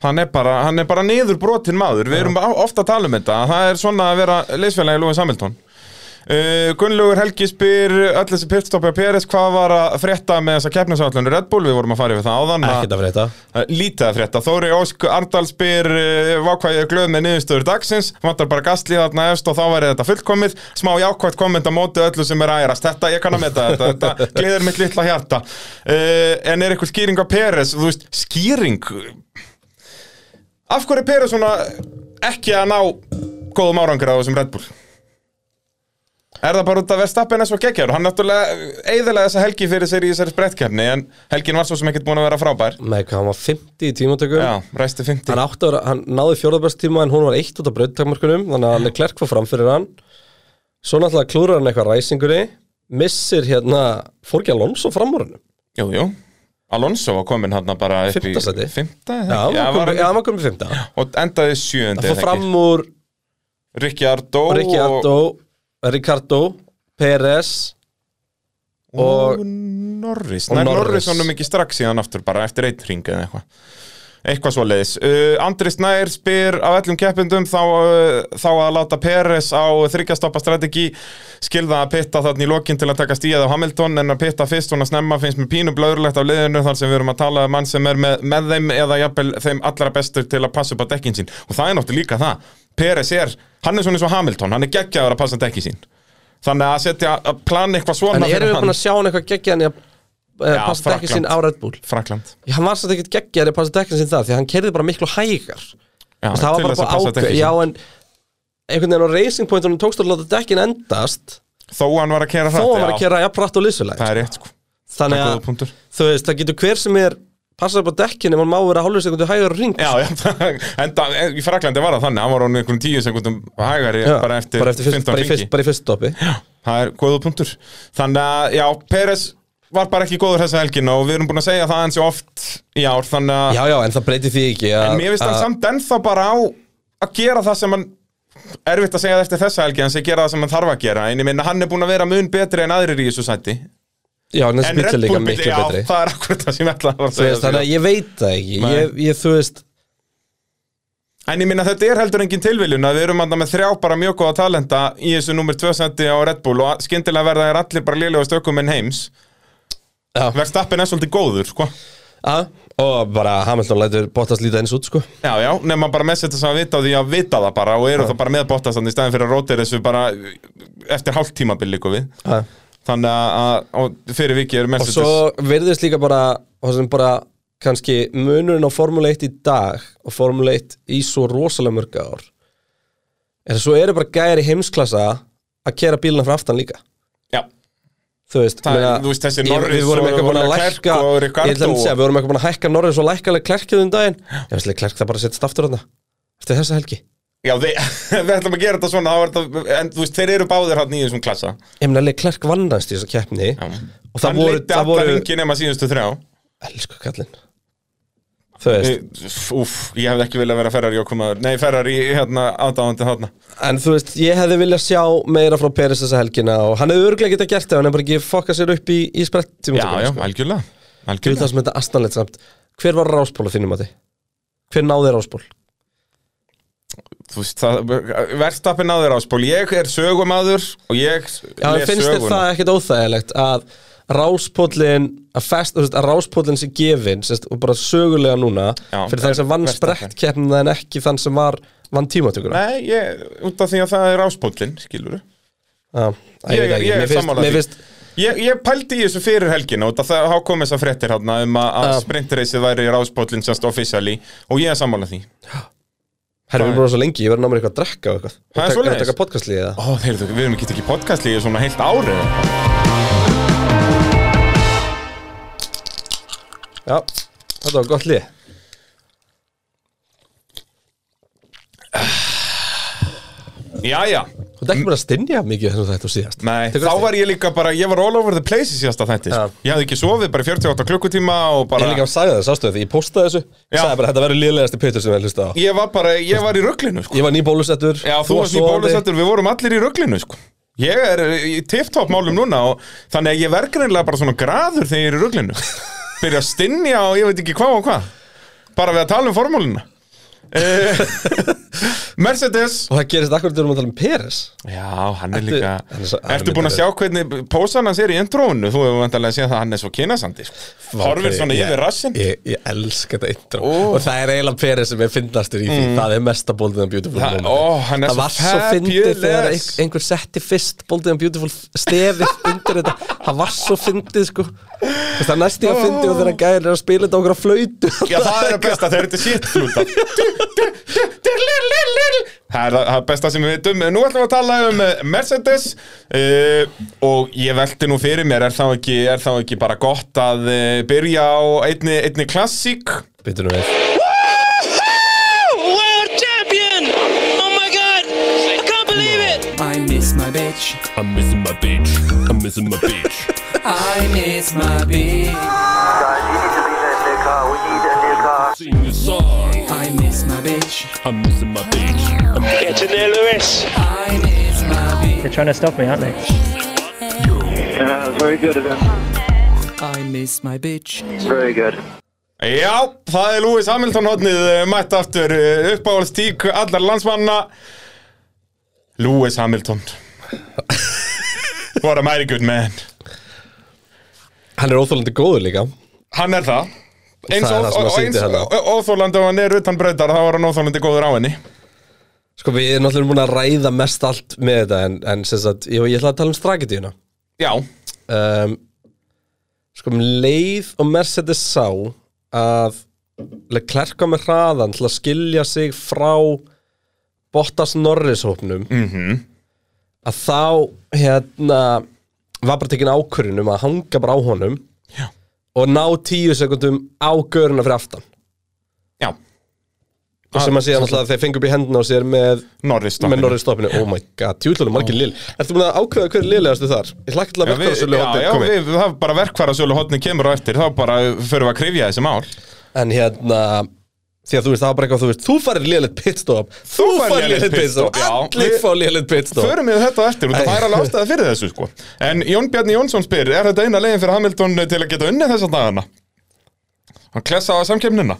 Speaker 3: hann er bara, hann er bara niður brotin maður Við erum á- ofta að tala um þetta Það er svona að vera leysfélagi Lúin Hamilton uh, Gunnlaugur Helgi spyr Öll þessi pitstoppi á Peres Hvað var að frétta með þessa keppnisállunni Red Bull Við vorum að fara yfir það áðan að-
Speaker 2: ekkert að frétta
Speaker 3: Það er Lítið að frétta, Þóri Ósk Arndal spyr uh, hvað ég er glöð með niðurstöður dagsins Vantar bara gastlið þarna efst og þá verði þetta fullkomið Smá jákvæmt komment á móti öllu sem er ærast Þetta, ég kann að meta þetta, þetta gleður mitt litla hjarta uh, En er eitthvað skýring á Peres, þú veist, skýring Af hverju er Peres svona ekki að ná góðum árangur á þessum Red Bull? Er það bara út að Verstappen er svo geggjar og hann náttúrulega eiðilega þessa helgi fyrir sér í þessari sprettkefni en helgin var svo sem ekkert búin að vera frábær
Speaker 2: með hvað hann var 50 í tímatökum
Speaker 3: Já, ræsti 50
Speaker 2: Hm? hann, átti að vera, hann náði fjórðabæst tíma en hún var eitt út af brautakmarkunum þannig að hann er klerk fór fram fyrir hann svo náttúrulega klúrar hann eitthvað ræsingunni missir hérna fór ekki Alonso fram úr hann
Speaker 3: Jú, jú Alonso var komin hann bara upp í
Speaker 2: Fimmta sæti.
Speaker 3: Fymta?
Speaker 2: já, hann
Speaker 3: já,
Speaker 2: var
Speaker 3: var,
Speaker 2: komið- já, hann var komið fymta
Speaker 3: Og endaði sjöundi
Speaker 2: fór fram úr
Speaker 3: Ricciardo
Speaker 2: Ricciardo Ricardo Perez
Speaker 3: og, og Norris
Speaker 2: Og
Speaker 3: Nei,
Speaker 2: Norris.
Speaker 3: Norris honum ekki strax síðan aftur bara eftir eitt ring eða eitthvað Eitthvað svo leiðis. Uh, Andri Snær spyr af öllum keppindum þá, uh, þá að láta Peres á þryggjastoppa strategi skilða að pitta þarna í lokin til að taka stíðið af Hamilton en að pitta fyrst svona snemma finnst mér pínu blöðurlegt af liðinu þar sem við erum að tala um mann sem er með, með þeim eða jafnvel þeim allra bestur til að passa upp á dekkin sín. Og það er náttúrulega líka það. Peres er, hann er svona eins og Hamilton, hann er geggjaður að passa dekkin sín. Þannig að setja að plana eitthvað svona
Speaker 2: En erum við búin að sjá hann eitthvað geggjaðan í að
Speaker 3: Já,
Speaker 2: eh, passa dekkin sín á
Speaker 3: Frakkland.
Speaker 2: Red Bull
Speaker 3: Frakland.
Speaker 2: Hann var satt ekkert geggjaðan í að passa dekkin sín þar því að hann kerði bara miklu hægar
Speaker 3: Já,
Speaker 2: Þú veist, það var
Speaker 3: til
Speaker 2: bara
Speaker 3: þess að
Speaker 2: bara
Speaker 3: passa
Speaker 2: ákveð
Speaker 3: dekkin sín.
Speaker 2: já en einhvern veginn á racing pointunum tókst að láta dekkin endast
Speaker 3: Þó hann var að kera
Speaker 2: þó að
Speaker 3: hratt,
Speaker 2: hann var að
Speaker 3: já.
Speaker 2: kera jafnrætt og lissulegt
Speaker 3: Það er rétt sko
Speaker 2: þannig
Speaker 3: góður
Speaker 2: að
Speaker 3: punktur.
Speaker 2: þú veist það getur hver sem er passað upp á dekkin ef hann má vera hálfur sekundu hægur ring
Speaker 3: Já, já, enda í Fraklandi var það þannig Hann var hann einhvern tíu sekundum hægari bara eftir,
Speaker 2: bara, eftir fyrst,
Speaker 3: 15
Speaker 2: bara, í
Speaker 3: ringi
Speaker 2: fyrst, bara í fyrst stoppi
Speaker 3: Það er góðu punktur Þannig að, já, Peres var bara ekki góður þessa helgin og við erum búin að segja það eins og oft í ár, þannig að
Speaker 2: já já en það breytir því ekki að,
Speaker 3: En mér finnst hann
Speaker 2: að-
Speaker 3: samt ennþá bara á að gera það sem hann erfitt að segja það eftir þessa helgi, hann sé gera það sem hann þarf að gera en ég minna hann er búin að vera mun betri en aðrir í þessu sæti
Speaker 2: já en þessi
Speaker 3: en
Speaker 2: bíl er líka
Speaker 3: bíll-
Speaker 2: miklu
Speaker 3: já,
Speaker 2: betri
Speaker 3: það er akkurat það sem ég ætla að
Speaker 2: Þú
Speaker 3: segja
Speaker 2: veist, þannig að ég veit það ekki
Speaker 3: Nei.
Speaker 2: ég, ég þú veist
Speaker 3: En ég minna þetta er heldur engin tilviljun að við erum að með þrjá bara mjög góða talenta í þessu nummer 2 seti á Red Bull og skyndilega verða þér allir bara liðlega stökum en heims
Speaker 2: Já.
Speaker 3: Verstappen er svolítið góður sko
Speaker 2: að, og bara Hamilton lætur Bottas líta eins út sko
Speaker 3: Já, já, nema bara með þetta sem að vita á því að vita það bara og eru það bara með bóttastandi í staðin fyrir að rótir þessu bara eftir hálft tímabil líku við
Speaker 2: að
Speaker 3: Þannig að- að og fyrir vikið er
Speaker 2: og
Speaker 3: Mercedes
Speaker 2: svo verðist líka bara og sem bara kannski munurinn á Formule 1 í dag og Formule 1 í svo rosalega mörg ár er að svo eru bara gæjar í heimsklassa að kera bílina frá aftan líka
Speaker 3: Já,
Speaker 2: þú veist,
Speaker 3: Það er,
Speaker 2: meina,
Speaker 3: þú veist, þessi
Speaker 2: ég-
Speaker 3: Norris
Speaker 2: við vorum
Speaker 3: og
Speaker 2: eitthvað búin að
Speaker 3: Leclerc
Speaker 2: lækka
Speaker 3: og
Speaker 2: ég ætla að
Speaker 3: Ricardo.
Speaker 2: segja, við vorum eitthvað búin að hækka Norris og lækkalega klerkið um daginn ég veist, klerk það bara setst aftur þarna eftir þessa helgi
Speaker 3: já við, við ætlum að gera þetta svona þá er þetta, en þú veist, þeir eru báðir hann í þessum klassa
Speaker 2: ég meina, klerk vannast í þessa keppni og það
Speaker 3: Hann
Speaker 2: voru,
Speaker 3: leiddi
Speaker 2: það
Speaker 3: alla
Speaker 2: voru
Speaker 3: ringi nema síðustu þrjá
Speaker 2: elsku kallinn þú veist,
Speaker 3: Úf, ég hefði ekki viljað vera Ferrari okkumaður Nei, Ferrari, hérna, aðdáðandi þarna
Speaker 2: En þú veist, ég hefði viljað sjá meira frá Peres þessa helgina og hann hefði örglega getað gert það, hann hefði bara ekki fokkað sér upp í, í sprett sko.
Speaker 3: Já, já, algjörlega
Speaker 2: Þú veist
Speaker 3: Algjörlega
Speaker 2: það sem þetta astanlegt samt Hver var rásból að þínum að þið? Hver náði rásból?
Speaker 3: Þú veist, það, verðstappi náður áspól Ég er sögumadur og ég
Speaker 2: Já, en
Speaker 3: les
Speaker 2: finnst þér
Speaker 3: söguna.
Speaker 2: það ekkert óþægilegt að ráspóllin að, fest, þú veist, að ráspóllin sé gefin sérst, og bara sögulega núna
Speaker 3: Já,
Speaker 2: fyrir þann sem vann
Speaker 3: Verstappen.
Speaker 2: sprett keppnina en ekki þann sem var, vann tímatökuna
Speaker 3: Nei, ég, út af því að það er áspólinn, skilur du
Speaker 2: Já, að
Speaker 3: Ég-
Speaker 2: veit ekki,
Speaker 3: ég er
Speaker 2: mér finnst-
Speaker 3: sammála því.
Speaker 2: mér finnst-
Speaker 3: Ég, ég pældi í þessu fyrir helgina og það þá kom þess að fréttir hérna um að, að
Speaker 2: Já.
Speaker 3: sprintreysið væri ráðspóllin semst officially og ég er sammála því
Speaker 2: Herra,
Speaker 3: Það
Speaker 2: við
Speaker 3: er-
Speaker 2: erum bara svo lengi, ég verður námið eitthvað að drekka og eitthvað
Speaker 3: Það er
Speaker 2: Og taka-
Speaker 3: svoleiðis.
Speaker 2: taka podcastlið eða
Speaker 3: Ó, heyrðu, við erum ekki ekki podcastli í svona heilt árið
Speaker 2: Já, þetta var gott lið
Speaker 3: Jæja,
Speaker 2: Þú ert ekki bara að stinja mikið þessum þetta og síðast
Speaker 3: nei,
Speaker 2: Tekur
Speaker 3: þá
Speaker 2: eftir?
Speaker 3: var ég líka bara, ég var all over the place í síðasta þætti
Speaker 2: Já.
Speaker 3: sko. Ég hafði ekki sofið bara í 48 klukkutíma og
Speaker 2: Ég
Speaker 3: bara
Speaker 2: líka að sagði það, sástu það, því ég postaði þessu
Speaker 3: Já.
Speaker 2: Sagði bara, þetta verður liðlegasti pittur sem ég hlusta á
Speaker 3: Ég var bara, ég var í rugglinu sko.
Speaker 2: Ég var nýbólusettur
Speaker 3: Já, þú varst í bólusettur, við vorum allir í rugglinu sko. Ég er í tipptopp málum núna og þannig að ég verð greinlega bara svona graður þegar ég er í rugglinu Byrja að stinja og ég veit ekki hvað og hvað Bara við að tala um formúluna Eh, Mercedes
Speaker 2: Og það gerist akkur þegar við erum að tala um Peres
Speaker 3: Já, hann er
Speaker 2: Ertu-
Speaker 3: líka
Speaker 2: hann er svo- hann er
Speaker 3: Ertu búin að sjá
Speaker 2: myndarlegur.
Speaker 3: hvernig pósan hans er í intróinu? Þú hefur vantarlega að sé það að hann er svo kynasandi sko. Horfir svona yfir rassin
Speaker 2: Ég, ég elska þetta intro
Speaker 3: Ó. Mm.
Speaker 2: Og það er eiginlega Peres sem ég finnastur í því Það er mesta Boldið and Beautiful
Speaker 3: Það-
Speaker 2: moment.
Speaker 3: ó, hann er
Speaker 2: Það
Speaker 3: svo
Speaker 2: var svo fyndið
Speaker 3: fabulous.
Speaker 2: þegar ein- einhver setti fyrst Boldið and Beautiful stefið undir þetta Það var svo fyndið sko Þú veist, Það er næst ég að fyndið og þegar gæðin er að spila þetta á okkur á flöytu
Speaker 3: Já, það er að besta, þegar þetta er shit flúta Það er það besta sem við veitum Nú ætlum við að tala um eh, Mercedes uh, Og ég velti nú fyrir mér Er þá ekki, er þá ekki bara gott að uh, byrja á einni, einni klassík
Speaker 2: Býtu nú við
Speaker 4: World champion! Oh my god! I can't believe it!
Speaker 5: I miss my bitch.
Speaker 6: I'm missing my bitch. I'm missing my bitch.
Speaker 5: I miss my bitch.
Speaker 7: Guys, you need to be that new car. We need that new car.
Speaker 6: Sing the song.
Speaker 5: I miss my bitch.
Speaker 6: I'm missing my bitch. I'm missing
Speaker 4: It's in there, Lewis.
Speaker 5: I miss my bitch.
Speaker 8: They're trying to stop me, aren't they?
Speaker 7: Yeah, very good of him.
Speaker 5: I miss my bitch.
Speaker 7: Very good.
Speaker 3: Já, það er Lewis Hamilton hotnið eh, mætt aftur eh, uppáhaldstík allar landsmanna Lewis Hamilton What a mighty good man
Speaker 2: Hann er óþólandi góður líka
Speaker 3: Hann er það eins
Speaker 2: Það er
Speaker 3: og,
Speaker 2: það sem að
Speaker 3: og, og
Speaker 2: sitja
Speaker 3: eins
Speaker 2: hérna.
Speaker 3: og óþólandi ef hann er utan breytar þá er hann óþólandi góður á henni
Speaker 2: Sko við erum náttúrulega búin að ræða mest allt með þetta En, en sem sagt, ég, ég ætla að tala um stragetíuna
Speaker 3: Já,
Speaker 2: um, Sko um leið og Mercedes sá að Leclerc kom með hraðan til að skilja sig frá Bottas Norris hópnum -hmm. að þá hérna var bara tekin ákvörðin um að hanga bara á honum
Speaker 3: Já.
Speaker 2: og ná tíu sekundum á göruna fyrir aftan
Speaker 3: já,
Speaker 2: og sem að sé náttúrulega að þeir fengu upp í hendina á sér með,
Speaker 3: Norris stoppinu. Oh.
Speaker 2: með Norris stoppinu oh my god, tjúlunum margir lill Ertu búin að ákveða hver lillegastu þar? Ég hlakka til að
Speaker 3: Já,
Speaker 2: verka
Speaker 3: við,
Speaker 2: þessu
Speaker 3: já, já,
Speaker 2: lögóti
Speaker 3: við, það er bara verkvarasölu hotni kemur á eftir, þá bara förum við að krifja þessi mál
Speaker 2: En hérna Því að þú veist, það var bara eitthvað, þú veist, þú farir lélitt pitstop Þú
Speaker 3: farir
Speaker 2: farir
Speaker 3: lélegt
Speaker 2: lélitt pitstop
Speaker 3: pitstop, já.
Speaker 2: Allir
Speaker 3: Við-
Speaker 2: fá lélitt pitstop
Speaker 3: Förum við þetta á eftir, og það er alveg ástæða fyrir þessu sko. En Jón Bjarni Jónsson spyr Er þetta eina leiðin fyrir Hamilton til að geta unnið þessa dagana? Hann klessa á samkemnina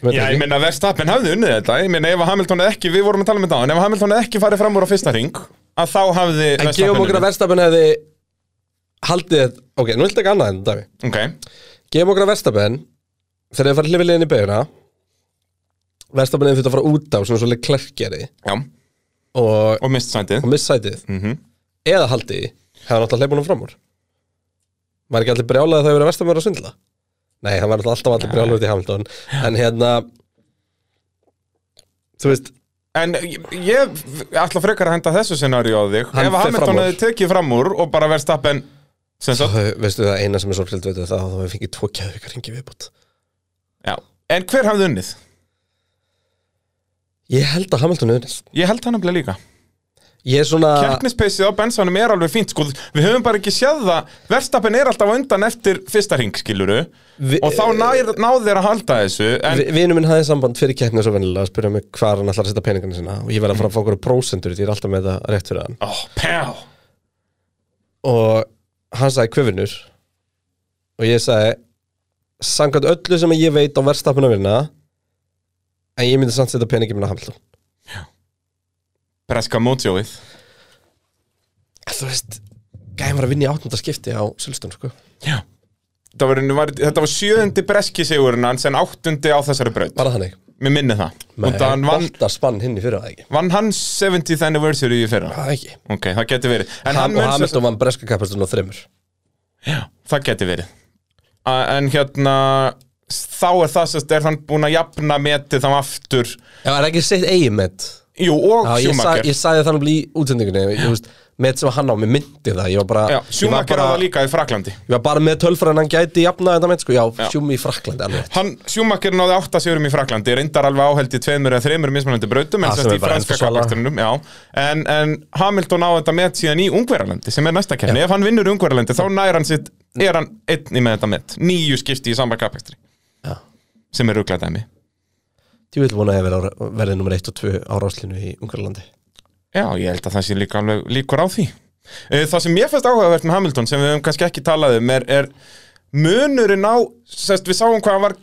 Speaker 2: Veit
Speaker 3: Já, ég
Speaker 2: ekki.
Speaker 3: meina Verstappen hafði unnið þetta Ég meina ef að Hamilton hefði ekki, við vorum að tala með það En ef að Hamilton hefði ekki farið fram úr á fyrsta ring Að þá hafði
Speaker 2: En gefum okkur að verðstapin hefði Haldið þetta, ok, nú viltu ekki annað en dæmi
Speaker 3: unnið. Ok,
Speaker 2: Gefum okkur að verðstapin Þegar þið farið hlifið leiðin í beina Verðstapin hefði þurft að fara út á Svona svolítið klerkjari
Speaker 3: já,
Speaker 2: Og,
Speaker 3: og mist sætið
Speaker 2: og missætið mm
Speaker 3: Mhm.
Speaker 2: -hmm. Eða haldið í, hefði náttúrulega hleypunum fram úr Var ekki allir brjálaði það hefur verið verðstapin að svindla Nei, hann var náttúrulega alltaf allir brjálaði út í Hamilton En hérna Þú veist,
Speaker 3: En ég, ég ætla frekar að henda þessu scenari á þig
Speaker 2: Hann
Speaker 3: Ef að
Speaker 2: fer fram
Speaker 3: Hamilton
Speaker 2: úr.
Speaker 3: hefði tekið fram úr Og bara Verstappen sem sagt,
Speaker 2: Þau, veistu það eina sem er sorgfjöld veitu það að þá hefur fengið tvo geðvika ringi viðbútt
Speaker 3: já. En hver hafði unnið?
Speaker 2: Ég held að Hamilton unnið
Speaker 3: Ég held hann að líka
Speaker 2: Ég er svona
Speaker 3: Kjarnispeysið á Bensonum er alveg fínt sko, við höfum bara ekki séð það Verstappen er alltaf á undan eftir fyrsta ring skiluru
Speaker 2: Vi- Eh,
Speaker 3: og þá nær, náðu þeir að halda þessu en
Speaker 2: vi- Vinur minn hafði samband fyrir keppni svo venilega að spyrja mig hvar hann ætlar að setja peningana sína og ég verði að fara að fá okkur prósendur því ég er alltaf með það rétt fyrir hann
Speaker 3: oh, pjá,
Speaker 2: og hann sagði kvefinur og ég sagði sangat öllu sem ég veit á verðstapinu vinna en ég myndi samt setja peningin minna Hamilton
Speaker 3: preska mótsjóið
Speaker 2: En Þú veist, gæði var að vinna í áttundaskipti á Silstun sko
Speaker 3: já Þetta var, var, þetta var sjöðundi breski sigurinn hans en áttundi á þessari braut
Speaker 2: Var það þannig?
Speaker 3: Mér minni það
Speaker 2: Nei,
Speaker 3: Og hann vann,
Speaker 2: Bottas vann hinn í fyrra það ekki
Speaker 3: vann hans 70th anniversary í fyrra
Speaker 2: Það ekki
Speaker 3: Ok, það geti verið En
Speaker 2: Ham,
Speaker 3: hann
Speaker 2: og
Speaker 3: mun sem-
Speaker 2: Hamilton vann breska kappastunum á þreymur
Speaker 3: Já, það geti verið A, En hérna Þá er það sérst, er hann búin að jafna metið þá aftur
Speaker 2: Já, er ekki sitt eigin met
Speaker 3: Jú, og
Speaker 2: Já, ég, sa,
Speaker 3: Schumacher
Speaker 2: ég sagði það náttúrulega í útsendingunni ég, þú veist, Met sem hann á, mér myndi það Ég var bara,
Speaker 3: Já,
Speaker 2: ég var
Speaker 3: Schumacher
Speaker 2: bara,
Speaker 3: bara... það líka í Fraklandi
Speaker 2: ég var bara með tölfræðan hann gæti jafna þetta met sko Já,
Speaker 3: Já.
Speaker 2: Schumi í Fraklandi alveg
Speaker 3: Hann, Schumacher náði átta sigurum í Fraklandi reyndar alveg áheld í tveimur eða þreimur mismunandi brautum en
Speaker 2: Ah,
Speaker 3: sérst
Speaker 2: sem
Speaker 3: í
Speaker 2: er bara
Speaker 3: franska
Speaker 2: ennþá svala.
Speaker 3: kapakstunum en, en Hamilton á þetta met síðan í Ungverjalandi sem er næsta kemni, ef hann vinnur í Ungverjalandi þá nær hann sitt, er hann einni með þetta met nýju skipti í samba kapakstri
Speaker 2: Já.
Speaker 3: sem er ruglað dæmi
Speaker 2: Ég vil vona að ég verði, á- verði nummer 1 og 2 á ráslinu í Ungarlandi
Speaker 3: Já, ég held að það sé líka alveg líkur á því Eh, Það sem ég fæst áhugavert með Hamilton sem við höfum kannski ekki talað um er, er munurinn á, sérst við sáum hvað hann var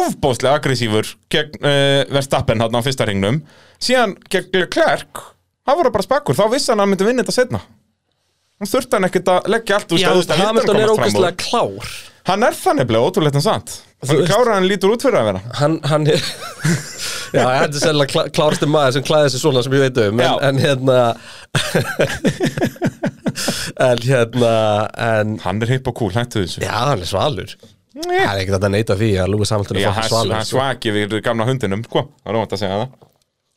Speaker 3: ofbóðslega aggressífur gegn uh, Verstappen hann á fyrsta ringnum síðan gegn Leclerc hann var bara spakur, þá vissi hann að hann myndi vinna þetta setna hann þurfti hann ekkert að leggja allt úr
Speaker 2: Já,
Speaker 3: stað,
Speaker 2: þú
Speaker 3: þú veist,
Speaker 2: veist,
Speaker 3: að hitta hann
Speaker 2: Hamilton er
Speaker 3: komast fram úr.
Speaker 2: ógæslega klár
Speaker 3: hann er það nefnilega ótrúlegt en sant hann
Speaker 2: veist-
Speaker 3: klára hann lítur út fyrir að vera
Speaker 2: Hann, hann er Já, þetta er sérlega klá, klárasti maður sem klæði sig svona sem ég veit um En,
Speaker 3: Já.
Speaker 2: en hérna En hérna En
Speaker 3: hann er hipp og cool, hættu þessu
Speaker 2: Já, hann er svalur Það er ekkert að neyta því að Lewis Hamilton er
Speaker 3: Eh. Já,
Speaker 2: fokkin
Speaker 3: hann
Speaker 2: svalur
Speaker 3: hann
Speaker 2: sko.
Speaker 3: svaki við gamla hundinum, hvað, það er óvænt að segja það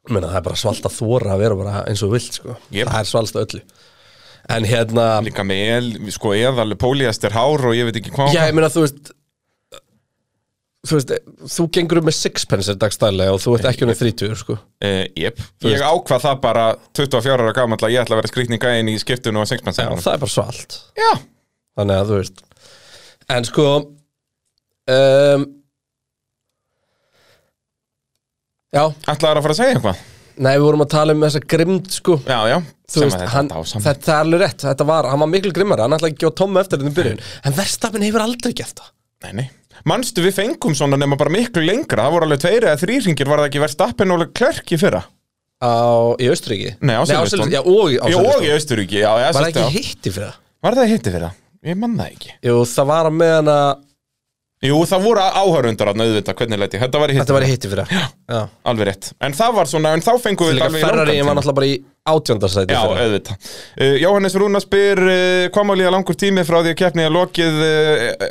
Speaker 2: Ég meina, Það er bara svalt að þóra að vera bara eins og þú vilt sko.
Speaker 3: Yep.
Speaker 2: Það er svalst að öllu En hérna
Speaker 3: líka með el, sko eðal póliastir hár og ég veit ekki hvað
Speaker 2: Já, ég meina þú veist Þú veist, þú gengur um með sixpence dagstælega og þú ert ekki unnið 30 sko.
Speaker 3: uh, yep. ég ákvað það bara 24 ára gamall að ég ætla að vera skrýtninga inn í skiptun og sexmenn
Speaker 2: Já, Það er bara svalt
Speaker 3: já,
Speaker 2: Þannig að þú veist En sko um, Já,
Speaker 3: ætlaður að fara að segja eitthvað
Speaker 2: nei, við vorum að tala um þessa grimd sko
Speaker 3: já, já,
Speaker 2: þú veist, hann,
Speaker 3: þetta,
Speaker 2: þetta er alveg rétt þetta var, hann var miklu grimmari, hann ætlaði ekki að gefa Tomma eftir þetta í byrjun en Verstappen hefur aldrei gert það
Speaker 3: nei, nei. Manstu við fengum svona nema bara miklu lengra Það voru alveg tveir eða þrý ringir Var það ekki Verstappen og Klerk í fyrra?
Speaker 2: á, í Austuríki
Speaker 3: Nei, á Silverstone.
Speaker 2: Já, og í á
Speaker 3: Ég og í
Speaker 2: Silverstone.
Speaker 3: Austuríki, já, já,
Speaker 2: Var það
Speaker 3: sérst,
Speaker 2: ekki
Speaker 3: já.
Speaker 2: hitti fyrir það?
Speaker 3: Var það hitti fyrra? Ég man það ekki
Speaker 2: Jú, það var á meðan að
Speaker 3: Jú, það voru áhörundar að auðvitað, hvernig leti Þetta var í hitti
Speaker 2: Þetta var í hitti fyrir það Já, já.
Speaker 3: Alveg rétt En það var svona, en þá fengum við
Speaker 2: Líka
Speaker 3: þetta alveg í langan
Speaker 2: Ferrari var
Speaker 3: tíma.
Speaker 2: náttúrulega bara í átjóndarsæti
Speaker 3: Já, auðvitað. Uh, Jóhannes Rúna spyr uh, hvað má líða langur tími frá því að keppni er lokið uh,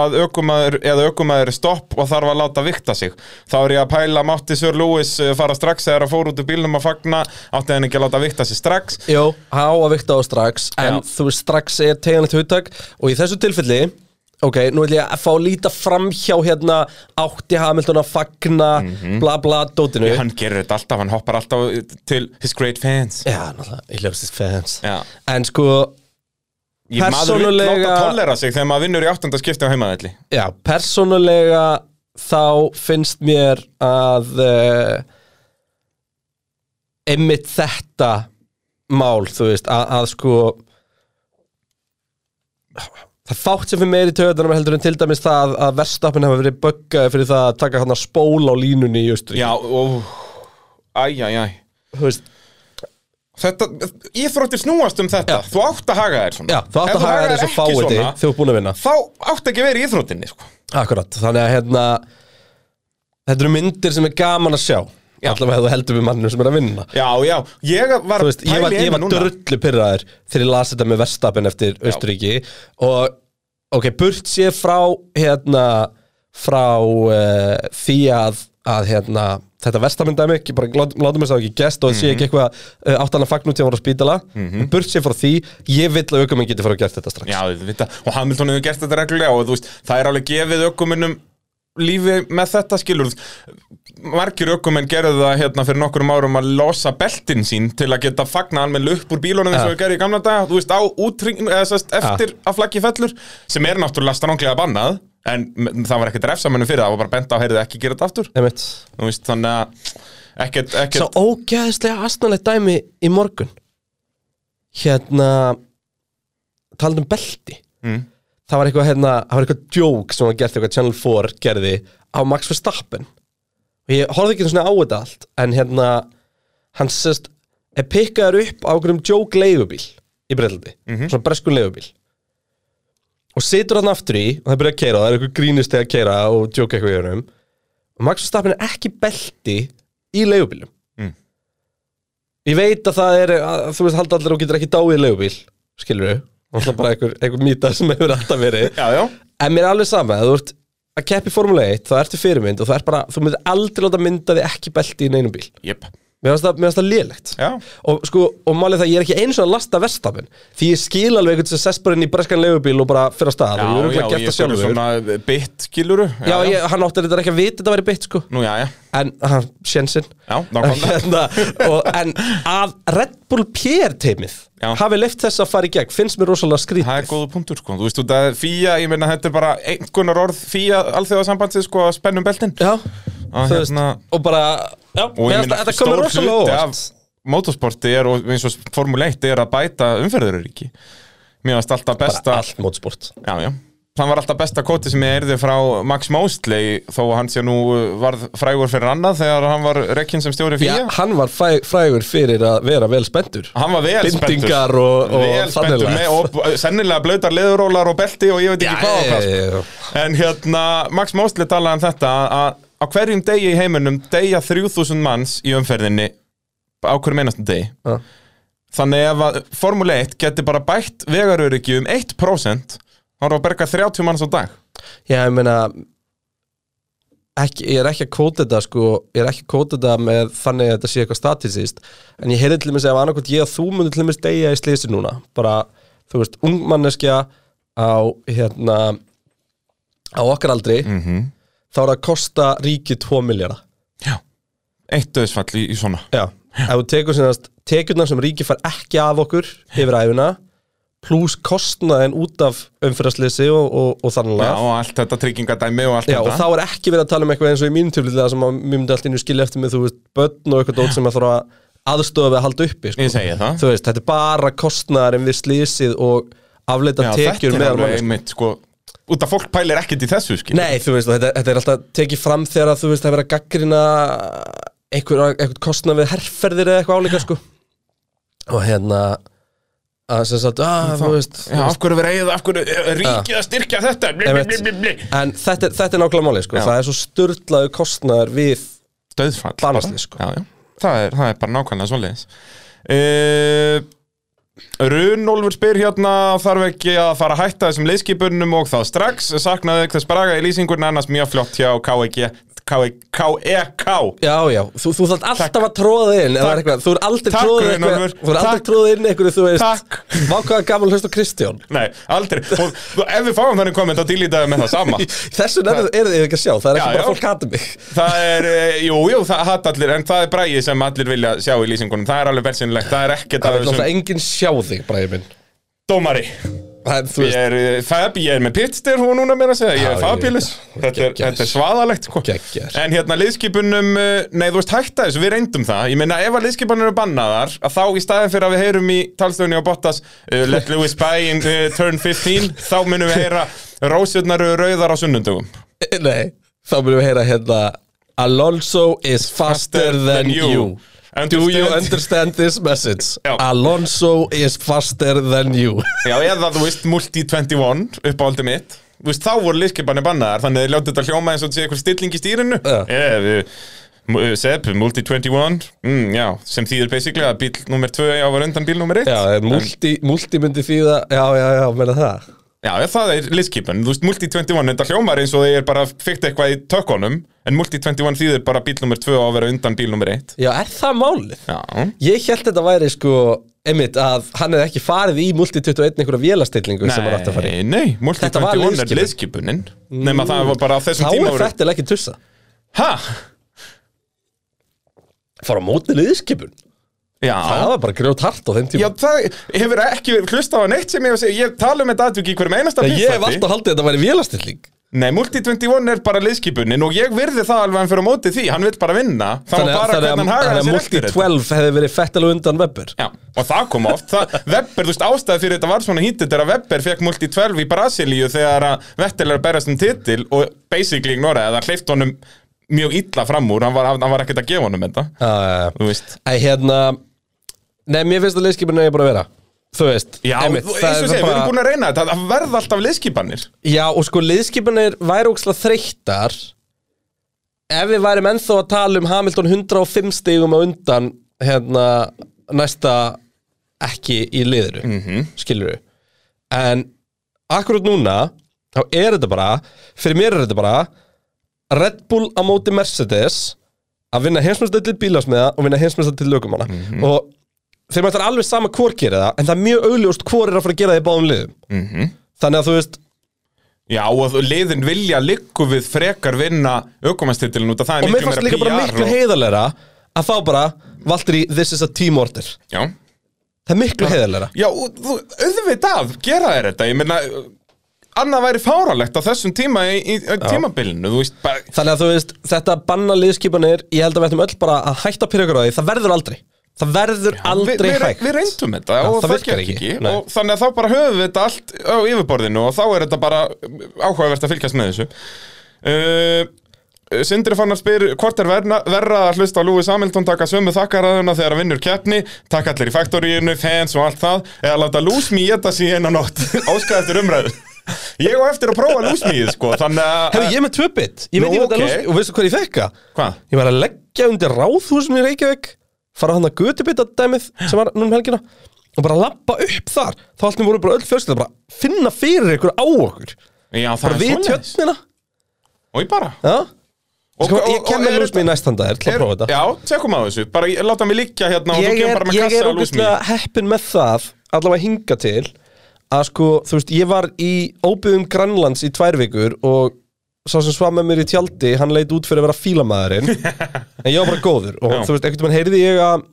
Speaker 3: að aukumaður eða aukumaður er stopp og þarf að láta vikta sig. Þá er ég að pæla mátti Sir Lewis uh, fara strax þegar að fór út úr bílnum að fagna, átti hann ekki að láta vikta sig strax.
Speaker 2: Jó, há að vikta á strax En
Speaker 3: Já.
Speaker 2: þú veist, strax er teganett hugtak Og í þessu tilfelli Ok, nú vil ég að fá að líta framhjá hérna Átti Hamilton að fagna Bla bla dótinu
Speaker 3: Hann gerir þetta alltaf, hann hoppar alltaf til his great fans.
Speaker 2: Já, náttúrulega, ég lögst þess fans
Speaker 3: Já.
Speaker 2: En sko,
Speaker 3: Ég maður vil
Speaker 2: Persónulega-
Speaker 3: láta tollera sig þegar maður vinnur í áttunda skipti á heimaðalli.
Speaker 2: já, persónulega Þá finnst mér að uh, Einmitt þetta Mál, þú veist Að, að sko Það er fátt sem fyrir meiri töðunum heldur en til dæmis það að verstafin hafa verið böggaði fyrir það að taka hann að spóla á línunni í Austurík.
Speaker 3: Já, ó, æj, æj, æj.
Speaker 2: Þú veist,
Speaker 3: Þetta, íþróttir snúast um þetta Þú átt að haga þér svona
Speaker 2: já, þú átt
Speaker 3: Ef
Speaker 2: að haga þér eins og
Speaker 3: ekki
Speaker 2: fáið þig
Speaker 3: svona,
Speaker 2: þú ert búin að vinna.
Speaker 3: Þá átt ekki að vera í íþróttinni sko.
Speaker 2: Akkurat, þannig að hérna Þetta eru myndir sem er gaman að sjá Allavega þú heldur við mannum sem er að vinna
Speaker 3: Já, já, ég var
Speaker 2: Þú veist, ég var,
Speaker 3: pæli
Speaker 2: ég
Speaker 3: einu
Speaker 2: var dörrlu pyrraður þegar ég las þetta með verstapin eftir Austuríki og ok, burt sé frá hérna frá uh, því að, að hérna, þetta verstapindæmi ekki, bara lát- látum þess að ekki gest og mm sé ekki
Speaker 3: Mhm.
Speaker 2: eitthvað uh, áttan að fagn út til að voru á spítala burt sé frá því, ég vill að aukum geti fara að gert þetta strax
Speaker 3: Já, við vita, og Hamilton hefur gert þetta reglulega og þú veist, það er alveg gefið ökumunum lífi með þetta skilur margir ökumenn gerðu það hérna fyrir nokkrum árum að losa beltin sín til að geta fagna almenn upp úr bílunum eins og
Speaker 2: Ja.
Speaker 3: við gerði í gamla daga, þú veist, á útring eða sest, eftir að flaggi fellur, sem er náttúrulega stranglega bannað, en m- það var ekkert refsamennum fyrir það, það var bara bent á að heyrðu ekki gera þetta aftur
Speaker 2: Einmitt.
Speaker 3: þú veist, þannig að ekkert,
Speaker 2: Svo
Speaker 3: ekkert
Speaker 2: ógæðislega astnalegt dæmi í morgun Hérna Talandi um belti
Speaker 3: Mm.
Speaker 2: Það var eitthvað hérna Það var eitthvað djók sem var gert eitthvað Channel 4 gerði Á Max Verstappen Og ég horfði ekki svona á þetta allt En hérna Hann sérst Er pikkaður upp á einhverjum djók leigubíl Í Breitlandi Svona breskun leigubíl Og situr hann aftur í Og það er byrjað að keira Það er eitthvað grínist að keira Og djók eitthvað í hörnum Og Max Verstappen er ekki belti Í leigubílum Ég veit að það er, að, þú veist, halda allir og getur ekki dáið í leigubíl, skilur við og það er bara einhver, einhver mýta sem hefur alltaf verið
Speaker 3: já, já,
Speaker 2: en mér er alveg sama, ef þú ert að keppa í Formule 1, þá ertu fyrirmynd og þú ert bara, þú myndir aldrei láta mynda þig ekki belti í neinum bíl,
Speaker 3: jep
Speaker 2: mér finnst það, mér finnst það lélegt
Speaker 3: já,
Speaker 2: og sko, og málið það, ég er ekki eins og að lasta verstafinn, því ég skil alveg einhvern sem sest bara inn í breskan leigubíl og bara fyrir að stað
Speaker 3: já, já,
Speaker 2: og ég er ekki
Speaker 3: ég
Speaker 2: eftir sjálfur
Speaker 3: skilur svona bitt skiluru
Speaker 2: já, ég, hann átti þetta ekki að vita þetta væri beitt sko,
Speaker 3: nú, já, já,
Speaker 2: en, ha, sjensinn
Speaker 3: já, nákvæmlega
Speaker 2: hérna, og, en að Red Bull PR teimið
Speaker 3: Já.
Speaker 2: hafi leift þess að fara í gegn finnst mér rosalega skrítið
Speaker 3: Það er góða punktur sko, þú veist þú það er fíja, ég meina þetta er bara einhvernar orð fíja alþjóðasambandsið sko að spennum beltin
Speaker 2: já,
Speaker 3: að
Speaker 2: þú veist, og bara já,
Speaker 3: hérna- og ég
Speaker 2: mér finnst
Speaker 3: meina
Speaker 2: að þetta komið rosalega óvart
Speaker 3: motorsporti er og eins og Formule 1 er að bæta umferðururíki Mér varst alltaf
Speaker 2: bara
Speaker 3: besta
Speaker 2: allt mótsport
Speaker 3: já, já. Hann var alltaf besta kóti sem ég erði frá Max Mosley þó að hann sé nú uh, varð frægur fyrir annað þegar hann var rekkinn sem stjóri
Speaker 2: já,
Speaker 3: fíja
Speaker 2: hann var fræ, frægur fyrir að vera vel spendur
Speaker 3: Hann var vel spenntur
Speaker 2: Bindingar og- og
Speaker 3: Vel spenntur
Speaker 2: þannig
Speaker 3: með
Speaker 2: lagað.
Speaker 3: og b- sennilega blautar leðurólar og belti og ég veit ekki hvað og hvað sko. En hérna, Max Mosley talaði um þetta að á hverjum degi í heiminum deyja 3000 manns í umferðinni á hverjum einastum degi
Speaker 2: Ja.
Speaker 3: Þannig ef að Formule 1 geti bara bætt vegaröryggi um 1% þá erum við að berga 30 manns á dag
Speaker 2: já, ég meina Ekki, ég er ekki að kóta þetta sko, ég er ekki að kóta þetta með þannig að þetta sé eitthvað statisíst en ég heyrði til mér að annarkvæmt ég að þú munir til mér deyja í slýsi núna bara, þú veist, ungmanneskja á hérna á okkar aldri
Speaker 3: Mhm.
Speaker 2: þá er það að kosta ríki 2 miljara
Speaker 3: Eitt döðsfall í, í svona
Speaker 2: Já, ef þú tekur sinnast tekjurnar sem ríki fær ekki af okkur yfir æfina pluss kostnaðin út af umfyrarslýsi og, og, og þannig
Speaker 3: Já,
Speaker 2: lagað.
Speaker 3: og allt þetta tryggingadæmi og allt
Speaker 2: Já, og
Speaker 3: þetta
Speaker 2: þá er ekki verið að tala um eitthvað eins og í mínum töflilega sem að mér myndi allt inni skilja eftir með, þú veist, börn og eitthvað dót sem að þarf að aðstofa við að halda uppi, sko.
Speaker 3: Ég segi það.
Speaker 2: Þú veist, þetta er bara kostnaðarinn við slísið og
Speaker 3: Já,
Speaker 2: afleita tekjur
Speaker 3: þetta er
Speaker 2: meðal
Speaker 3: alveg
Speaker 2: manni.
Speaker 3: einmitt sko út að fólk pælir ekkert í þessu skil
Speaker 2: Nei, þú veist, og þetta, þetta er alltaf tekið fram þegar að þú veist, það er verið að gaggrina einhver, einhvern kostnað við herrferðir eða eitthvað álíka, sko og hérna að sem sagt, að, þú veist
Speaker 3: Já, af hverju við reyða, af hverju eh, ríkið að styrkja þetta bli, bli, bli, bli, bli.
Speaker 2: en þetta, er- þetta er nákvæmlega máli, sko
Speaker 3: Já.
Speaker 2: það er svo sturlaðu kostnaður við
Speaker 3: Döðfall
Speaker 2: Banaslys, sko.
Speaker 3: já, já. Það, er, það er bara nákvæmlega svoleiðis uh, Runolfur spyr hérna þarf ekki að fara að hætta þessum leyskipunum og það strax saknaði þess braga í lýsingurinn annars mjög flott hjá E KEG KEK
Speaker 2: Já, já, þú, þú þarf alltaf að tróða þig inn ef það er
Speaker 3: Takk.
Speaker 2: eitthvað, þú er aldrei
Speaker 3: Takk,
Speaker 2: tróðið
Speaker 3: Runólfur.
Speaker 2: eitthvað þú er aldrei
Speaker 3: Takk.
Speaker 2: tróðið inn eitthvað, þú veist
Speaker 3: Takk.
Speaker 2: vákaða gaman hlust á Kristján
Speaker 3: Nei, aldrei og, og ef við fáum þannig komment að dýlítaði með það sama
Speaker 2: Þessu nefnir er þið ekki að sjá, það er
Speaker 3: Já,
Speaker 2: ekki
Speaker 3: já.
Speaker 2: bara fólk hata mig
Speaker 3: Það er, eh, jú, jú, það hatt allir en það er bragið sem allir vilja sjá í lýsingunum það er alveg versinlegt, það er ekkert af
Speaker 2: Það er
Speaker 3: þessum
Speaker 2: náttúrulega enginn sjá þig, bræði minn
Speaker 3: Dómari
Speaker 2: En þú
Speaker 3: Ég
Speaker 2: veist,
Speaker 3: er eh, Fab, ég er með Pitster hún núna meira að segja, ég er
Speaker 2: Já, ég
Speaker 3: Fabulous
Speaker 2: veit það.
Speaker 3: þetta er,
Speaker 2: Geggjaður.
Speaker 3: þetta er svaðalegt sko.
Speaker 2: Geggjaður.
Speaker 3: En hérna liðskipunum, eh, nei þú veist hætta þessu, við reyndum það Ég meina ef að liðskipunum eru bannaðar að þá í staðin fyrir að við heyrum í talstöðunni á Bottas uh, Let Lewis buy in uh, turn 15 þá munum við heyra rósjörnar eru rauðar á sunnundugum
Speaker 2: nei, þá munum við heyra hérna Alonso is faster than you Do you understand this message?
Speaker 3: Já.
Speaker 2: Alonso is faster than you
Speaker 3: Já, eða þú veist Multi21 uppáhaldið mitt Þú veist, þá voru liðskipanir bannaðar Þannig að þið ljótið þetta hljóma eins og þetta sé eitthvað stilling í stýrinu
Speaker 2: Já.
Speaker 3: Ég, við, mu- Sepp, Multi21 mm, Já, sem þýðir basically að bíl nummer 2 Já, var undan bíl nummer 1
Speaker 2: Já, eh, multi, multi myndi þýða Já, já, já, meina það
Speaker 3: Já, ég, það er liðskipan Þú veist, Multi21 þetta hljómar eins og þið er bara fyrkt eitthvað í tökkunum En Multi21 þýðir bara bíl nummer 2 Á að vera undan bíl nummer 1
Speaker 2: Já, er það málið?
Speaker 3: Já,
Speaker 2: Ég held þetta væri sko einmitt að hann hefði ekki farið í multi 21 einhverja vélastillingu sem hann átti að fara í
Speaker 3: nei, nei
Speaker 2: Þetta var
Speaker 3: Multi21 er
Speaker 2: liðskipun. Mm.
Speaker 3: liðskipunin Nefn að það var bara á
Speaker 2: Þá
Speaker 3: þessum tíma
Speaker 2: er Fettel ekki tussa
Speaker 3: Hæ?
Speaker 2: Fara á mótið liðskipun
Speaker 3: Já
Speaker 2: Það var bara grjót hart á þeim
Speaker 3: Já,
Speaker 2: tíma
Speaker 3: það hefur ekki hlustað á neitt sem ég hef að segja, ég tala um þetta aðviki í hverjum einasta
Speaker 2: Ég hef
Speaker 3: pissþætti.
Speaker 2: alltaf haldið að þetta væri vélastilling
Speaker 3: Nei, Multi21 er bara liðskipunin og ég virði það alveg hann fyrir á móti því, hann vil bara vinna Það var
Speaker 2: Þannig að,
Speaker 3: bara
Speaker 2: þannig að,
Speaker 3: hvernig hann
Speaker 2: þannig
Speaker 3: hagaði
Speaker 2: að
Speaker 3: sér
Speaker 2: Multi
Speaker 3: eftir þetta
Speaker 2: 12 hefði verið Fettel og undan Webber
Speaker 3: Já, og það kom oft, það, Webber, þú veist, ástæði fyrir þetta var svona hítið þegar Webber fekk Multi12 í Brasilíu þegar að Vettel er að berast um titil og basically ignoraði að það hleyft honum mjög illa fram úr, hann var, hann var ekkert að gefa honum þetta,
Speaker 2: Já, já, já
Speaker 3: þú veist
Speaker 2: Æ, hérna Nei, mér finnst að liðskipinu er bara að vera Þú veist
Speaker 3: Já,
Speaker 2: einmitt,
Speaker 3: þú- eins og segja, við erum búin að reyna þetta, það verða alltaf liðskipanir
Speaker 2: Já, og sko liðskipinu er væri ógslag þreyttar Ef við værim ennþá að tala um Hamilton 105 stigum á undan Hérna, næsta Ekki í liðru mm -hmm. Skilur við En akkurat núna Þá er þetta bara, fyrir mér er þetta bara Red Bull á móti Mercedes að vinna heimsmyndstöld til bílasmiða og vinna heimsmyndstöld til lögumanna og þeim ætlar alveg sama hvort gerir það en það er mjög augljóst hvort er að fara að gera það í báðum liðum -hmm. þannig að þú veist
Speaker 3: Já, og liðin vilja liggu við frekar vinna aukomanstitilin út af það er
Speaker 2: og mér
Speaker 3: miklu
Speaker 2: fannst
Speaker 3: meira
Speaker 2: líka bara
Speaker 3: PR
Speaker 2: miklu
Speaker 3: og-
Speaker 2: heiðarleira að þá bara Valtteri, this is a team order
Speaker 3: Já,
Speaker 2: það er miklu heiðarleira
Speaker 3: já og þú, auðvitað, gera þér þetta, ég meina annað væri fáralegt á þessum tíma í, í í tímabilinu, þú veist bara,
Speaker 2: þannig að þú veist, þetta banna liðskipanir ég held að við ættum öll bara að hætta að pyrra ykkur á því það verður aldrei, það verður
Speaker 3: við,
Speaker 2: aldrei
Speaker 3: við,
Speaker 2: hægt
Speaker 3: við reyndum þetta
Speaker 2: Já,
Speaker 3: og
Speaker 2: það
Speaker 3: það, það
Speaker 2: virkar
Speaker 3: gekk
Speaker 2: ekki.
Speaker 3: ekki,
Speaker 2: Nei.
Speaker 3: og þannig að þá bara höfum við þetta allt á yfirborðinu og þá er þetta bara áhugavert að fylgjast með þessu uh, Sindri fann að spyr hvort er verna, verra að hlusta á Lewis Hamilton taka sömu þakkaraðuna þegar hann vinnur keppni taka allir í faktoríinu, fans og allt það eða láta lúsmi geta sig eina nótt óskað eftir umræðu Ég á eftir að prófa lúsmið sko, þannig að
Speaker 2: Hefur ég er með tvöbit Ég
Speaker 3: Nú,
Speaker 2: veit ég veit
Speaker 3: ok.
Speaker 2: okay. Og veistu hvað ég fekk það?
Speaker 3: Hvað?
Speaker 2: Ég var að leggja undir ráðhúsinu í Reykjavík Fara hann að götubita dæmið sem var núna um helgina Og bara lappa upp þar Þá allir voru bara öll fjölskylda bara að Finna fyrir ykkur á okkur
Speaker 3: Já, það
Speaker 2: Bara
Speaker 3: er
Speaker 2: við
Speaker 3: svoleiðis.
Speaker 2: tjötnina
Speaker 3: Og ég bara
Speaker 2: Já
Speaker 3: Og-
Speaker 2: Sko,
Speaker 3: og-
Speaker 2: ég
Speaker 3: og
Speaker 2: kem með
Speaker 3: er
Speaker 2: lús mín næstanda þér til að
Speaker 3: Er,
Speaker 2: prófa þetta
Speaker 3: já, tekum á þessu, bara ég- láta mig liggja hérna og þú
Speaker 2: Ég
Speaker 3: kemur
Speaker 2: er,
Speaker 3: bara með
Speaker 2: ég er
Speaker 3: kassa af lúsmi
Speaker 2: ógustlega heppin með það Allavega hinga til Að sko, þú veist, ég var í óbyðum Grænlands í tvær vikur Og sá sem svað með mér í tjaldi Hann leit út fyrir að vera fílamaðurinn En ég var bara góður Og
Speaker 3: Já.
Speaker 2: þú veist, einhvern veginn heyrði ég að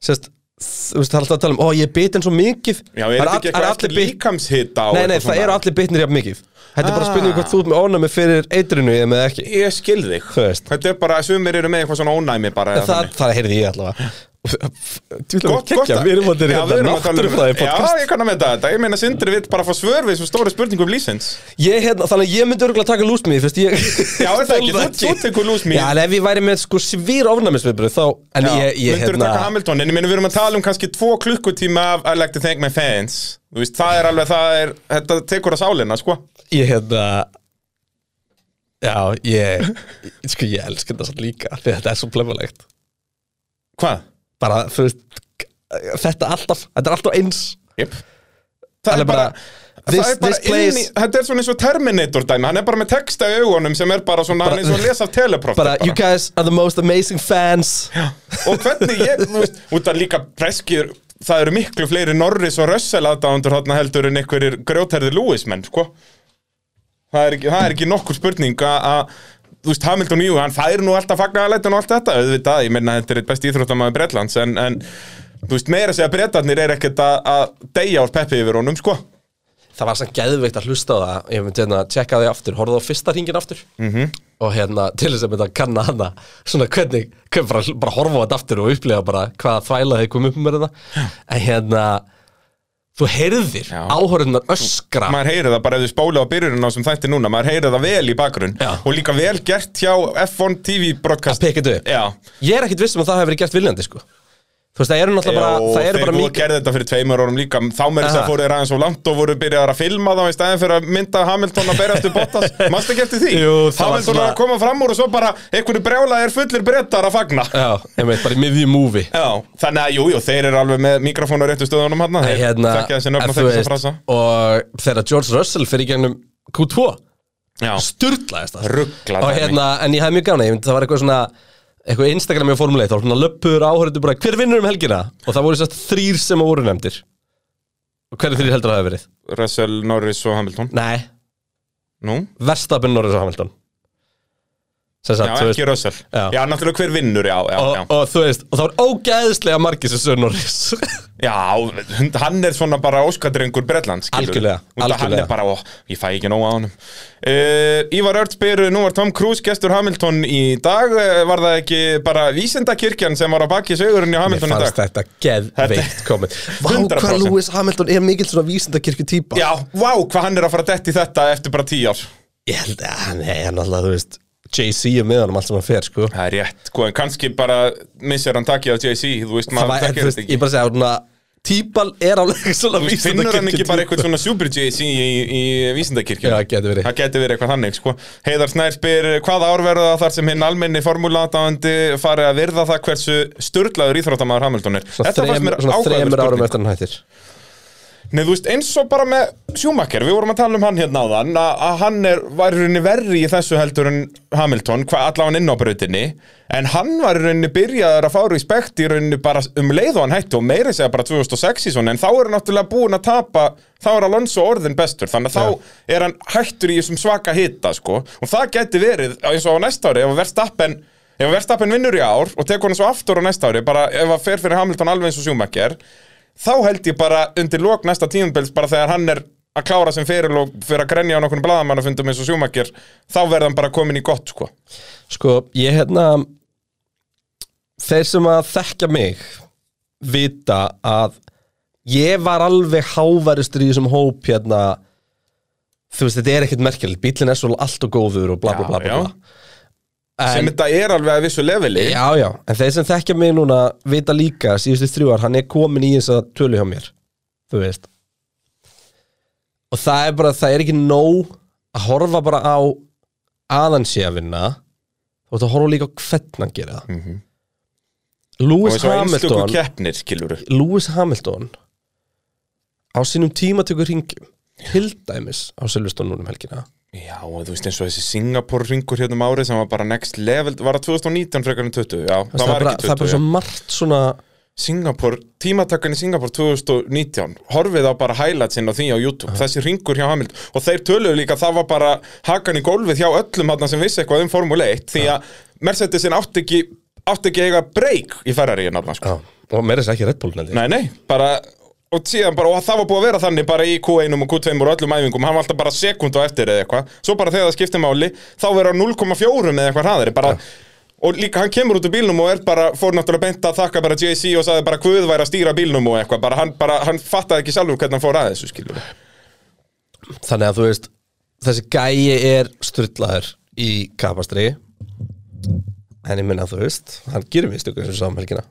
Speaker 2: sérst, Þú veist, það er alltaf að tala um Ó, ég er bitin svo mikið
Speaker 3: Já, er
Speaker 2: Það
Speaker 3: þetta ekki
Speaker 2: all- það
Speaker 3: eitthvað eftir
Speaker 2: allir bit-
Speaker 3: líkamshita og
Speaker 2: Nei, nei,
Speaker 3: eitthvað
Speaker 2: það
Speaker 3: svona?
Speaker 2: eru allir bitnir jafn mikið Þetta er bara
Speaker 3: Ah.
Speaker 2: að spynja hvort þú ert með ónæmi fyrir eitrinu Ég með ekki
Speaker 3: Ég skil þig
Speaker 2: Þú veist.
Speaker 3: Þetta er bara, sumir eru með eitthvað svona ónæmi bara eða
Speaker 2: það,
Speaker 3: þannig.
Speaker 2: það heyrði ég allavega Tjúlega var kekja, við erum að
Speaker 3: Já,
Speaker 2: þetta
Speaker 3: við erum að
Speaker 2: er
Speaker 3: tala um-
Speaker 2: náttúrufræði
Speaker 3: Já,
Speaker 2: podcast
Speaker 3: ég kann að með þetta, ég meina Sindri vill bara fá svör við þessum stóru spurningum lísins
Speaker 2: ég, hérna, Þannig að ég myndi örgulega taka lúsmi Já,
Speaker 3: Já, er
Speaker 2: er
Speaker 3: það ekki, þú, þú tekur lús mín
Speaker 2: Já, en ef ég væri með sko svýr ofnæmisviðbröð þá En ég, hérna- ég,
Speaker 3: myndur taka Hamilton, en ég meina við erum að tala um kannski tvo klukkutíma af I like to thank my fans Þú veist, það er alveg, það er, þetta tekur að sálinna, sko
Speaker 2: ég hérna Já, ég Sko, ég elska þetta samt líka Því þetta er svo plöfulegt
Speaker 3: Hvað?
Speaker 2: Bara, þú veist Þetta alltaf, þetta er alltaf eins
Speaker 3: Jep Það
Speaker 2: Alveg
Speaker 3: er bara,
Speaker 2: bara, this-
Speaker 3: það er bara
Speaker 2: this place-
Speaker 3: inn í, þetta er svona eins og Terminator dæmi, hann er bara með texta í augunum sem er bara svona, hann er svona að lesa af teleprompter
Speaker 2: Bara, you guys are the most amazing fans
Speaker 3: Já, og hvernig ég, þú veist, út að líka preskir, það eru miklu fleiri Norris og Russell aðdáðundur hátna heldur en einhverjir grjótherði Lewis menn, sko. Það er ekki, það er ekki nokkur spurning að, að, þú veist, Hamilton, jú, hann fær nú alltaf fagnaðalætin og allt þetta, auðvitað, ég meina þetta er eitt best íþróttamaður Bretlands, en, en, þú veist, meira að segja Bretarnir er ekkert að, að deyja úr peppi yfir honum, sko.
Speaker 2: Það var samt geðveikt að hlusta á það Ég myndi hérna, tjekka því aftur, horfðu á fyrsta ringin aftur
Speaker 3: Mhm.
Speaker 2: -hmm. Og hérna, til þess að mynda að kanna hana Svona hvernig, hvernig bara, bara horfa á þetta aftur og upplega bara Hvaða þvæla þeir komið upp með þetta En hérna, þú heyrðir
Speaker 3: Já.
Speaker 2: áhorðunar öskra
Speaker 3: maður heyrir það bara ef þið spóla á byrjunum á sem þætti núna, maður heyrir það vel í bakgrunn
Speaker 2: Já.
Speaker 3: og líka vel gert hjá F1 TV broadcast
Speaker 2: Að pikka þetta upp.
Speaker 3: Já,
Speaker 2: Ég er ekkit viss um að það hefur verið gert viljandi sko Þú veist, það eru náttúrulega bara,
Speaker 3: Jó,
Speaker 2: það eru
Speaker 3: þeir
Speaker 2: bara
Speaker 3: voru
Speaker 2: mikið
Speaker 3: gerði þetta fyrir tveimur árum líka þá með þess
Speaker 2: Aha.
Speaker 3: að fóru þeir aðeins og langt og voru byrjaðar að filma þá í staðin fyrir að mynda Hamilton að berjast um Bottas mannst ekki eftir því
Speaker 2: Jú, það var
Speaker 3: Hamilton
Speaker 2: svona-
Speaker 3: er að koma fram úr og svo bara einhverju brjála er fullir brettar að fagna
Speaker 2: Já, ég veit, bara í miðjum múfi
Speaker 3: Já, þannig að jú, jú, þeir eru alveg með mikrofónu réttu stöðunum hann þeir
Speaker 2: hérna,
Speaker 3: þekkja þessi nöfn
Speaker 2: en
Speaker 3: og
Speaker 2: þú
Speaker 3: þekkja þessi
Speaker 2: veist,
Speaker 3: frasa
Speaker 2: Og þegar George Russell fyrir í gegnum Q2
Speaker 3: Já,
Speaker 2: Sturlaðist það
Speaker 3: Ruglað
Speaker 2: Og
Speaker 3: dæmi.
Speaker 2: hérna, en ég hafði mjög gana, ég myndi það var eitthvað svona Eitthvað Instagram í formuleið, þá var svona löppur áhörðu bara Hver vinnur um helgina? Og það voru sérst þrýr sem voru nefndir Og hverju þrýr heldur að það hafi verið?
Speaker 3: Russell, Norris og Hamilton
Speaker 2: Nei,
Speaker 3: Nú,
Speaker 2: Verstappen, Norris og Hamilton Sem
Speaker 3: já,
Speaker 2: sagt, þú veist-
Speaker 3: ekki Russell
Speaker 2: Já.
Speaker 3: Já, náttúrulega hver vinnur, já, já,
Speaker 2: og,
Speaker 3: já
Speaker 2: og þú veist, og það var ógæðislega margir sem Sir Norris
Speaker 3: Já, hund- hann er svona bara óskadrengur Bretland, skilur
Speaker 2: Algjörlega,
Speaker 3: Hann
Speaker 2: algjörlega.
Speaker 3: er bara, ó, ég fæ ekki nóg á honum uh, Ívar Örd spyr, nú var Tom Cruise gestur Hamilton í dag eh, Var það ekki bara vísindakirkjan sem var á baki sögurinn í
Speaker 2: Mér
Speaker 3: Hamilton í dag?
Speaker 2: fannst þetta geðveikt komið Vá,
Speaker 3: 100%.
Speaker 2: hvað Lewis Hamilton er mikill svona vísindakirkju típa
Speaker 3: Já, vá, hvað hann er að fara að detti þetta eftir bara tíu ár
Speaker 2: Ég held að hann er náttúrulega, þú veist Jay-Z er með honum allt sem hann fer, sko
Speaker 3: Það er rétt, sko, en kannski bara missir hann takið á JC, þú veist,
Speaker 2: Það
Speaker 3: maður
Speaker 2: var,
Speaker 3: þekkir
Speaker 2: þú veist,
Speaker 3: þetta
Speaker 2: ég
Speaker 3: ekki
Speaker 2: bara segja, svona Típal er alveg svona
Speaker 3: Finnur hann
Speaker 2: vísindakirkju
Speaker 3: ekki bara eitthvað svona super JC í, í vísindakirkjum?
Speaker 2: Já, það getur verið.
Speaker 3: Það getur verið eitthvað þannig, sko. Heiðar Snær spyr hvaða ár verða það þar sem hinn almenni formúlaðdáðandi fari að virða það hversu sturlaður íþróttamaður Hamilton er?
Speaker 2: Svona þrem- svona þremur árum eftir hann hættir
Speaker 3: Nei, þú veist, eins og bara með Schumacher, við vorum að tala um hann hérna áðan, að að hann er, var í rauninni verri í þessu heldur en Hamilton, hvað allavega inn á brautinni, en hann var í rauninni byrjaður að fára í spekt í rauninni bara um leið og hann hættu og meiri segja bara 2006 í svona, en þá er hann náttúrulega búin að tapa, þá er Alonso orðin bestur, þannig að þá er hann hættur í þessum svaka hita, sko, og það geti verið, eins og á næsta ári, ef að Verstappen Ef að Verstappen vinnur í ár og tekur hann svo aftur á næsta ári, bara ef að fer fyrir Hamilton alveg eins og Schumacher, þá held ég bara undir lok næsta tímumbils bara þegar hann er að klára sem fyrir og fyrir að grenja á nokkurnu blaðamannafundum eins og sjúmakir þá verða hann bara komin í gott sko
Speaker 2: Sko, ég hérna Þeir sem að þekkja mig vita að ég var alveg hávaristur í þessum hóp hérna þú veist, þetta er ekkert merkilegt, bílinn er svo allt og góður og bla bla
Speaker 3: Já,
Speaker 2: bla bla,
Speaker 3: já.
Speaker 2: bla.
Speaker 3: sem
Speaker 2: En,
Speaker 3: þetta er alveg að vissu leveli
Speaker 2: já, já, en þeir sem þekkja mig núna vita líka að síðustu þrjúar, hann er komin í þess að tölu hjá mér, þú veist og það er bara það er ekki nóg að horfa bara á aðansi að vinna þú veist að horfa líka á hvernig hann gera það
Speaker 3: Mhm. og
Speaker 2: Lewis
Speaker 3: eins og einstöku
Speaker 2: Hamilton
Speaker 3: keppnir skilur
Speaker 2: Lewis Hamilton á sínum tímatöku ringjum til dæmis á Silveston núna um helgina
Speaker 3: já og þú veist eins og þessi Singapore ringur hérna um árið sem var bara next level var það 2019 frekar en 20 já, það,
Speaker 2: það, er
Speaker 3: var
Speaker 2: bara,
Speaker 3: ekki
Speaker 2: það
Speaker 3: 20
Speaker 2: er bara
Speaker 3: já.
Speaker 2: svo margt svona
Speaker 3: Singapore, tímatakkan í Singapore 2019, horfið á bara highlightsinn á því á YouTube, þessi ringur hjá Hamild og þeir töluðu líka, það var bara hakan í gólfið hjá öllum hann sem vissi eitthvað um Formule 1, því að Mercedesin átti ekki, átti ekki eiga breyk í Ferrari hérna, sko.
Speaker 2: já, og meira þess að ekki Red Bull nefndi
Speaker 3: Nei, nei, bara og síðan bara, og það var búið að vera þannig bara í Q1 og Q2 og öllum æfingum, hann var alltaf bara sekund á eftir eða eitthvað, svo bara þegar það skipti máli þá verður hann 0,4 eða eitthvað hraðari bara, og líka hann kemur út úr bílnum og er bara, fór náttúrulega beint að þakka bara JC og sagði bara Guð væri að stýra bílnum og eitthvað, bara hann, bara, hann fattaði ekki sjálfur hvernig hann fór að þessu skilur
Speaker 2: Þannig að þú veist Þessi gæi er strullaður í kapastri En ég minna þú veist Hann gerir mistökum sem samhelgina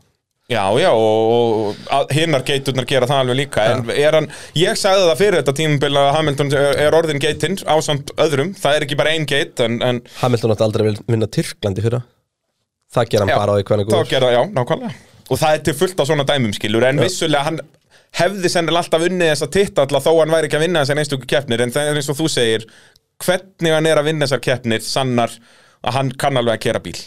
Speaker 3: Já, já, og, og að- hinnar geiturnar gera það alveg líka en er hann, ég sagði það fyrir þetta tímabil að Hamilton er, er orðin geitinn ásamt öðrum, það er ekki bara ein geit en, en
Speaker 2: Hamilton átti aldrei að vinna Tyrklandi fyrir Það ger hann bara á því hvernig
Speaker 3: þá gera, já, nákvæmlega og það er til fullt á svona dæmum skilur en vissulega hann hefði sennilega alltaf unnið þessa tittalla þó hann væri ekki að vinna þessar einstöku keppnir en það er eins og þú segir hvernig hann er að vinna þessar keppnir sannar að hann kann alveg að kera bíl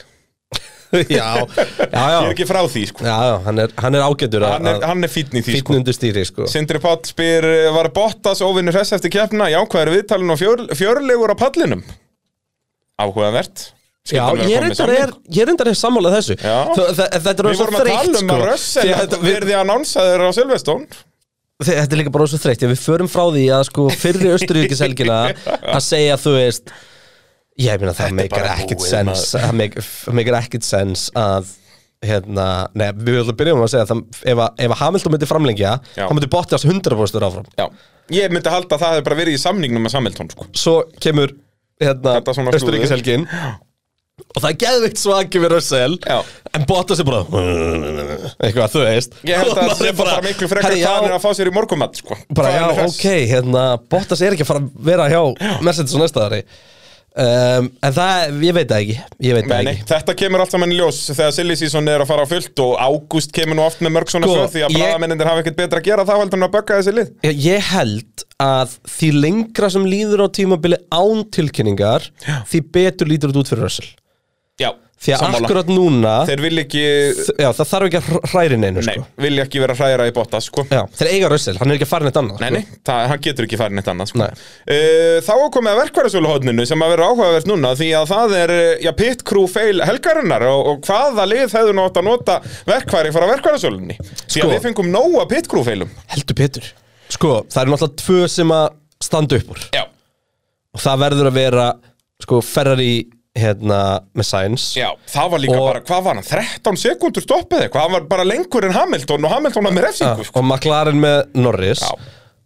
Speaker 3: ég
Speaker 2: Já, já, já,
Speaker 3: er
Speaker 2: já,
Speaker 3: ekki frá því sko
Speaker 2: já hann, er, hann er ágætur
Speaker 3: hann er, hann er fínn í því sko
Speaker 2: Fýtn undir stýri sko
Speaker 3: Sindri Pátt spyr, eh, var Bottas óvinnur hress eftir keppna? Já, hvað er viðtalin og fjör, fjörlegur á pallinum? Áhugavert.
Speaker 2: Já,
Speaker 3: Skyldan vera komin
Speaker 2: ég
Speaker 3: með
Speaker 2: reyndar
Speaker 3: samning.
Speaker 2: er, ég reyndar er sammálað þessu
Speaker 3: sko. Já.
Speaker 2: Þa, það, Þetta er
Speaker 3: Við
Speaker 2: orðið
Speaker 3: vorum
Speaker 2: svo
Speaker 3: að
Speaker 2: þreytt
Speaker 3: tala um að
Speaker 2: sko Því
Speaker 3: Russell
Speaker 2: að þetta- við-
Speaker 3: verði annánsaður á Silveston.
Speaker 2: Þe- þetta er líka bara svo þreytt ef við förum frá því að sko fyrri Östuríkishelgina að segja þú veist ég meina það meikar
Speaker 3: bara
Speaker 2: ekkit
Speaker 3: búið,
Speaker 2: sens það meik- það meikar ekkit sens að hérna, nei, við höfum að byrja um að segja það, ef, að, ef að Hamilton myndi framlengja
Speaker 3: Já.
Speaker 2: þá myndi Bottas 100% áfram
Speaker 3: Já. Ég myndi halda að það hefði bara verið í samningnum með Samilton, sko.
Speaker 2: svo kemur hérna,
Speaker 3: Þetta svona slúður.
Speaker 2: Östuríkishelgin og það er geðvikt svaki við Russell
Speaker 3: Já.
Speaker 2: en Bottas er bara eitthvað, þú veist
Speaker 3: Ég held að
Speaker 2: Og
Speaker 3: það
Speaker 2: maður
Speaker 3: sé
Speaker 2: er
Speaker 3: bara miklu frekar
Speaker 2: herri, já,
Speaker 3: hvað hann er að fá sér í morgumat, sko.
Speaker 2: bara
Speaker 3: Hvað
Speaker 2: já,
Speaker 3: hann er hress.
Speaker 2: ok, hérna Bottas er ekki að fara að vera hjá Mercedes á næsta ári um, en það, ég veit það ekki ég veit
Speaker 3: Nei,
Speaker 2: það
Speaker 3: nei,
Speaker 2: ekki
Speaker 3: þetta kemur allt saman í ljós þegar Silly Season er að fara á fullt og ágúst kemur nú oft með mörg svona
Speaker 2: Sko,
Speaker 3: svör því að
Speaker 2: ég-
Speaker 3: bladamennindir hafa ekkert betra að gera þá heldur hann að bögga þessi lið.
Speaker 2: Ég- ég held að því lengra sem líður á tímabili án tilkynningar því betur lítur þetta út fyrir Russell
Speaker 3: Já,
Speaker 2: því að
Speaker 3: sammála.
Speaker 2: akkurat núna
Speaker 3: Þeir vil ekki
Speaker 2: þ- já, það þarf ekki að hræri neinu
Speaker 3: Nei,
Speaker 2: sko.
Speaker 3: vilja ekki vera hræra í Bottas sko.
Speaker 2: já, þeir eiga Russell, hann er ekki að fara neitt annað sko.
Speaker 3: Nei, nei, það, hann getur ekki farin eitt annað sko.
Speaker 2: Nei.
Speaker 3: uh, Þá er komið að verkvarðasöluhóðninu sem að vera áhugavert núna því að það er eh, já, pit crew fail helgarinnar og, og hvaða lið hefðu nátt að nota verkværi frá verkvarðasölunni Því
Speaker 2: Sko.
Speaker 3: að við fengum nóga pit crew failum
Speaker 2: sko. heldur betur sko, það eru náttúrulega tvö sem að standa upp úr
Speaker 3: Já,
Speaker 2: og það verður að vera sko, Ferrari hérna, með Sainz
Speaker 3: já, það var líka
Speaker 2: Og-
Speaker 3: bara, hvað var hann, 13 sekundur stoppið eitthvað, hann var bara lengur en Hamilton og Hamilton var með refsingu
Speaker 2: og
Speaker 3: sko.
Speaker 2: McLaren með Norris
Speaker 3: Já.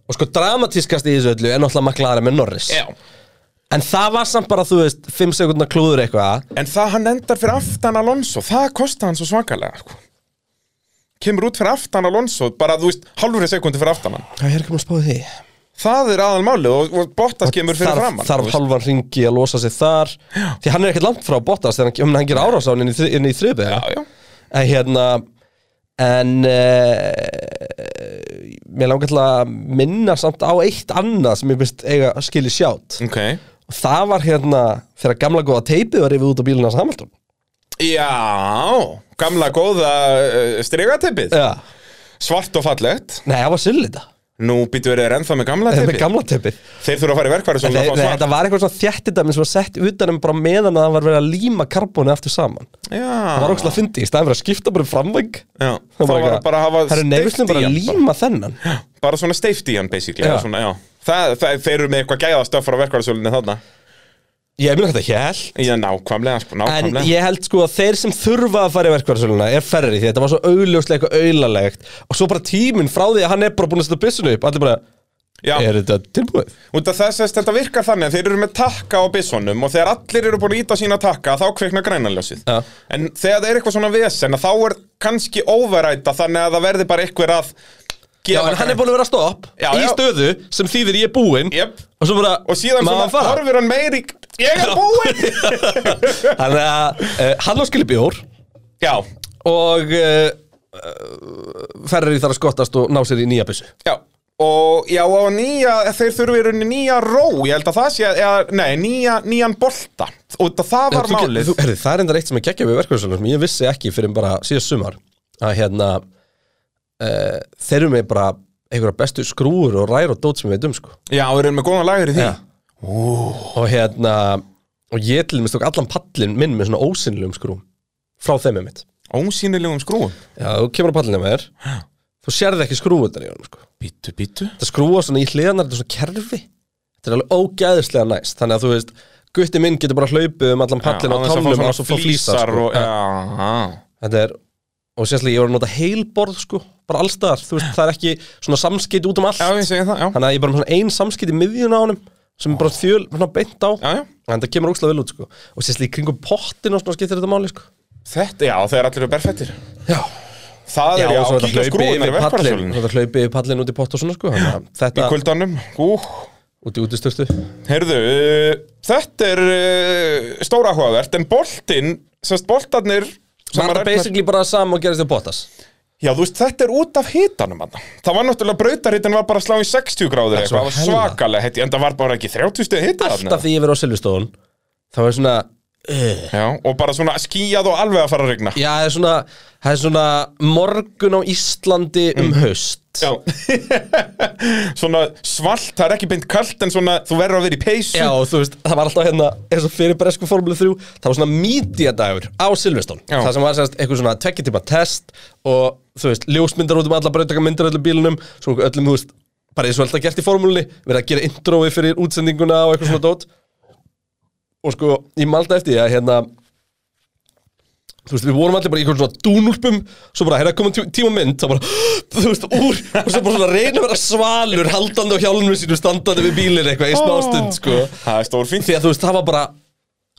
Speaker 2: og sko dramatískast í þessu öllu er náttúrulega McLaren með Norris
Speaker 3: Já,
Speaker 2: en það var samt bara þú veist 5 sekundar klúður eitthvað
Speaker 3: en það hann endar fyrir aftan Alonso, það kosti hann svo svakalega sko. Kemur út fyrir aftan Alonso, bara þú veist, halvri sekundi fyrir aftan hann
Speaker 2: það er ekki að spáði því
Speaker 3: Það er aðal málið og, og Bottas kemur fyrir
Speaker 2: þarf,
Speaker 3: framann
Speaker 2: þarf halvan ringi að losa sig þar því hann er ekkert langt frá Bottas þegar hann, um, hann ger árás á hann inn í, þri- inn í þriðbega
Speaker 3: Já, já.
Speaker 2: en hérna en uh, mér langar til að minna samt á eitt annað sem ég finnst eiga að skilja sjátt
Speaker 3: Ok
Speaker 2: og það var hérna þegar gamla góða teipið var yfir út á bílunars Hamilton
Speaker 3: Já, gamla góða uh, stregatipið
Speaker 2: já
Speaker 3: Svart og fallegt
Speaker 2: Nei, það var sillita
Speaker 3: Nú býtu verið er ennþá með gamla
Speaker 2: Þetta
Speaker 3: tipið
Speaker 2: er gamla teppið
Speaker 3: Þeir þurfa að fara í verkværi
Speaker 2: Nei,
Speaker 3: svona að fá
Speaker 2: nei,
Speaker 3: svart
Speaker 2: Þetta var eitthvað svona þjættidæmi sem var sett utanum bara meðan að það var verið að líma karbónu aftur saman Það var
Speaker 3: Já,
Speaker 2: ógstlega fyndi í staðan fyrir að skipta bara um framvæng
Speaker 3: Ah. já. Þá var það bara að hafa
Speaker 2: Það er
Speaker 3: steypt
Speaker 2: nefnilega
Speaker 3: í
Speaker 2: bara að
Speaker 3: hann bara.
Speaker 2: líma þennan
Speaker 3: Bara svona steift í hann basically
Speaker 2: Já.
Speaker 3: já. Svona, já. Það, það, þeir eru með eitthvað gæðastöf frá verkværisölunni þarna
Speaker 2: Ég meina þetta hjælt
Speaker 3: Já, nákvæmlega, sko,
Speaker 2: En
Speaker 3: nákvæmlega
Speaker 2: ég held sko að þeir sem þurfa að fara í verkværsöluna er ferri því þetta var svo augljóslega eitthvað aulalegt og svo bara tíminn frá því að hann er bara búin að setja byssuna upp allir bara,
Speaker 3: Já.
Speaker 2: er þetta tilbúið?
Speaker 3: Út af þess að þetta virkar þannig að þeir eru með takka á byssonum og þegar allir eru búin að íta sína takka þá kvikna grænaljósið.
Speaker 2: Já.
Speaker 3: En þegar það er eitthvað svona vesen að þá er kannski overræta þannig að það verði bara eitthvað að
Speaker 2: Já,
Speaker 3: gefa
Speaker 2: en hann er búin að vera að stopp
Speaker 3: Já,
Speaker 2: í
Speaker 3: já.
Speaker 2: stöðu sem þýðir ég er búinn
Speaker 3: Jep.
Speaker 2: og svo bara,
Speaker 3: Og síðan
Speaker 2: má
Speaker 3: svona
Speaker 2: hann fara?
Speaker 3: horfir hann meir í Ég er búinn!
Speaker 2: Þannig að uh, hann á skilja bjór
Speaker 3: já,
Speaker 2: og uh, ferri þar að skottast og ná sér í nýja byssu
Speaker 3: já. Og já, og nýja, þeir þurfi í rauninni nýja ró, ég held að það sé, eða, nei, nýja, nýjan bolta. Út af það var
Speaker 2: Þú get-
Speaker 3: málið.
Speaker 2: þú- heyrðu, Það er enda eitt sem er geggjað við verkefnarsalunum sem ég vissi ekki fyrir bara síðast sumar að hérna uh, þeir eru með bara einhverja bestu skrúur og rær og dót sem við veitum sko.
Speaker 3: Já, þeir eru með góðan lagur í því.
Speaker 2: Já. og hérna og ég til mér stók allan pallin minn með svona ósynlegum skrúum frá þeim með mitt
Speaker 3: Ósýnilegum skrúum.
Speaker 2: Já, þú kemur á pallinu með þér þú sérði ekki skrúutan í honum sko.
Speaker 3: Bítu, bítu.
Speaker 2: þetta skrúa svona í hliðanar, þetta er svona kerfi þetta er alveg ógæðislega næst þannig að þú veist, gutti minn getur bara hlaupið um allan pallin á
Speaker 3: án þess að fá
Speaker 2: tálnum
Speaker 3: svona
Speaker 2: og svo fá flýsar
Speaker 3: flísar
Speaker 2: sko.
Speaker 3: og, já, já.
Speaker 2: þetta er og sérstaklega ég var að nota heilborð sko bara allstaðar, þú veist, það er ekki svona samskipt út um allt
Speaker 3: já, ég segi það, já
Speaker 2: þannig að ég er bara með svona ein samskipt í miðjun á honum sem er bara þjöl, svona beint á
Speaker 3: Já, já.
Speaker 2: en það kemur ógslag vel út sko og sérstaklega í kringum pottin og svona skiptir þetta máli sko
Speaker 3: Þetta, já, þeir allir eru berfættir
Speaker 2: já,
Speaker 3: Það
Speaker 2: já
Speaker 3: er, já,
Speaker 2: og svo
Speaker 3: kíkja
Speaker 2: þetta hlaupið
Speaker 3: skrúðunar í
Speaker 2: yfir pallin
Speaker 3: verkvarðasölunni
Speaker 2: þetta hlaupið yfir pallin út í pott og svona sko þannig að
Speaker 3: Í
Speaker 2: þetta
Speaker 3: kuldanum, ú
Speaker 2: út í útistörtu
Speaker 3: Heyrðu, uh, þetta er uh, stóra áhugavert En boltinn, semst boltarnir sem að
Speaker 2: var það
Speaker 3: Ragnar-
Speaker 2: basically bara sama og gerist í pottas
Speaker 3: Já, þú veist, þetta er út af hitanum hann. Það var náttúrulega brautarhitin var bara að slá í 60 gráður
Speaker 2: svo
Speaker 3: eitthvað, það var
Speaker 2: hella.
Speaker 3: svakalega hitti, en það var bara ekki 30 stið hita
Speaker 2: alltaf því ég verið á Silvestón þá er svona
Speaker 3: Já, og bara svona skýjað og alveg að fara að regna.
Speaker 2: já, það er svona, það er svona morgun á Íslandi um haust
Speaker 3: Já. svona svalt, það er ekki beint kalt, en svona þú verður að vera í peysu.
Speaker 2: Já, og þú veist, það var alltaf hérna eins og fyrir bresku formule 3, það var svona mídíadagur á Silveston,
Speaker 3: Já.
Speaker 2: það sem var sérst eitthvað svona tvekkjartíma test og þú veist, ljósmyndar út um alla brautaka myndar öllum bílunum, svo öllum, þú veist bara eins og alltaf gert í formúlunni, verið að gera introið fyrir útsendinguna og eitthvað svona dót og sko, ég malda eftir því að hérna þú veist, við vorum allir bara í einhvern svona dúnúlpum svo bara, hérna komum tí tíma mynd þá bara, þú veist, úr og svo bara svona reyna að vera svalur haldandi á hjálmum sínum standandi við bílinn eitthvað í smástund, sko
Speaker 3: Það er stór fínt.
Speaker 2: því að þú veist, það var bara,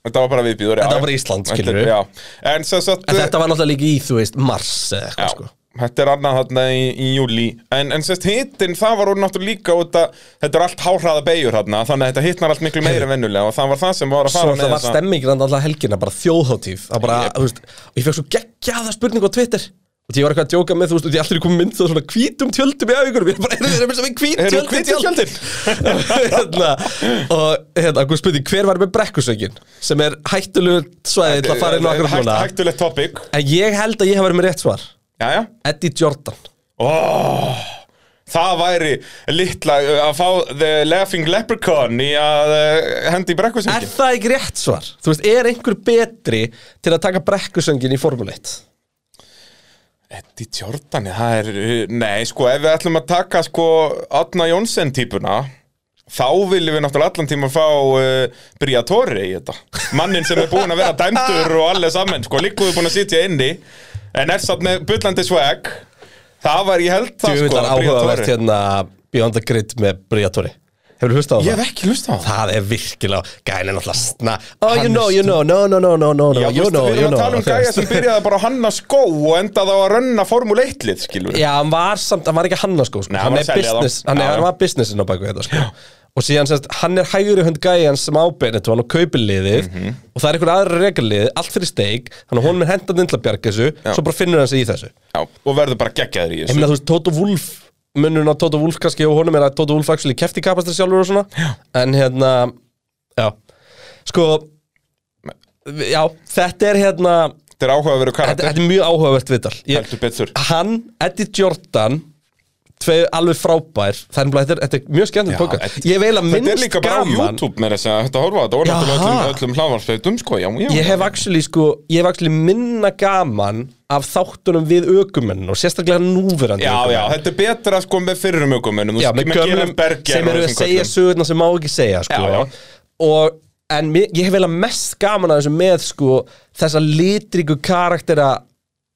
Speaker 3: Þetta var bara viðbýður, já.
Speaker 2: Þetta var bara Ísland,
Speaker 3: Þetta er-
Speaker 2: skilurðu.
Speaker 3: Já, en sem sagt...
Speaker 2: en þetta var náttúrulega líka í, þú veist, mars eða
Speaker 3: Já,
Speaker 2: eitthvað, sko
Speaker 3: þetta er annað þarna í, í júli En, en sérst hittin, það var úr náttúrulega líka út að, Þetta er allt háhraða beigur þarna Þannig að þetta hittnar allt miklu meira en vennulega Og það var það sem var að
Speaker 2: Svo
Speaker 3: fara
Speaker 2: það var
Speaker 3: þessa-
Speaker 2: stemming rann alltaf helgina, bara þjóðháttíf Það bara,
Speaker 3: Jep.
Speaker 2: þú veist, og ég fekk svo geggjaða spurningu á Twitter Og því ég var eitthvað að djóka með, þú veist, og því allir kom mynd það svona hvítum tjöldum í augunum Ég er bara, erum við sem við hvít
Speaker 3: Eru
Speaker 2: tjöld í
Speaker 3: hvít tjöldin?
Speaker 2: tjöld hérna, Og hérna, hún spurði, hver var með brekkusöngin? Sem er hættulegt svæði til að fara inn á akkur
Speaker 3: Hægt,
Speaker 2: núna
Speaker 3: Hægtulegt topic
Speaker 2: En ég held að ég hef verið með rétt svar
Speaker 3: Jæja
Speaker 2: Eddie Jordan
Speaker 3: oh, Það væri litla uh, að fá The Laughing Leprechaun í að uh, hendi í
Speaker 2: Er
Speaker 3: brekkusingin
Speaker 2: það ekki rétt svar? Þú veist, er einhver betri til að taka brekkusöngin í Formule 1?
Speaker 3: Eddie Jordan, það er uh, Nei, sko, ef við ætlum að taka sko Adna Jónsson típuna Þá viljum við náttúrulega allan tíma fá uh, Briatore í þetta Mannin sem er búinn að vera dæmdur og allir saman Sko, líkuðu búin að sitja inni En er satt með bullandi swag Það var, ég held það sko
Speaker 2: Djöfullar
Speaker 3: Briatore.
Speaker 2: áhugavert hérna Beyond the Grid með Briatori Hefur þú hlustað á
Speaker 3: Ég
Speaker 2: það?
Speaker 3: hef ekki hlustað á það
Speaker 2: Það er virkilega, gæðin er náttúrulega sna Oh, you know, you know, no, no, no, no, no, no
Speaker 3: Já,
Speaker 2: You know,
Speaker 3: við
Speaker 2: you
Speaker 3: erum að
Speaker 2: know
Speaker 3: tala um
Speaker 2: þú
Speaker 3: gæja
Speaker 2: veist.
Speaker 3: sem byrjaði bara að hanna skó og endaði á að rönna formúl 1-lið, skilur við.
Speaker 2: Já, hann var samt, hann var ekki hann sko, sko.
Speaker 3: Nei, hann
Speaker 2: Hann
Speaker 3: var
Speaker 2: er
Speaker 3: að selja þá.
Speaker 2: business, hann,
Speaker 3: Já,
Speaker 2: er, hann
Speaker 3: já.
Speaker 2: var businessin á baku þetta sko. Og síðan sérst, hann er hægri hund gæjan sem ábeinit og hann á kaupiliðið
Speaker 3: Mhm.
Speaker 2: Og það er einhver aðra regliðið, allt fyrir steik Þannig að hún er hendan inn til að bjarga þessu Svo bara finnur hann sig í þessu
Speaker 3: Já, og verður bara geggjaður í
Speaker 2: Ég
Speaker 3: þessu.
Speaker 2: meina, þú veist, Toto Wolf munurinn á Toto Wolf kannski og honum er að Toto Wolf actually kefti kapastur sjálfur og svona já. en hérna, já sko já, þetta er hérna þetta,
Speaker 3: Þetta er áhuga að vera karakter.
Speaker 2: þetta er mjög áhugavert viðtal Ég-
Speaker 3: Heldur betur.
Speaker 2: hann, Eddie Jordan tvei alveg frábær þannig að þetta, er- þetta er mjög skemmtilegt
Speaker 3: Já,
Speaker 2: póka
Speaker 3: þetta-
Speaker 2: ég hef eiginlega
Speaker 3: Þetta er
Speaker 2: minnst
Speaker 3: líka bara á
Speaker 2: gaman
Speaker 3: YouTube með þess að þetta horfa á þetta og
Speaker 2: Já,
Speaker 3: náttúrulega
Speaker 2: ha.
Speaker 3: öllum, öllum hláfarsleitum, sko, já, já.
Speaker 2: ég hef actually sko, ég hef actually minna gaman af þáttunum við ökumenn og sérstaklega núverandi
Speaker 3: Já, já,
Speaker 2: ökumenn.
Speaker 3: þetta er betra sko með fyrrum ökumennum,
Speaker 2: já, með gömlum sem eru að segja sögurna sem má ekki segja sko.
Speaker 3: Já, já.
Speaker 2: og en mér, ég hef vel að mest gaman að þessu með sko, þessa litriku karaktera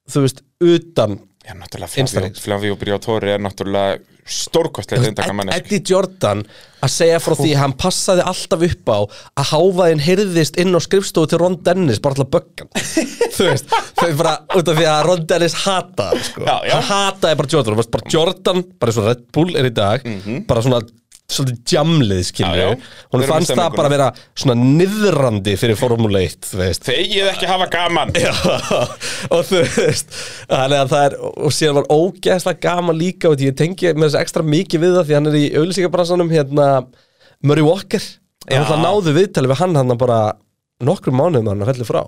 Speaker 2: þú veist, utan
Speaker 3: Já, náttúrulega Flavio,
Speaker 2: Innstæðings.
Speaker 3: Flavio Briatore er náttúrulega stórkostlegt eindaka
Speaker 2: Ed,
Speaker 3: mannesk.
Speaker 2: Eddie Jordan að segja frá því að hann passaði alltaf upp á að háfaðinn heyrðist inn á skrifstofu til Ron Dennis bara alltaf böggan þú veist, þau bara út af því að Ron Dennis hataði hann, sko.
Speaker 3: Já, já.
Speaker 2: hann hataði bara Jordan, hann fannst bara Jordan bara eins og Red Bull er í dag bara svona svolítið djamlið
Speaker 3: Já, Mhm. já.
Speaker 2: skilur hún
Speaker 3: Þeir eru
Speaker 2: fannst
Speaker 3: með
Speaker 2: það bara að vera svona niðrandi fyrir Formule 1 þú veist
Speaker 3: Þegið ekki hafa gaman.
Speaker 2: Já, og þú veist þannig að það er, og síðan var ógeðslega gaman líka og því ég tengi með þessu ekstra mikið við það því hann er í auðlýsingabransanum hérna, Murray Walker
Speaker 3: Já.
Speaker 2: en það náðu viðtalið við hann hann bara nokkrum mánuðum að hann fellir frá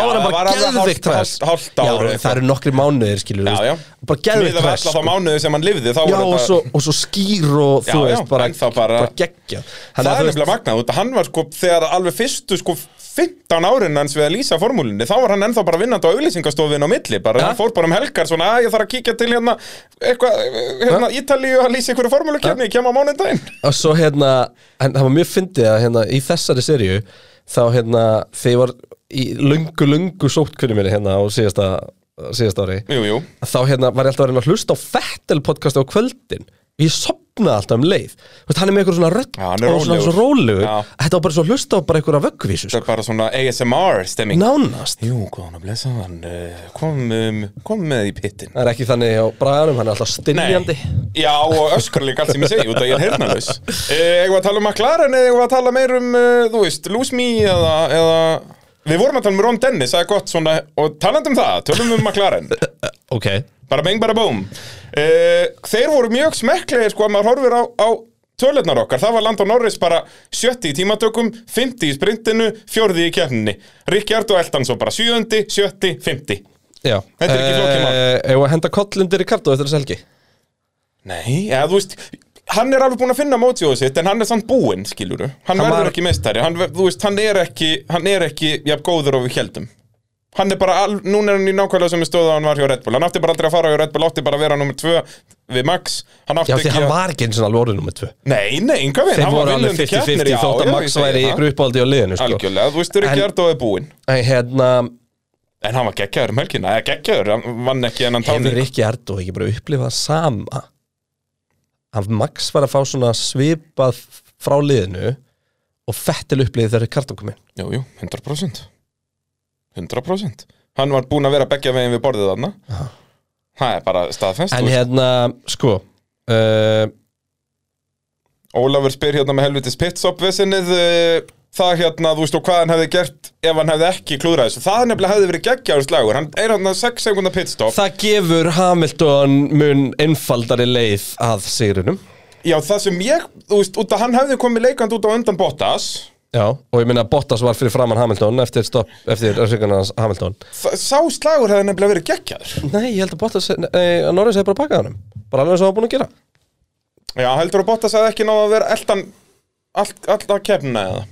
Speaker 3: Já,
Speaker 2: var hann
Speaker 3: það var
Speaker 2: bara
Speaker 3: alveg hálft-
Speaker 2: geðvikt trash
Speaker 3: hálft- hálft ár
Speaker 2: Já,
Speaker 3: eitthvað.
Speaker 2: það eru nokkri mánuðir skilur
Speaker 3: Já, já.
Speaker 2: bara geðvikt
Speaker 3: Miðað við
Speaker 2: trash
Speaker 3: alla þá mánuði sem hann lifði, þá
Speaker 2: Já,
Speaker 3: voru
Speaker 2: og
Speaker 3: þetta-
Speaker 2: svo, og svo skýr og þú
Speaker 3: Já, já,
Speaker 2: veist, bara,
Speaker 3: en þá bara-
Speaker 2: geggja
Speaker 3: Það er nefnilega magnað, út að hann var sko þegar alveg fyrstu sko 15 árin hans við að lýsa formúlinni, þá var hann ennþá bara vinnandi á auglýsingastofinu á milli, bara
Speaker 2: Ja.
Speaker 3: hann fór bara um helgar svona að ég þarf að kíkja til hérna eitthvað, hérna Ítalíu að lýsa einhverju formúlukefni, ég kem á mánudaginn
Speaker 2: og svo hérna, en það var mjög fyndið að hérna í þessari serju þá hérna, þegar ég var í lungu, lungu sótkunni minni hérna á síðasta, síðasta ári
Speaker 3: Jú, jú
Speaker 2: að þá hérna var ég alltaf að reyna að hlusta á Fettel podcasti á kvöldin og ég sopnaði alltaf um leið Þú veist, hann er með einhver svona rödd
Speaker 3: Já, hann er
Speaker 2: og svona
Speaker 3: rólegur.
Speaker 2: svo rólegur
Speaker 3: Já.
Speaker 2: þetta var bara svo að hlusta á bara einhverja vöggvísu
Speaker 3: Það
Speaker 2: sko.
Speaker 3: er bara svona ASMR stemming
Speaker 2: nánast
Speaker 3: Jú, góðan að blessa hann eh, kom, um, kom með í pittin
Speaker 2: það er ekki þannig á braganum, hann er alltaf styrjandi
Speaker 3: Já, og öskrar líka allt sem ég segi út að ég er heyrnalaus eh, Eigum við að tala um McLaren eða eigum við að tala meir um, eh, þú veist, Lose Me eða, eða Við vorum að tala um Ron Dennis, það er gott svona Og talandi um það, tölum um McLaren
Speaker 2: ok,
Speaker 3: Bara beng, bara búm uh, Þeir voru mjög smekklegir sko að maður horfir á, á tölurnar okkar Það var Landon Norris bara sjötti í tímatökum 50 í sprintinu, fjórði í keppninni Ríkjard og Eltan svo bara sjöndi, sjötti, 50
Speaker 2: já
Speaker 3: Þetta er ekki flókið mál.
Speaker 2: ef Eh, að henda kollundir í kartu eftir þess helgi
Speaker 3: Nei, eða þú veist Hann er alveg búin að finna mótjóðu sitt en hann er samt búinn, skiluru Hann
Speaker 2: Hann
Speaker 3: verður
Speaker 2: var-
Speaker 3: ekki meistari, hann, ver- þú veist, hann er ekki Hann er ekki, jafn góður og við heldum Hann er bara, al, núna er hann í nákvæmlega sem við stóða hann var hjá Red Bull Hann átti bara aldrei að fara hjá Red Bull, átti bara að vera nummer 2 við Max Hann átti
Speaker 2: já, því
Speaker 3: ekki
Speaker 2: hann
Speaker 3: að-
Speaker 2: var ekki eins og alveg orðið nummið tvö
Speaker 3: Nei, nei, enga veginn
Speaker 2: þeir
Speaker 3: hann var
Speaker 2: voru alveg
Speaker 3: vinnandi keppnir,
Speaker 2: 50-50
Speaker 3: já,
Speaker 2: þótt
Speaker 3: já,
Speaker 2: að Max
Speaker 3: ég segi
Speaker 2: væri í
Speaker 3: það.
Speaker 2: ykkur uppáldi á liðinu sko.
Speaker 3: Algjörlega, þú veist,
Speaker 2: En-
Speaker 3: Ríkjard og er búinn
Speaker 2: en hérna,
Speaker 3: En hann var geggjaður um helgina, eða geggjaður Hann vann ekki en hann
Speaker 2: hefur
Speaker 3: táni
Speaker 2: ekki Ardó ekki bara upplifað það sama að Max var að fá svona svipað frá liðinu og fettil upplifið þegar kartum kom inn
Speaker 3: Jú, jú, 100% 100% Hann var búinn að vera beggja veginn við borðið þarna Það er bara staðfest
Speaker 2: en
Speaker 3: þú veist.
Speaker 2: hérna, sko uh,
Speaker 3: Ólafur spyr hérna með helvitis pitstop-vesinnið eh, Það hérna, þú veist, og hvað hann hefði gert ef hann hefði ekki klúðrað þessu Það nefnilega hefði verið geggjaður slagur Hann er hann að 6 sekunda pitstop
Speaker 2: það gefur Hamilton mun einfaldari leið að sigrunum
Speaker 3: Já, það sem ég, þú veist, út að hann hefði komið leikand út á undan Bottas
Speaker 2: Já, og ég minna að Bottas var fyrir framann Hamilton eftir, stopp, eftir össingarnas Hamilton
Speaker 3: það, Sá slagur hefði nefnilega verið geggjaður
Speaker 2: Nei, ég held að Bottas, nei, að Norris hefði bara bakað honum bara alveg eins og hann var búin að gera
Speaker 3: Já, heldur að Bottas hefði ekki náða að vera eldan allt, allt að kefna eða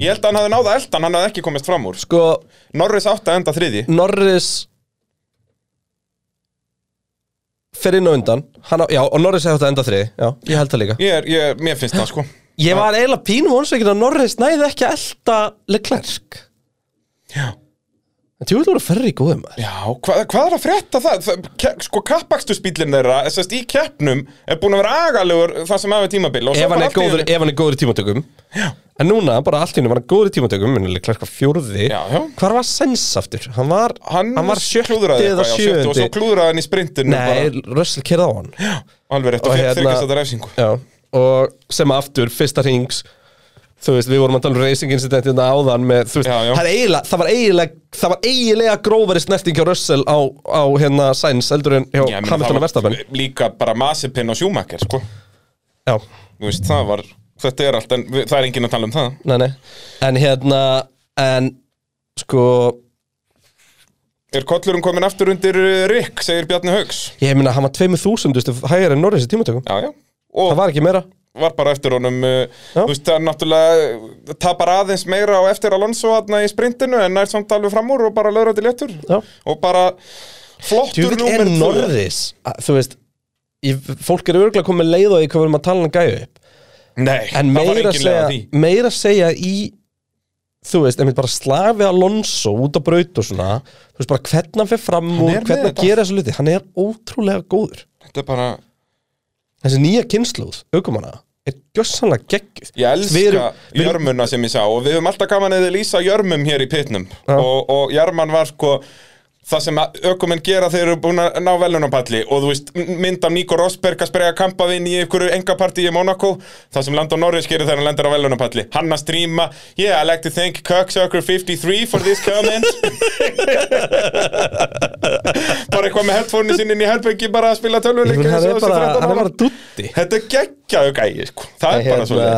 Speaker 3: Ég held að hann hefði náða eldan, hann hefði ekki komist fram úr
Speaker 2: Sko,
Speaker 3: Norris átti að enda þriði
Speaker 2: Norris fer inn á undan hann á, Já, og Norris hefði átt að enda þrið Já, ég held það líka
Speaker 3: ég er, ég, Mér finnst það sko
Speaker 2: Ég var eiginlega pínu vonsveikin að Norris næði ekki að elta Leclerc
Speaker 3: Já,
Speaker 2: En tjóðið voru færri góðum maður
Speaker 3: Já hvað, hvað er að frétta það? það ke, sko, kappakstusbílinn þeirra, þess að í keppnum er búin að vera agalegur það sem hafa tímabil og svo
Speaker 2: ef hann,
Speaker 3: bara
Speaker 2: er
Speaker 3: allt í
Speaker 2: góður,
Speaker 3: einu-
Speaker 2: ef hann er góður í tímatökum Já. En núna, bara allt í hennu var hann góður í tímatökum Minnileg klærka fjórði
Speaker 3: Já, já.
Speaker 2: Hvar var Sens aftur? Hann var,
Speaker 3: Hann,
Speaker 2: var sjötti
Speaker 3: klúðraði
Speaker 2: eða
Speaker 3: eitthvað, já, sjötti og
Speaker 2: sjöundi
Speaker 3: svo klúðraði hann í sprintinu
Speaker 2: Nei,
Speaker 3: bara,
Speaker 2: Russell kerði á hann
Speaker 3: Alveg rétt,
Speaker 2: og
Speaker 3: og fekk
Speaker 2: hérna-
Speaker 3: þryggjast að refsingu
Speaker 2: Já, og sem aftur, fyrsta rings Þú veist, við vorum að tala um racing incidentin áðan með, þú veist,
Speaker 3: Já, já.
Speaker 2: það er eiginlega það var eiginlega, það var eiginlega grófari snerting hjá Russell á, á hérna Sainz eldur en hjá
Speaker 3: Já, ég meina,
Speaker 2: Hamilton
Speaker 3: það
Speaker 2: og Verstappen
Speaker 3: var Líka bara Masipin og Schumacher sko.
Speaker 2: Já,
Speaker 3: Þú veist, það var, Þetta er allt, en við, það er enginn að tala um það
Speaker 2: nei, nei En hérna, en sko,
Speaker 3: Er kollurum komin aftur undir uh, Rick, segir Bjarni Haugs
Speaker 2: ég meina, hann var 2000 stu, hægir en Norris í tímatökum
Speaker 3: Já, já Og
Speaker 2: Það
Speaker 3: var...
Speaker 2: var ekki meira
Speaker 3: bara eftir honum uh,
Speaker 2: Já.
Speaker 3: Þú veist, það er náttúrulega uh, Tapar aðeins meira á eftir Alonso þarna í sprintinu En nær samt alveg fram úr og bara löður þetta léttur
Speaker 2: Já.
Speaker 3: Og bara flottur
Speaker 2: Djúvill
Speaker 3: númer
Speaker 2: er
Speaker 3: tvö.
Speaker 2: Norris, að, þú veist ég, Fólk er örgulega komið leið á því hvað við erum að tala um hann gæðu upp
Speaker 3: Nei, það var
Speaker 2: En meira að
Speaker 3: enginn lega því
Speaker 2: segja Meira að segja í Þú veist, einmitt bara slafi Alonso út á braut og svona Þú veist bara hvernig hann fer fram úr
Speaker 3: er með
Speaker 2: Hvernig hann
Speaker 3: þetta.
Speaker 2: gera þessu luti Hann er ótrúlega góður
Speaker 3: Þetta er bara
Speaker 2: Þessi nýja kynnslóð, aukumanna Er gjössanlega geggjuð
Speaker 3: Ég
Speaker 2: Við
Speaker 3: elska
Speaker 2: erum- við erum-
Speaker 3: jörmuna sem ég sá og við höfum alltaf gaman eða lýsa jörmum hér í pitnum
Speaker 2: Já.
Speaker 3: og, og jörman var sko það sem að ökumenn gera þegar þeir eru búin að ná velunapalli og þú veist m- mynd af Nico Rosberg að spreja kampavinn í einhverju engapartí í Monaco það sem Landon Norris gerir þegar hann lendir á velunapalli hann að stríma Yeah, I like to thank Kirksucker53 for this comment bara eitthvað með headphone sinni inn í herbergi bara að spila
Speaker 2: Ég
Speaker 3: tölvuleik
Speaker 2: meina,
Speaker 3: eins
Speaker 2: Hann
Speaker 3: og
Speaker 2: er
Speaker 3: þessi 13
Speaker 2: bara, hann er
Speaker 3: ára.
Speaker 2: bara hérna, dutti
Speaker 3: Þetta er geggjaðu gæi sko. Það er bara svo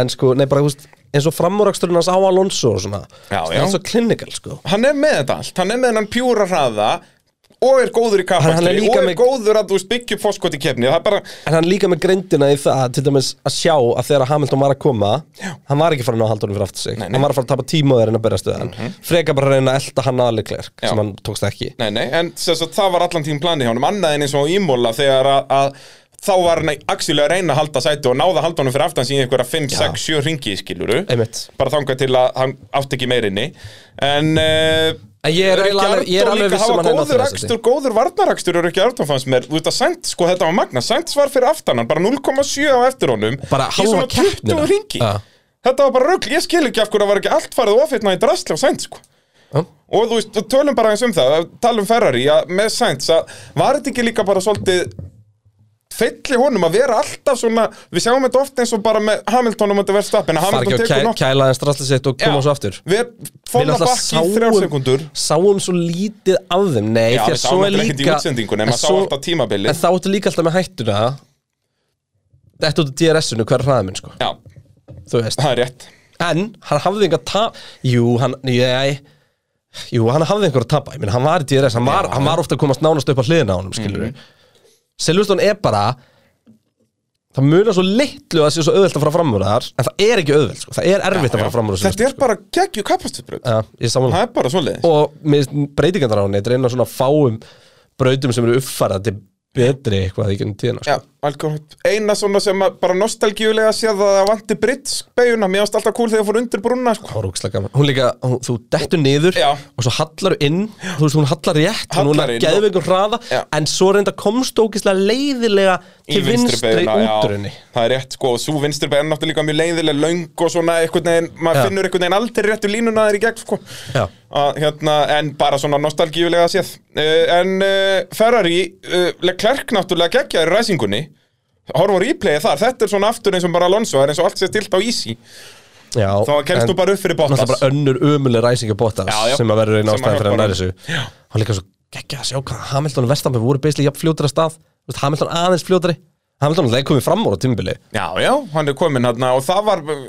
Speaker 2: En sko, nei bara, þú veist eins og framúraksturinn hans á Alonso og svona
Speaker 3: Já,
Speaker 2: Það
Speaker 3: já.
Speaker 2: er svo klinikal, sko
Speaker 3: hann er með þetta allt, hann er með hennan pjúra hraða og er góður í
Speaker 2: Hann- hann er
Speaker 3: kappakstri
Speaker 2: líka
Speaker 3: og er
Speaker 2: með-
Speaker 3: góður að þú veist, byggja upp fórskot í kefni það er bara,
Speaker 2: En hann líka með greindina í það, til dæmis að sjá að þegar Hamilton var að koma, Já. hann var ekki farin að halda honum fyrir aftur sig,
Speaker 3: nei. Mhm.
Speaker 2: hann var að fara að tapa tíma og þeir reyna að berja stöðan, mm freka bara að reyna að elta hann aðaleg klerk,
Speaker 3: Já.
Speaker 2: sem hann tókst ekki.
Speaker 3: nei nei en þess að það var allan tíma planið hjá hann, annað en eins og á ímóla þegar að, að þá var hann actually að reyna að halda sæti og náða haldunum fyrir aftan sín í einhverja 5, 6, 7 ringi skiluru
Speaker 2: Einmitt.
Speaker 3: bara þangað til að hann átti ekki meirinni en uh,
Speaker 2: En ég er eiginlega alveg- ég er alveg viss um
Speaker 3: hann
Speaker 2: að hann hefði náð
Speaker 3: góður
Speaker 2: þriðja sæti.
Speaker 3: akstur, góður varnarakstur er ekki Arton fannst mér, þú veist að Sainz, sko þetta var magna Sainz var fyrir aftan hann, bara 0,7 á eftir honum
Speaker 2: Bara
Speaker 3: í svona
Speaker 2: hálfa keppnina.
Speaker 3: 20 ringi
Speaker 2: Ja.
Speaker 3: þetta var bara rugl, ég skil ekki af hverju það var ekki allt farið ofirna í drastli á Sainz sko Og þú veist, og tölum bara eins um það, að tala um Ferrari, að með Sainz, að var þetta ekki líka bara svolítið feilli honum að vera alltaf svona, við sjáum þetta oft eins og bara með Hamilton um þetta verðst að
Speaker 2: fara
Speaker 3: Hamilton
Speaker 2: ekki að
Speaker 3: tekur
Speaker 2: kæ-
Speaker 3: nokkuð.
Speaker 2: kæla en strastli sitt og koma svo aftur
Speaker 3: Við
Speaker 2: Við
Speaker 3: fóla
Speaker 2: náttúrulega
Speaker 3: bakki í þrjár sekundur.
Speaker 2: sáum svo lítið af þeim Nei,
Speaker 3: Já,
Speaker 2: því
Speaker 3: við
Speaker 2: að
Speaker 3: sáum
Speaker 2: svo er
Speaker 3: náttúrulega ekkert í
Speaker 2: líka
Speaker 3: útsendingunni, en maður sá alltaf tímabilið.
Speaker 2: En þá ertu líka alltaf með hættuna Þetta út af DRS-unu, hver er hraðaminn, sko
Speaker 3: Já,
Speaker 2: Þú veist
Speaker 3: það er rétt.
Speaker 2: En hann hafði einhver tap Jú, hann, ég Jú, hann hafði einhver að tapa, ég minn, hann var í DRS hann var, hann var ofta að komast nánast upp á hliðina á honum, skilur
Speaker 3: Mhm.
Speaker 2: við er bara Það munar svo litlu að það sé svo auðvelt að fara fram úr þar En það er ekki auðvelt, sko. það er erfitt að fara fram úr þessu sko.
Speaker 3: Þetta er bara geggju kapastusbröð.
Speaker 2: Já, ég samanlega
Speaker 3: Það er bara svoleiðis.
Speaker 2: og með breytingarnar á henni þetta er einn af svona fáum brautum sem eru uppfarað til betri eitthvað í gennum tíðina sko.
Speaker 3: Já, alkohótt. Eina svona sem að bara nostalgíulega séð að það vanti Brits beiguna, mér varst alltaf cool þegar ég fór undir brúnna, sko.
Speaker 2: Það var ógeðslega gaman. hún líka, hún, þú dettur niður
Speaker 3: Já.
Speaker 2: og svo hallar inn, þú veist hún hallar rétt hún
Speaker 3: Hallar
Speaker 2: er
Speaker 3: inn
Speaker 2: geðveikum hraða
Speaker 3: Já.
Speaker 2: en svo reynda komst ógislega leiðilega
Speaker 3: Í
Speaker 2: til vinstri,
Speaker 3: beyguna, já.
Speaker 2: útrunni
Speaker 3: Það er rétt sko, og svo vinstri beina náttúrulega líka mjög leiðileg löng og svona einhvern veginn, maður
Speaker 2: Já.
Speaker 3: finnur einhvern veginn aldrei réttu línuna þeir í gegn sko
Speaker 2: Já.
Speaker 3: að, hérna, en bara svona nostalgíulega séð uh, en uh, Ferrari uh, Leclerc náttúrulega geggjaður í ræsingunni horfa á replayið þar, þetta er svona aftur eins og bara Alonso, það er eins og allt sér stilt á ísi
Speaker 2: já,
Speaker 3: þá kemst
Speaker 2: en
Speaker 3: þú bara upp fyrir Bottas
Speaker 2: náttúrulega bara önnur ömuleg ræsingi Bottas
Speaker 3: Já, já.
Speaker 2: sem að verður einn
Speaker 3: Sem að
Speaker 2: ástæðan fyrir
Speaker 3: hjálpar
Speaker 2: að næri
Speaker 3: honum.
Speaker 2: þessu hann líka svo geggja að sjá hvað Hamilton og Vestambi voru beislega jafn fljótari að stað Þú veist, Hamilton aðeins fljótari Hamilton leiði komið fram úr á tímbili
Speaker 3: Já, já, hann er komin hérna og það var uh,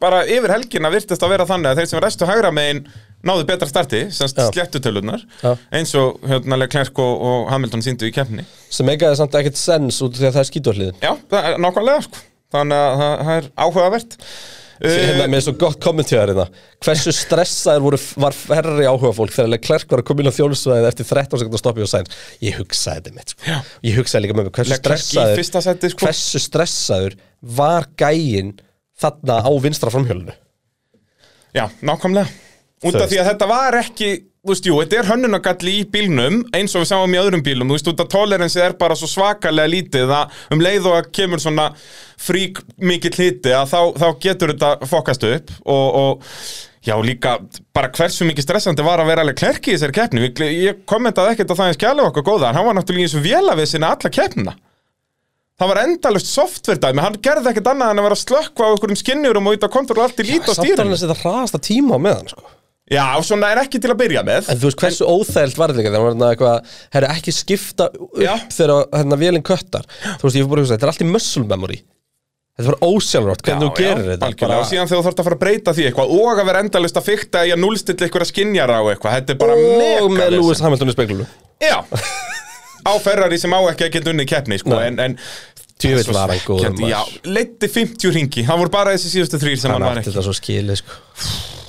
Speaker 3: bara yfir helgina virtist að vera þannig að þeir sem restu hægra megin náðu betra starti, sem
Speaker 2: Já.
Speaker 3: slettutölunar
Speaker 2: Já.
Speaker 3: eins og hérna Leclerc og, og Hamilton síndu í keppni.
Speaker 2: sem eigaði samt ekkert sens út af því að það er skítuarliðin
Speaker 3: Já, það er nákvæmlega sko, þannig að það, það er áhugavert.
Speaker 2: hérna
Speaker 3: Uh,
Speaker 2: með svo gott kommentjæðar hérna hversu stressaður voru, var færri áhuga fólk þegar Leclerc var að koma inn á þjónusvæðið eftir 13 sekundar stoppi og sæns ég hugsaði þetta mitt sko. ég hugsaði líka með mig hversu
Speaker 3: Leclerc í
Speaker 2: stressaður
Speaker 3: fyrsta sæti, sko.
Speaker 2: hversu stressaður var gæinn þarna á vinstra framhjólinu
Speaker 3: já, nákvæmlega. Út
Speaker 2: Þú
Speaker 3: af því að þetta var ekki, þú veist, jú, þetta er hönnunagalli í bílnum eins og við sáum í öðrum bílum, þú veist, út af tolerance er bara svo svakalega lítið að um leið og að kemur svona frík mikill hiti að þá, þá getur þetta fokast upp og, og já, líka bara hversu mikið stressandi var að vera alveg klerki í þessari keppni, Við gle- ég kommentaði ekkert að það er skjálf okkar góða, en hann var náttúrulega eins og vélavið sinna alla keppnina. Það var endalust software dæmi, hann gerði ekkert annað en að vera að slökkva á einhverjum skinnjurum og út að kontról allt í lít og
Speaker 2: samt er
Speaker 3: stýrun.
Speaker 2: hann að setja hraðasta tíma á meðan sko.
Speaker 3: Já, svona er ekki til að byrja með
Speaker 2: en þú veist hversu óþægilt var þetta líka þegar hann var þarna eitthvað herru ekki skipta upp
Speaker 3: Já.
Speaker 2: þegar hérna vélinn köttar þú veist ég fór bara að hugsa þetta er allt í muscle memory þetta var ósjálfrátt hvernig þú gerir þetta
Speaker 3: algjörlega, og síðan þegar þú þarft að fara að breyta því eitthvað og að vera endalist að fykta í að núlstilla einhverja skinjara á eitthvað, þetta er bara
Speaker 2: og
Speaker 3: mega
Speaker 2: með
Speaker 3: vesen.
Speaker 2: Lewis Hamilton í speglunum
Speaker 3: Já, á Ferrari sem á ekki að geta unni keppni, sko,
Speaker 2: Nei.
Speaker 3: en, en
Speaker 2: Djöfull
Speaker 3: Svo
Speaker 2: var hann góður,
Speaker 3: svekkjandi,
Speaker 2: maður.
Speaker 3: Já, leiddi 50 ringi, það voru bara þessi síðustu þrýr sem hann
Speaker 2: hann
Speaker 3: var
Speaker 2: átti
Speaker 3: ekki
Speaker 2: þetta svo skilið sko.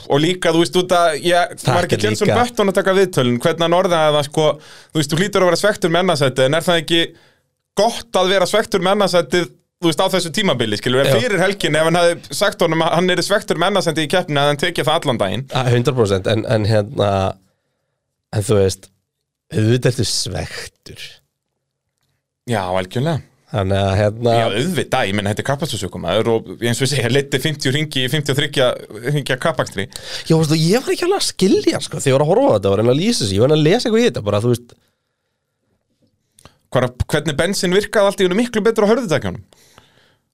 Speaker 3: og líka, þú veist, út að ég
Speaker 2: Þetta
Speaker 3: var ekki
Speaker 2: er
Speaker 3: Jenson
Speaker 2: líka-
Speaker 3: Button að taka viðtölun hvernig hann orðaði það, sko, þú veist, þú hlýtur að vera svektur með annarsætti, en er það ekki gott að vera svektur með annarsætti þú veist, á þessu tímabili, skilur, en
Speaker 2: Já.
Speaker 3: fyrir helgin ef hann hefði sagt honum að hann er svektur með annarsætti í keppni að hann tekið það allan daginn
Speaker 2: Að 100% en, en hérna en þú veist auðvitað ertu svektur
Speaker 3: Já, algjörlega
Speaker 2: þannig að hérna
Speaker 3: Já, auðvitað, ég menn þetta er kapastusökumæður og eins og ég segja, leiddi 50 ringi í 53 ringja kapakstri
Speaker 2: já, veistu, ég var ekki alveg að skilja sko, þegar ég var að horfa á þetta var að lýsa þessu, ég var að lesa eitthvað í þetta bara þú veist
Speaker 3: Hvar, hvernig bensin virkaði allt í hennu miklu betur á hörðutakjónum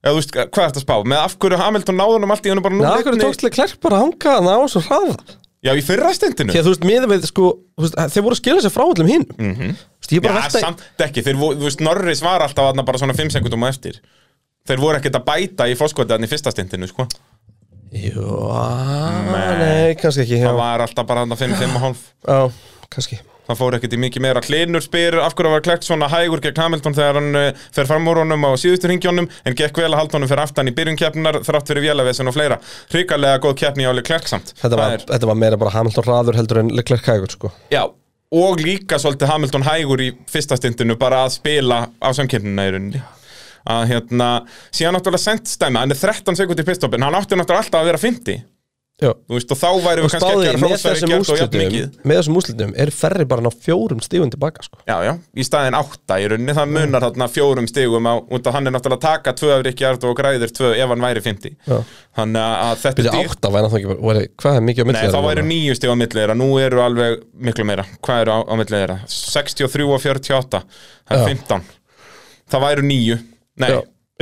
Speaker 3: eða þú veist, hvað er þetta að spá með af hverju Hamilton náðunum allt í hennu bara nú
Speaker 2: Na, hvernig tókstilega klærk bara að hanga þannig á svo hraða
Speaker 3: Já, í fyrra stendinu
Speaker 2: því að þú veist, miðum við sko þú veist, þeir voru að skilja sér frá allum hinn mm veist,
Speaker 3: Mhm.
Speaker 2: ég
Speaker 3: Já,
Speaker 2: bara velta
Speaker 3: samt ekki, þeir voru, þú veist, Norris var alltaf aðna bara svona 5 sekundum á eftir Þeir voru ekkert að bæta í fórskotiðan í fyrsta stendinu, sko
Speaker 2: jú, nei. nei, kannski ekki
Speaker 3: Það
Speaker 2: já,
Speaker 3: var alltaf bara aðna 5-5,5
Speaker 2: já, kannski
Speaker 3: Það fór ekkert í mikið meira hlinur spyr af hverju var klekt svona hægur gegn Hamilton þegar hann uh, fer fram úr honum á síðustu ringjónum en gekk vel að halda honum fyrir aftan í byrjun keppnar þrátt fyrir vélavesin og fleira hrikalega góð keppni áli klerksamt
Speaker 2: þetta var, þetta var meira bara Hamilton hraður heldur en Leclerc hægur sko
Speaker 3: Já, og líka svolítið Hamilton hægur í fyrsta stundinu bara að spila á samkeppnina í rauninni að hérna, síðan náttúrulega sentstæmi hann er 13 sekundi í pitstopin, hann átti náttúrulega alltaf að vera 50
Speaker 2: Já.
Speaker 3: þú veist, og þá væri við kannski
Speaker 2: Spáði,
Speaker 3: ekki
Speaker 2: því,
Speaker 3: að
Speaker 2: með
Speaker 3: hrósa
Speaker 2: þessum
Speaker 3: ekki og jafn
Speaker 2: úslitum
Speaker 3: mikið
Speaker 2: með þessum úslitum er ferri bara að ná fjórum stífum tilbaka sko.
Speaker 3: Já, já, í staðin átta í rauninni, það munar þarna fjórum stigum á, út að hann er náttúrulega að taka tvö af Rikki Ardó og græðir tvö ef hann væri 50
Speaker 2: Já.
Speaker 3: Þannig að þetta
Speaker 2: byrja átta væri náttúrulega ekki bara- væri, hvað er mikið á milli
Speaker 3: Nei, þá
Speaker 2: þeirra
Speaker 3: væri
Speaker 2: núna?
Speaker 3: nýju stig á milli þeirra, nú eru alveg miklu meira Hvað eru á, á milli þeirra? 63 og 48, það
Speaker 2: Já.
Speaker 3: er 15 Það væri nýju Nei,
Speaker 2: Já,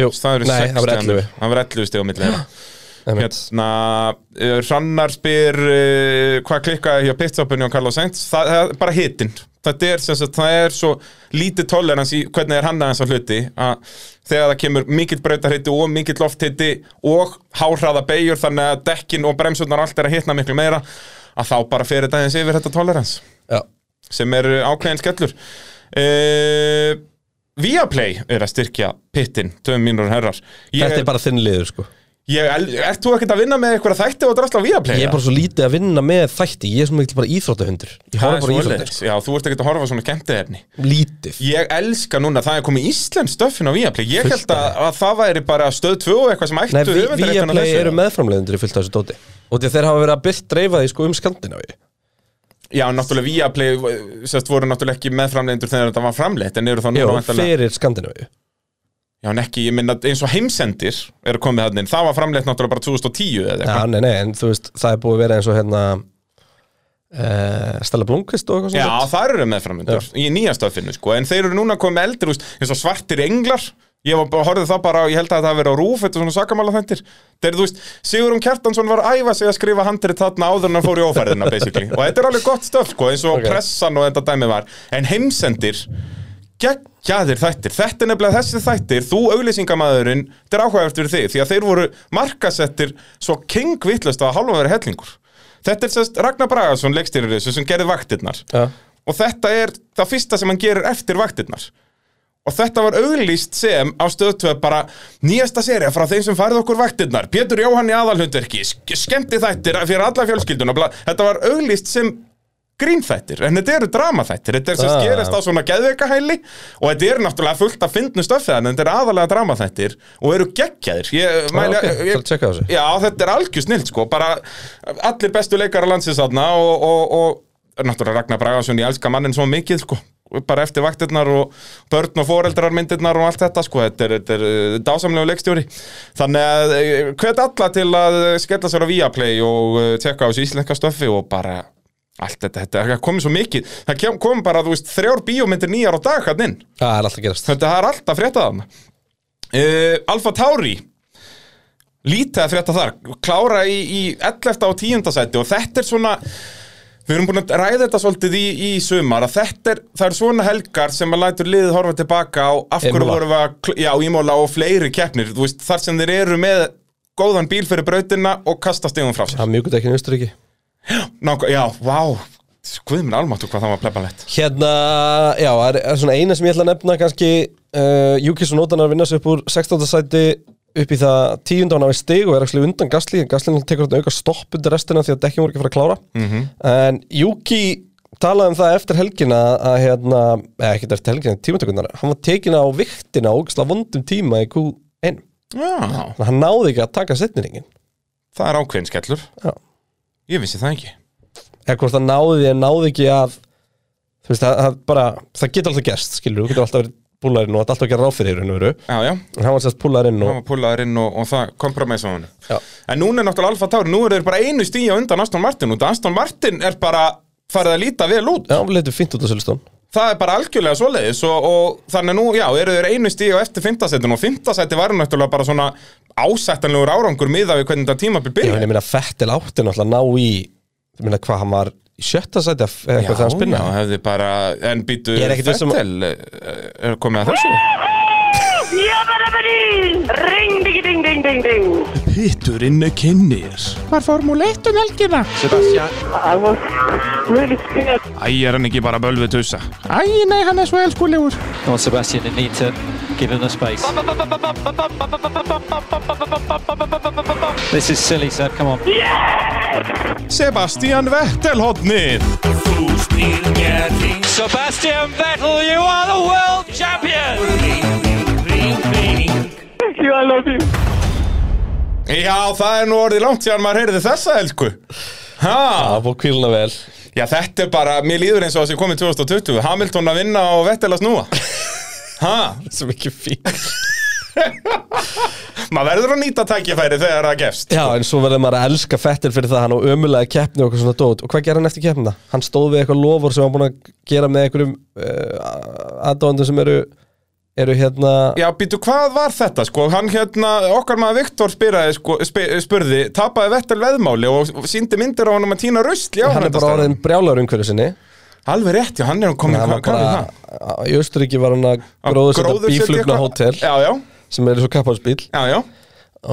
Speaker 2: jú.
Speaker 3: það eru
Speaker 2: Nei,
Speaker 3: 6
Speaker 2: það voru 11.
Speaker 3: Það væri 11 stig á milli þeirra
Speaker 2: Einmitt.
Speaker 3: Hérna, uh, Hrannar spyr uh, hvað klikkaði hjá pitstopunni og Carlos Sainz það, það er bara hitinn Þetta er, sem sagt, það er svo lítið tolerans í hvernig er hann aðeins á hluti að þegar það kemur mikill brautarhiti og mikill lofthitti og háhraða beigur þannig að dekkin og bremsurnar og allt er að hitna miklu meira að þá bara fer þetta aðeins yfir þetta tolerans
Speaker 2: Já.
Speaker 3: sem er ákveðin skellur uh, Viaplay er að styrkja pittin, töfum mínur og herrar Ég-
Speaker 2: þetta er bara þinn liður sko.
Speaker 3: Ég, el- ert þú ekkert að vinna með einhverja þætti og drastla á Viaplay?
Speaker 2: ég er bara svo lítið að vinna með þætti ég er svona mikil bara íþróttahundur ég
Speaker 3: Það er
Speaker 2: horf bara á
Speaker 3: svoleiðis.
Speaker 2: íþróttahundur sko.
Speaker 3: Já, þú ert ekkert að horfa á svona kemtiðefni
Speaker 2: lítið
Speaker 3: Ég elska núna, það er komið Íslands stöffin á Viaplay Ég
Speaker 2: Fullt
Speaker 3: held að,
Speaker 2: af.
Speaker 3: að það væri bara stöð 2 og eitthvað sem ættu
Speaker 2: Nei, vi,
Speaker 3: höfundarréttinn á
Speaker 2: Viaplay
Speaker 3: þessu.
Speaker 2: eru meðframleðendur í fullt af þessu dóti og því að þeir hafa verið að byrst dreifa því sko um Skandinavíu
Speaker 3: Já, náttúrulega Viaplay sérst voru náttúrulega ekki meðframlegendur þegar þetta var framleitt en eru þá
Speaker 2: Jó,
Speaker 3: núna væntanlega-
Speaker 2: fyrir Skandinavíu
Speaker 3: Já, en ekki, ég minna eins og heimsendir eru komið hann inn, það var framleitt náttúrulega bara 2010 eða
Speaker 2: Já,
Speaker 3: eitthvað
Speaker 2: nei, nei, en þú veist, það er búið að vera eins og hérna uh, Stella Blomqvist og eitthvað
Speaker 3: Já,
Speaker 2: svona
Speaker 3: það eru meðframlendur í nýja stöðfinu, sko, en þeir eru núna komið eldri úst, eins og svartir englar ég var, bara- horfði það bara, á- ég held að það hafi verið á rúf þetta er svona sakamála þendir þeir, þú veist, Sigurum Kjartansson var að æfa sig að skrifa handrið þarna áður en hann fór í ófærðina basically, og þetta er alveg gott stöf, sko, eins og
Speaker 2: Ok.
Speaker 3: pressan og þetta dæmi var, en heimsendir geggjaðir þættir þetta er nefnilega þessi þættir, þú auglýsingamæðurinn þetta er áhugavert fyrir þig, því að þeir voru markasettir svo kingvittlust að halva verið hellingur þetta er sérst Ragnar Bragason leikstýrir þessu sem gerði vaktirnar
Speaker 2: Já,
Speaker 3: og þetta er það fyrsta sem hann gerir eftir vaktirnar og þetta var auglýst sem á stöðtöð bara nýjasta serið frá þeim sem farið okkur vaktirnar Pétur Jóhann í aðalhundverki, skemmti þættir fyrir alla fjölskylduna bla. þetta var auglýst sem grínþættir en þetta eru dramaþættir, þetta er sem
Speaker 2: Ah.
Speaker 3: ah. gerist á svona geðveikahæli og þetta eru náttúrulega fullt að fyndnu stöfðan en þetta eru aðalega dramaþættir og eru geggjaðir ég, mæli,
Speaker 2: Ah, ok,
Speaker 3: ég,
Speaker 2: þarf að checka á þessu.
Speaker 3: Já, þetta er algjör snilt sko, bara allir bestu leikar á landsins þarna og, og, og náttúrulega Ragnar Bragason, ég elska mannin svo mikið sko, bara eftir vaktirnar og börn og foreldrarmyndirnar og allt þetta sko, þetta er, þetta er eh, dásamlegur leikstjóri þannig að eh, hvet alla til að eh, skella sér á Viaplay og eh, tjekka á þessu íslenska stöffi og bara allt þetta, þetta er komið svo mikið það kem- kom bara, þú veist, þrjár bíómyndir nýjar á dag hann inn,
Speaker 2: það er alltaf að gerast
Speaker 3: þetta er allt að frétta þarna uh, Alfa Tauri lítið að frétta þar klára í, í 11. og 10. sæti og þetta er svona við erum búin að ræða þetta svolítið í, í sumar að þetta er, það er svona helgar sem að lætur liðið horfa tilbaka á af hverju
Speaker 2: Imola.
Speaker 3: vorum við að, kl- já, ímóla og fleiri keppnir, þú veist, þar sem þeir eru með góðan bíl fyrir brautina og kasta stegum frá sér.
Speaker 2: Það er mjög ekki í Austuríki
Speaker 3: Nákvæm, já, vá, guð minn almáttu hvað það var plebalett.
Speaker 2: Hérna, já, það er- er svona eina sem ég ætla að nefna kannski uh, Júkis og Nótanar vinna sig upp úr 16. sæti upp í það tíundan af stig og er ekki undan Gasly, en Gasly tekur þetta auka stopp undir restina því að dekkin voru ekki að fara að klára -hmm. en Júki talaði um það eftir helgina að hérna, eða ekki eftir helgina, tímatökunnar hann var tekin á viktina og ógislega vondum tíma í Q1,
Speaker 3: Já,
Speaker 2: Þannig að hann náði ekki að taka setniringin
Speaker 3: það er ákveðin skellur,
Speaker 2: Já.
Speaker 3: ég vissi það ekki.
Speaker 2: eða hvort það náði því en náði ekki að þú veist, það, það bara, það getur alltaf gerst skilur, þú getur alltaf verið púlarinn og þetta er alltaf að gera ráð fyrir raun og veru,
Speaker 3: Já, já,
Speaker 2: en hann var sérst púlarinn og
Speaker 3: hann var púlaður inn og, og það kompromissa á hann
Speaker 2: Já.
Speaker 3: en núna er náttúrulega Alfa Tauri, nú eru þeir bara einu stíja undan Aston Martin út, af Aston Martin er bara farið að líta vel út
Speaker 2: já, hann leitur fint út á Sölustón
Speaker 3: það er bara algjörlega svoleiðis og, og þannig að nú, já, eru þeir einu stíja eftir fimmtasetin og fimmtaseti var náttúrulega bara svona ásættanlegur árangur miða við hvernig þetta tímabil
Speaker 2: ég meina,
Speaker 3: byrja
Speaker 2: ég meina, Fettil átti náttúrulega að ná í ég meina, hvað hann var í sjötta sæti eða eða eitthvað þegar hann
Speaker 3: já,
Speaker 2: spinnaði
Speaker 3: hefði bara, en býtu
Speaker 2: Ég er ekkert viss um-
Speaker 3: Fettel, eh, er komið að þessu
Speaker 8: Jabba-dabba-dee! Ring, diggy, ding, ding, ding, ding. I was really scared.
Speaker 3: Æ, er hann ekki bara bölvið tussa
Speaker 9: Come on, Sebastian, you need to give him the space. This is silly, Seb. Come on.
Speaker 3: Sebastian Vettel hotnið
Speaker 9: Sebastian Vettel, you are the world champion.
Speaker 5: Ring, ring, ring, ring.
Speaker 3: Já, það er nú orðið langt síðan maður heyrði þessa, elsku. Ha,
Speaker 2: Það fór kvíluna vel
Speaker 3: já, þetta er bara, mér líður eins og það sem komið 2020. Hamilton að vinna og Vettel að snúa. Ha,
Speaker 2: Svo mikið fín
Speaker 3: maður verður að nýta tækifæri þegar það gefst.
Speaker 2: Já, en svo verður maður að elska Fettil fyrir það hann á ömulega keppni og eitthvað svona dót og hvað gerði hann eftir keppnina? Hann stóð við eitthvað lofur sem hann búin að gera með einhverjum uh, aðdóðandum sem eru eru hérna
Speaker 3: Já, býtu, hvað var þetta, sko? Hann hérna, okkar maður Viktor spyraði, sko, sp spurði, tapaði Vettel veðmáli og síndi myndir á honum að tína rusl, já,
Speaker 2: hann er bara orðin brjálaur umhverju sinni
Speaker 3: Alveg rétt, já, hann er komin,
Speaker 2: hann
Speaker 3: hvað
Speaker 2: var
Speaker 3: hvað er það?
Speaker 2: bara, í Östuríki var hann að
Speaker 3: Að
Speaker 2: gróðursetja
Speaker 3: gróðursetja
Speaker 2: bíflugna
Speaker 3: eitthvað?
Speaker 2: hótel
Speaker 3: Já, já,
Speaker 2: sem er svo kapphálsbíl
Speaker 3: já, já,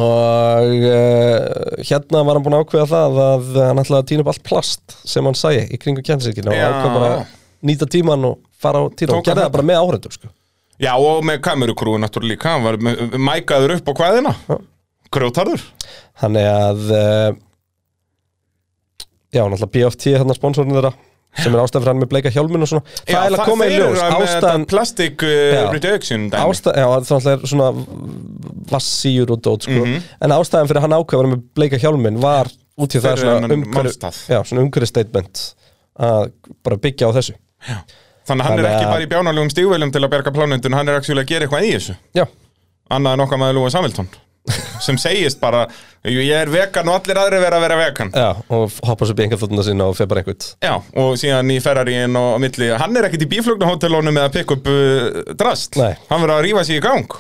Speaker 2: og uh, hérna var hann búin að ákveða það að hann ætlaði að tína upp allt plast sem hann sæi í kringum kjænsinkinu og
Speaker 3: Já.
Speaker 2: ákveða bara að nýta tíman og fara á tína
Speaker 3: Tók
Speaker 2: og gerði
Speaker 3: hann
Speaker 2: það bara með áhörendum sko.
Speaker 3: já, og með kamerukrúi náttúrulega líka, hann var með- mækaður upp á hvaðina Grjótarður
Speaker 2: Þannig að uh, Já, náttúrulega BFT er þarna hérna, sponsorinn þeirra sem er ástæðan fyrir hann með bleika hjálmin og svona Það
Speaker 3: Já,
Speaker 2: er eiginlega komið í
Speaker 3: þeir eru
Speaker 2: ljós
Speaker 3: að með
Speaker 2: Ástæðan,
Speaker 3: þetta Plastic
Speaker 2: Já.
Speaker 3: uh, reduction dæmi
Speaker 2: ástæðan Já, það er náttúrulega svona vassýjur og dót sko.
Speaker 3: Mhm.
Speaker 2: En ástæðan fyrir að hann ákveður með bleika hjálmin var út í það
Speaker 3: Fyrir
Speaker 2: svona
Speaker 3: þennan
Speaker 2: umhverju
Speaker 3: málstað.
Speaker 2: Já, svona umhverju statement að bara byggja á þessu
Speaker 3: Þannig að hann er
Speaker 2: Þannig
Speaker 3: ekki
Speaker 2: að-
Speaker 3: bara í bjánalugum stígvelum til að berga plánundun, hann er actually að gera eitthvað í þessu
Speaker 2: Já,
Speaker 3: Annað en okkar maður Lúi Samilton sem segist bara, "Jú, ég er vegan og allir aðri vera að vera vegan
Speaker 2: já, og hoppa svo bengið þóttuna sína og fer bara einhvern
Speaker 3: Já, og síðan í Ferraríin og á milli, hann er ekkit í bíflugnahótelónu með að pikk upp uh, drast
Speaker 2: Nei.
Speaker 3: Hann verður að rífa sig í gang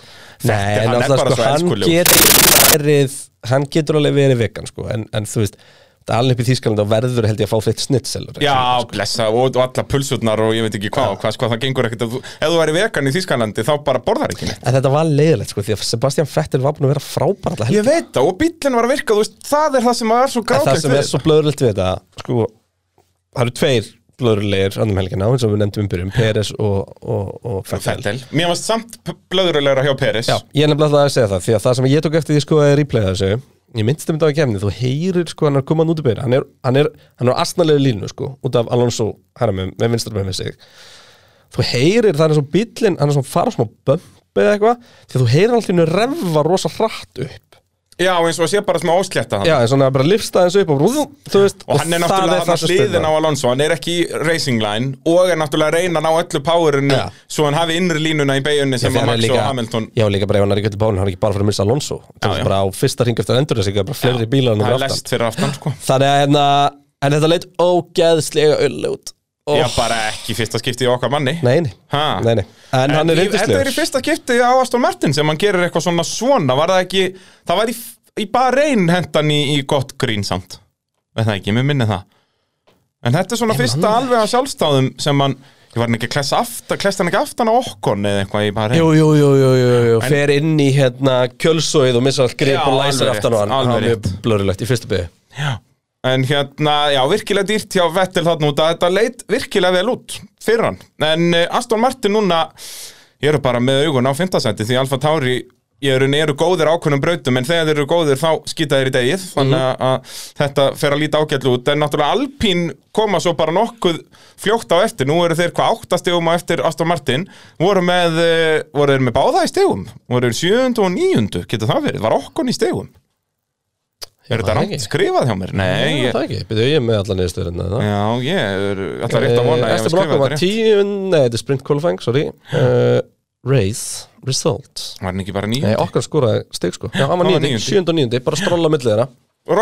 Speaker 2: Nei,
Speaker 3: hann
Speaker 2: en
Speaker 3: er
Speaker 2: alltaf
Speaker 3: bara
Speaker 2: sko,
Speaker 3: svo
Speaker 2: hann
Speaker 3: elskulegur.
Speaker 2: getur verið hann getur alveg verið vegan sko, en, en þú veist, það er alveg upp í Þýskaland og verður held ég að fá þitt snitselur
Speaker 3: Já, blessa, og, og alla pulsurnar og ég veit ekki hvað, og hvað, sko, það gengur ekkert að þú, ef þú væri vegan í Þýskalandi þá bara borðar ekki neitt
Speaker 2: En þetta var leiðilegt sko, því að Sebastian Vettel var búin að vera frábær alltaf
Speaker 3: Ég veit það, og bíllinn var að virka, þú veist, það er það sem er svo
Speaker 2: En það
Speaker 3: grátlegt
Speaker 2: sem er svo blöðröld við þetta sko, það eru tveir blöðrölegir annum helgina, eins og við nefndum um byrjum Peres og, og, og Vettel
Speaker 3: Fettel, mér varst samt blöðurulegra hjá Peris
Speaker 2: Já, ég er nefnilega alltaf að segja það, því að það sem ég tók eftir því sko að replaya þessu, ég minnst um þetta á kemni, þú heyrir sko hann er komaðan út í beira, hann er, hann er, hann er á astnalegu línu sko, út af Alonso, hæra með, með vinstra með með sig, þú heyrir það er eins og bíllinn, hann er svona fara svona bömpi eða eitthvað, því að þú heyrir alltaf hennu revva rosa hrætt upp,
Speaker 3: Já, eins og sé bara smá óslétta hann
Speaker 2: já, en svona bara lifsta þessu upp og rúðum, þú veist,
Speaker 3: Og hann er
Speaker 2: það
Speaker 3: náttúrulega
Speaker 2: það
Speaker 3: hann
Speaker 2: sem
Speaker 3: hliðin
Speaker 2: stöðvar.
Speaker 3: á Alonso, hann er ekki í racing line og er náttúrulega að reyna að ná öllu powerinu
Speaker 2: Já.
Speaker 3: svo hann hafi innri línuna í beigunni
Speaker 2: Já,
Speaker 3: sem
Speaker 2: því
Speaker 3: að
Speaker 2: hann er
Speaker 3: Max
Speaker 2: líka-
Speaker 3: og Hamilton
Speaker 2: Já, líka bara ef hann er í göllu bánu, hann er ekki bara fyrir að missa Alonso
Speaker 3: Já,
Speaker 2: Þú veist,
Speaker 3: já.
Speaker 2: bara á fyrsta hring eftir endur þessi, bara fleiri bílar
Speaker 3: hann
Speaker 2: en
Speaker 3: er
Speaker 2: fyrir aftan
Speaker 3: lest fyrir aftan sko.
Speaker 2: Þannig að hérna, en þetta leit ógeðslega öll út oh.
Speaker 3: Já, bara ekki fyrsta skipti í okkar manni
Speaker 2: Nei, nei,
Speaker 3: Ha.
Speaker 2: nei, nei. En, hann er
Speaker 3: í- Þetta er
Speaker 2: yndislegur
Speaker 3: í fyrsta skipti á Aston Martin sem hann gerir eitthvað svona svona Var það ekki, það var í, í bara reyn hendan í, í gott grín samt Veit það ekki, mér minni það En þetta er svona fyrsta alveg að sjálfstáðum sem hann Ég var hann ekki að klessa aftan, klessa hann ekki aftan á okkon eða eitthvað í bara reyn
Speaker 2: Jú, jú, jú, jú, jú, jú. fer inn í hérna kjölsóið og missa allt grip
Speaker 3: Já,
Speaker 2: og
Speaker 3: alveg
Speaker 2: læsir
Speaker 3: rétt,
Speaker 2: aftan á hann
Speaker 3: alveg
Speaker 2: Það var mjög
Speaker 3: rétt.
Speaker 2: blörulegt í fyrstu byggu
Speaker 3: En hérna, já, virkilega dýrt hjá Vettel þarna út að þetta leit virkilega vel út fyrir hann. En eh, Aston Martin núna, ég eru bara með augun á fintasætti því Alfa Tauri, ég eru, eru góðir á ákveðnum brautum en þegar þeir eru góðir þá skýta þeir í degið. Þannig að þetta fer að líta ágætlu út. En náttúrulega Alpín koma svo bara nokkuð fljótt á eftir. Nú eru þeir hvað áttastegum á eftir Aston Martin. Voru, með, eh, voru þeir með báða í stegum? Voru þeir sjöundu og níundu? Getur það verið? Var okkon í stegum? Er þetta
Speaker 2: það
Speaker 3: rangt
Speaker 2: ekki.
Speaker 3: skrifað hjá mér? Nei, ég,
Speaker 2: Það ekki, byrju ég er með hérna, alla niðurstöðurinn
Speaker 3: Já, ég er alltaf
Speaker 2: Eh,
Speaker 3: rétt að vona að ég hafi
Speaker 2: Eftir
Speaker 3: skrifað
Speaker 2: brokkum
Speaker 3: þetta
Speaker 2: var
Speaker 3: rétt.
Speaker 2: tíu, nei, þetta er sprint qualifying, sorry uh, Race, result
Speaker 3: Var hann ekki bara
Speaker 2: Nei,
Speaker 3: nýjum?
Speaker 2: okkar skoraði stig sko Já, hann var
Speaker 3: Hann var
Speaker 2: nýjandi,
Speaker 3: níundi.
Speaker 2: sjönd og nýjandi, bara stróla millið þeirra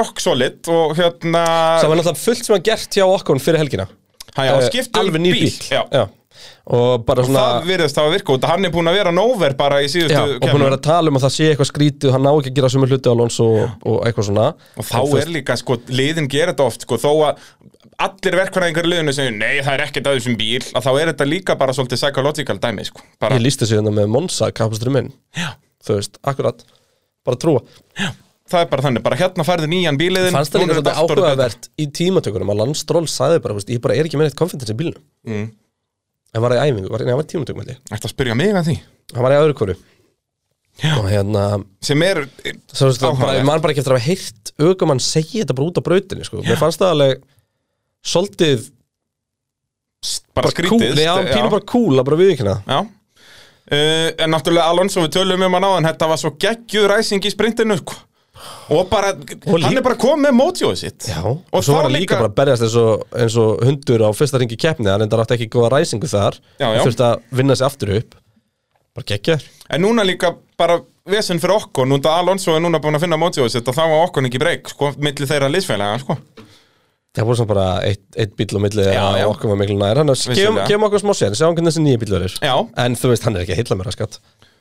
Speaker 3: Rock solid og hérna
Speaker 2: Það var náttúrulega fullt sem að gert hjá okkur fyrir helgina
Speaker 3: Hæ, já,
Speaker 2: Eh,
Speaker 3: skipta um
Speaker 2: alveg nýr bíl,
Speaker 3: Já.
Speaker 2: og bara svona
Speaker 3: Það virðist hafa virka út að hann er búin að vera nóver bara í síðustu
Speaker 2: já, og búin að vera að tala um að það sé eitthvað skrítið og hann ná ekki að gera sömu hluti á Lons og, og eitthvað svona
Speaker 3: Og þá er líka, sko, liðin gera þetta oft, sko, þó að allir verkvæðingar í liðinu segja, nei, það er ekkert að þessum bíl, að þá er þetta líka bara svolítið psychological dæmi, sko. Bara,
Speaker 2: ég lísti sig hérna með Monsa kapastur minn já. þú veist, akkurat, bara trúa
Speaker 3: það er bara þannig, bara hérna færðu nýjan bíliðin.
Speaker 2: fannst það líka svolítið áhugavert í tímatökunum að Landstról sagði bara, þú veist, ég bara er ekki með neitt confidence í bílnum mm. en var í æfingu, var, nei, hann var í tímatökum held ég.
Speaker 3: Þetta spyrja mig að því.
Speaker 2: hann var í öðru hverju og hérna,
Speaker 3: Sem er, eh,
Speaker 2: Svo veist, það bara,
Speaker 3: Áhugavert.
Speaker 2: maður bara ekki eftir að hafa heyrt aukumann segja þetta bara út á brautinni sko. mér fannst það alveg svolítið
Speaker 3: bara
Speaker 2: cool,
Speaker 3: skrítið. eh,
Speaker 2: já, pínu bara cool að bara viðkynna
Speaker 3: Já Eh, uh, En náttúrulega Alonso við tölum um hann á en þetta var svo geggjuð ræsing í sprintinu sko. og bara,
Speaker 2: Og
Speaker 3: hann
Speaker 2: líka-
Speaker 3: er bara komið með mótjóið sitt
Speaker 2: Já,
Speaker 3: og,
Speaker 2: og, svo
Speaker 3: þá
Speaker 2: var hann líka bara að berjast eins og, eins og hundur á fyrsta ringi keppni hann endar átti ekki góða ræsingu þar
Speaker 3: Já,
Speaker 2: Hann
Speaker 3: já.
Speaker 2: þurfti að vinna sig aftur upp bara geggjar
Speaker 3: En núna líka bara vesen fyrir okkur Núna Alonso er núna búin að finna mótið á sitt og þá var okkur ekki breyk, sko, milli þeirra liðsfélaga, sko
Speaker 2: það voru samt bara eitt, eitt bíl á milli
Speaker 3: Já,
Speaker 2: að
Speaker 3: já.
Speaker 2: okkur var miklu nær hann að gefum
Speaker 3: Vissulega.
Speaker 2: gefum okkur smá sér, sjáum hvernig þessi nýja bíl verður
Speaker 3: Já.
Speaker 2: en þú veist, hann er ekki að heilla mér að skatt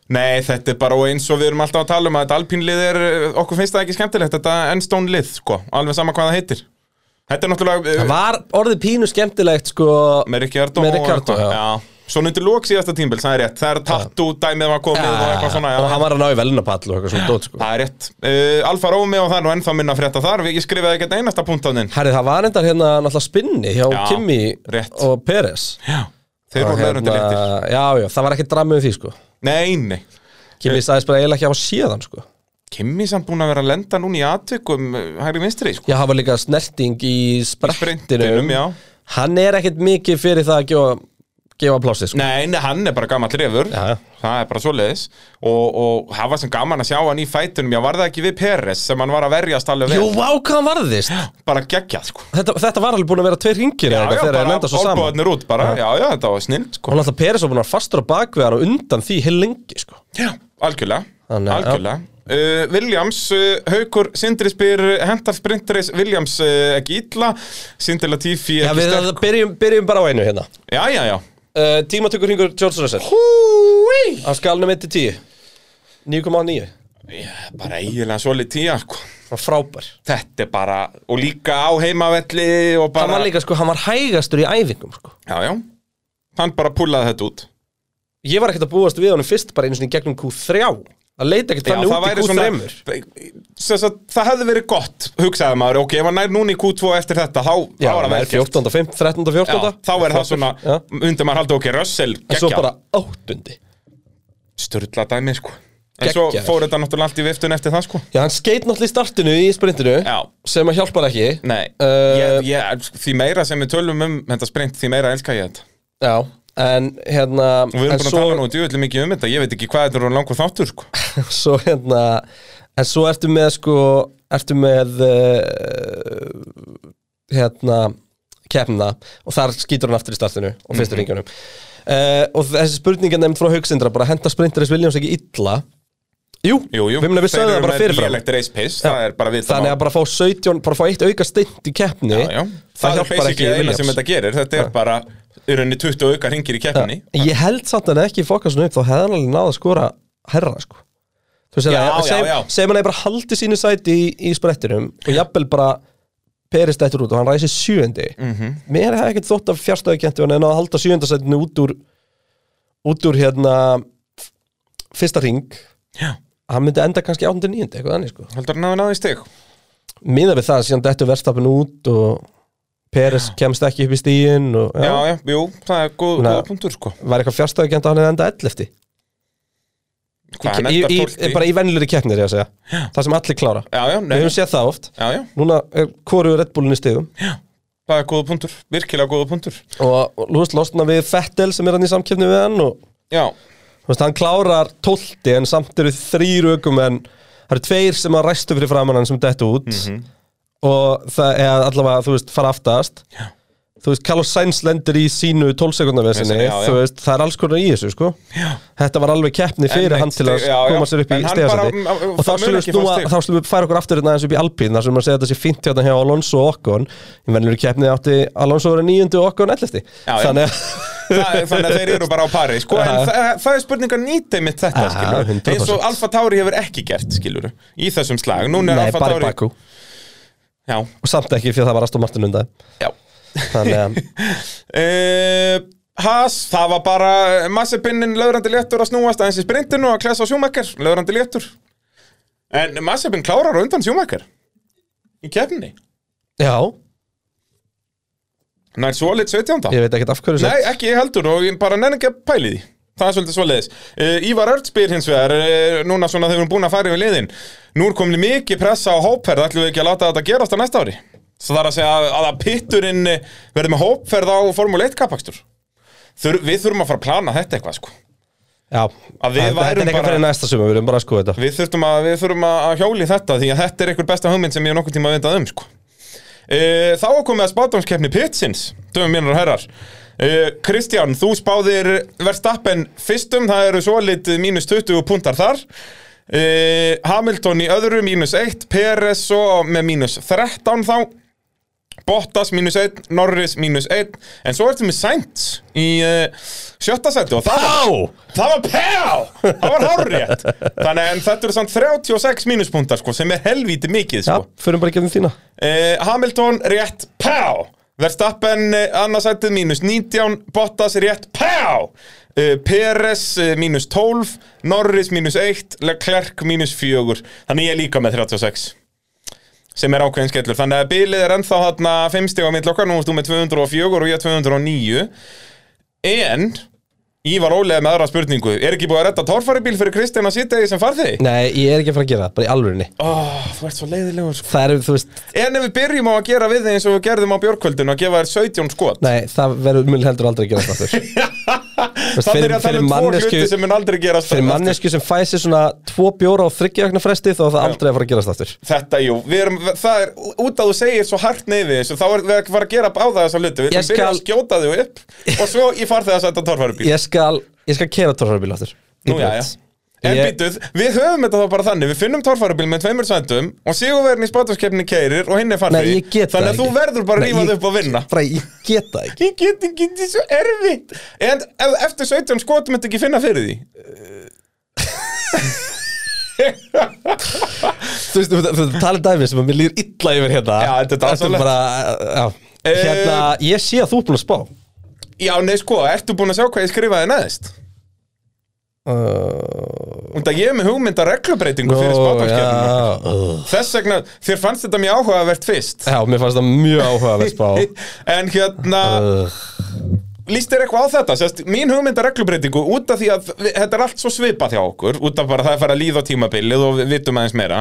Speaker 3: Nei, þetta er bara og eins og við erum alltaf að tala um að þetta alpínlið er, okkur finnst það ekki skemmtilegt þetta ennstón lið, sko, alveg sama hvað það heitir Þetta er náttúrulega
Speaker 2: það
Speaker 3: uh,
Speaker 2: var orðið pínu skemmtilegt sko
Speaker 3: með Ricardo,
Speaker 2: með Ricardo,
Speaker 3: og,
Speaker 2: já.
Speaker 3: já. Svo nýttu lók síðasta tímbil, það er rétt Það er tattoo dæmið var komið og eitthvað svona já.
Speaker 2: og hann var að ná í velnapall og eitthvað svona dót sko.
Speaker 3: Það er rétt uh, Alfa Romeo, það er nú ennþá minna að frétta þar Ég skrifaði ekkert einasta punkt á þinn
Speaker 2: Herri, það var endar hérna náttúrulega spinni hjá
Speaker 3: Já,
Speaker 2: Kimi
Speaker 3: rétt.
Speaker 2: og Peres
Speaker 3: Þeir voru hérna... léttir
Speaker 2: já, já, það var ekki dramið um því sko
Speaker 3: Nei, nei
Speaker 2: Kimi
Speaker 3: Eh.
Speaker 2: sagðist bara eiginlega ekki hafa séð hann sko
Speaker 3: Kimi samt búin að vera að lenda núna í atvikum eh, hægri vinstri, sko
Speaker 2: Já, það var líka snerting í sprettinum
Speaker 3: sprintinum, já.
Speaker 2: Hann er ekkert mikið fyrir það að gefa, gefa plásið sko.
Speaker 3: Nei, nei, hann er bara gammal refur
Speaker 2: Já.
Speaker 3: Það er bara svoleiðis og, og það var sem gaman að sjá hann í fætunum Já, var það ekki við Peres sem hann var að verjast alveg
Speaker 2: Jú,
Speaker 3: vel
Speaker 2: vá, hvað hann varðist
Speaker 3: Bara geggjað, sko
Speaker 2: þetta, þetta var alveg búin að vera tveir ringir
Speaker 3: Já, já,
Speaker 2: þegar þeir
Speaker 3: bara
Speaker 2: lenda svo saman
Speaker 3: olbóðnir út bara Já, já, þetta var snill,
Speaker 2: Og
Speaker 3: sko
Speaker 2: náttúrulega Peres var búin að vera fastur á bakvið hann og undan því heil lengi sko.
Speaker 3: Já, algjörlega,
Speaker 2: Þannig að-
Speaker 3: algjörlega. Uh, Williams, uh, Haukur, Sindri spyr Hendar Sprinteris, Williams uh, ekki illa Sindri Latifi
Speaker 2: Já,
Speaker 3: ekki
Speaker 2: við
Speaker 3: sterk
Speaker 2: byrjum, byrjum bara á einu hérna
Speaker 3: Já, já, já
Speaker 2: uh, Tímatökur hringur George Russell
Speaker 3: Húi
Speaker 2: Á skalnum 1-10 9,9
Speaker 3: Bara eiginlega svolít tíja, sko
Speaker 2: Hann var frábær
Speaker 3: Þetta er bara, og líka á heimavelli og
Speaker 2: Hann
Speaker 3: bara
Speaker 2: var líka, sko, hann var hægastur í æfingum sko.
Speaker 3: Já, já Hann bara púlaði þetta út
Speaker 2: Ég var ekkert að búast við honum fyrst bara einu sinni í gegnum Q3 Það leita ekkert
Speaker 3: Já,
Speaker 2: þannig út í Q3
Speaker 3: Sem sagt, það hefði verið gott, hugsaði maður Ok, ef hann nær núna í Q2 eftir þetta Þá þá
Speaker 2: Já,
Speaker 3: var það
Speaker 2: það er
Speaker 3: vel gert.
Speaker 2: 14. 15. 13. 14.
Speaker 3: Já, þá er það svona
Speaker 2: Já.
Speaker 3: Undir maður haldi ok, Russell,
Speaker 2: En svo bara
Speaker 3: geggja
Speaker 2: áttundi
Speaker 3: Sturla dæmi, sko En svo
Speaker 2: Geggjaður.
Speaker 3: fór þetta náttúrulega allt í viftun eftir það, sko
Speaker 2: Já, hann skeit náttúrulega í startinu í sprintinu
Speaker 3: Já.
Speaker 2: Sem að hjálpar ekki
Speaker 3: Nei,
Speaker 2: Uh,
Speaker 3: ég, ég, því meira sem við tölum um Þetta sprint, því meira elska ég þetta
Speaker 2: Já, en hérna
Speaker 3: Og við erum búin
Speaker 2: en
Speaker 3: að
Speaker 2: svo,
Speaker 3: tala nú djúvillig mikið um þetta Ég veit ekki hvað þetta eru langur þáttur, sko
Speaker 2: Svo hérna En svo ertu með sko Ertu með uh, Hérna Keppnina Og þar skýtur hann aftur í startinu Og
Speaker 3: Mhm.
Speaker 2: fyrstu mm ringunum uh, Og þessi spurning er nefnd frá Hauksindra Bara henda sprintarins Viljáms ekki illa Jú,
Speaker 3: Jú, jú,
Speaker 2: við munum við sögðum það bara fyrirfram
Speaker 3: lélegt race pace, það er bara við
Speaker 2: Þannig að bara fá 17, bara fá eitt auka steint í keppni
Speaker 3: já, já. Það,
Speaker 2: Það
Speaker 3: er
Speaker 2: hjálpar ekki
Speaker 3: basically eina
Speaker 2: Williams.
Speaker 3: sem þetta gerir, þetta er bara í rauninni 20 auka ringir í keppinni
Speaker 2: En Ég held samt að hann ekki fokast hann upp þá hefði hann alveg náða að skora herra sko. Þú veist,
Speaker 3: Já,
Speaker 2: það-
Speaker 3: já,
Speaker 2: segjum-
Speaker 3: já.
Speaker 2: segjum hann hefði bara haldið sínu sæti í, í sprettinum og jafnvel bara perist eftir út og hann ræsir sjöndi
Speaker 3: Mhm.
Speaker 2: Mér hefði ekkert þótt af fjarstöðukentu hann en að halda sjöndasætinu út úr út úr hérna fyrsta ring
Speaker 3: Já.
Speaker 2: hann myndi enda kannski 8.9. eitthvað annir sko
Speaker 3: Haldur hann að náði stig?
Speaker 2: miða við það síðan dettu verðstapin út og Peres kemst ekki upp í stíin og
Speaker 3: Já, já,
Speaker 2: já,
Speaker 3: jú, það er góð,
Speaker 2: Nei.
Speaker 3: góða punktur sko
Speaker 2: var eitthvað fjárstæðugjend að hann hefði enda 11
Speaker 3: Hvað hann
Speaker 2: í,
Speaker 3: endar
Speaker 2: í,
Speaker 3: 12
Speaker 2: bara
Speaker 3: í?
Speaker 2: í venlur í keppnir ég að segja það sem allir klára
Speaker 3: Já, já, nei,
Speaker 2: við höfum
Speaker 3: já,
Speaker 2: séð það oft
Speaker 3: já,
Speaker 2: núna er hvoru Red Bullinni stigum
Speaker 3: það er góða punktur, virkilega góða punktur
Speaker 2: og og Lewis losna við Fettel sem er hann í samkeppni við hann og
Speaker 3: Já,
Speaker 2: þú veist, hann klárar 12 en samt eru þrýr ökum en það eru tveir sem að ræstu fyrir framann hann sem dettu út
Speaker 3: Mhm.
Speaker 2: og það er allavega þú veist fara aftast já. þú veist Carlos Sainz lendir í sínu 12 sekundar
Speaker 3: Vesinni,
Speaker 2: vesinni
Speaker 3: já, já.
Speaker 2: þú veist það er alls konar í þessu sko já. þetta var alveg keppni fyrir
Speaker 3: eitt
Speaker 2: hann til að
Speaker 3: stig, já, já.
Speaker 2: koma sér upp í
Speaker 3: En hann
Speaker 2: stegasæti
Speaker 3: bara- um,
Speaker 2: og þá
Speaker 3: það mun
Speaker 2: slum við
Speaker 3: ekki fá
Speaker 2: snúa
Speaker 3: stig.
Speaker 2: þá slum við færa okkur aftur hérna aðeins upp í Alpín þar sem að segja þetta sé fint hérna hjá Alonso og Okkon í venlur keppni átti Alonso verið níundu og Okkon
Speaker 3: Já,
Speaker 2: 11
Speaker 3: já.
Speaker 2: þannig að
Speaker 3: það, er- þannig að þeir eru bara á pari sko, en
Speaker 2: Já.
Speaker 3: það, það er spurning að nýta mitt þetta
Speaker 2: Já,
Speaker 3: skilur,
Speaker 2: 100%.
Speaker 3: eins og Alfa Tauri hefur ekki gert skilur, í þessum slag Núna er
Speaker 2: nei,
Speaker 3: Alfa
Speaker 2: bara í
Speaker 3: Tauri
Speaker 2: Bakú
Speaker 3: Já,
Speaker 2: og samt ekki fyrir það var Aston Martin undan
Speaker 3: já
Speaker 2: þannig að
Speaker 3: Uh, Haas, það var bara Massepinnin löðrandi léttur að snúast aðeins í sprintinu og að klesa á sjúmakar, löðrandi léttur En Massepinn klárar á undan sjúmakar Í kefni
Speaker 2: Já,
Speaker 3: Nær svo lit 17.
Speaker 2: ég veit ekkert af hverju
Speaker 3: Nei, ekki ég heldur og ég bara nenni ekki að pæli því Það er svolítið svoleiðis uh, Ívar Örd spyr hins vegar uh, Núna svona þegar við erum búin að fara yfir liðin Nú er komin mikið pressa á hópferð Ætlum við ekki að láta þetta gerast á næsta ári Svo það er að segja að, að pitturinn eh, verði með hópferð á Formule 1 kapakstur Þur, Við þurfum að fara að plana þetta eitthvað sko
Speaker 2: Já,
Speaker 3: Að við
Speaker 2: þetta
Speaker 3: værum
Speaker 2: þetta er eitthvað
Speaker 3: bara-
Speaker 2: fyrir næsta sumar, við erum bara að skoða þetta
Speaker 3: Við þurfum að, við þurfum að að hjóli þetta því að þetta er einhver besta hugmynd sem ég hef nokkuð tíma að vindað um sko. e, Þá er komið að spátumskeppni Pitsins, döfum mínur og herrar e, Kristján, þú spáðir Verstappen fyrstum, það eru svo lit mínus 20 puntar þar e, Hamilton í öðru mínus 1, Peres svo með mínus 13 þá Bottas mínus 1, Norris mínus 1 En svo ertu með Sainz í uh, sjötta seti og það var, það var pjá, það var hárétt Þannig en þetta eru samt 36 mínuspunktar sko, sem er helvíti mikið
Speaker 2: Já,
Speaker 3: sko.
Speaker 2: förum bara að gefa þína
Speaker 3: uh, Hamilton rétt pjá Verstappen uh, annarsættið mínus 19 Bottas rétt pjá uh, Peres uh, mínus 12 Norris mínus 1 Leclerc mínus 4 Þannig ég er líka með 36 sem er ákveðin skellur þannig að bilið er ennþá þarna 5 stig á mitt okkar, nú erst þú með 204 og ég 209 en Ívar Ólega með aðra spurningu er ekki búið að redda torfaribíl fyrir Kristján að sitja í sem farði?
Speaker 2: Nei, ég er ekki að fara að gera það, bara í alvörinni
Speaker 3: Oh, þú ert svo leiðilegur sko.
Speaker 2: Það er, þú veist,
Speaker 3: En ef við byrjum á að gera við þig eins og við gerðum á björkvöldun og gefa þér 17 skot
Speaker 2: nei, það verður mun heldur aldrei að gera það aftur. Þú veist,
Speaker 3: Þannig er ég
Speaker 2: fyrir-
Speaker 3: að tala
Speaker 2: fyrir
Speaker 3: um tvo
Speaker 2: manneskju-
Speaker 3: hluti sem mun aldrei gerast
Speaker 2: Fyrir
Speaker 3: aftur.
Speaker 2: mannesku sem fæsi svona tvo bjóra á þryggjagna fresti þá er það aldrei að fara að gerast aftur
Speaker 3: Þetta, jú, við erum, það er, út að þú segir svo hart neyfi þessu, þá er við að fara að gera á það þessa hluti, við
Speaker 2: Ég
Speaker 3: erum skal... byrja að
Speaker 2: skal-
Speaker 3: skjóta þig upp og svo ég far þig að setja torfaribíl
Speaker 2: Ég skal, ég skal kera torfarbíl aftur Í
Speaker 3: Nú, já,
Speaker 2: braut.
Speaker 3: já. En
Speaker 2: Ég-
Speaker 3: býtuð, við höfum þetta þá bara þannig Við finnum torfærubíl með tveimur sændum Og sigurverðin í spátumskeppni keirir og hinn er
Speaker 2: Nei,
Speaker 3: farfið
Speaker 2: ég get það
Speaker 3: Þannig að þú
Speaker 2: ekki.
Speaker 3: verður bara
Speaker 2: Nei,
Speaker 3: rífað
Speaker 2: ég-
Speaker 3: upp og vinna
Speaker 2: Bara, ég get það ekki
Speaker 3: Ég get ekki, þetta er svo erfitt En ef, eftir 17 skotum þetta ekki finna fyrir því
Speaker 2: Þú veist, þú- þú talar um dæmi sem að mér líður illa yfir hérna
Speaker 3: Já, þetta er dásamlegt. Eh,
Speaker 2: bara, já Hérna, ég sé að þú er búin að spá
Speaker 3: Já, nei, sko, ertu búin að sjá hvað ég skrifaði neðist? Út að ég er með hugmynda reglubreitingu fyrir spátumskeppnina
Speaker 2: já,
Speaker 3: Þess vegna, þér fannst þetta mjög áhugavert fyrst
Speaker 2: já, mér fannst það mjög áhugaverð spá
Speaker 3: En hérna
Speaker 2: Ugh.
Speaker 3: Lýst þér eitthvað á þetta? Sest, mín hugmynd er reglubreitingu út af því að við, þetta er allt svo svipað hjá okkur út af bara það er farið að líða á tímabilið og við vitum aðeins meira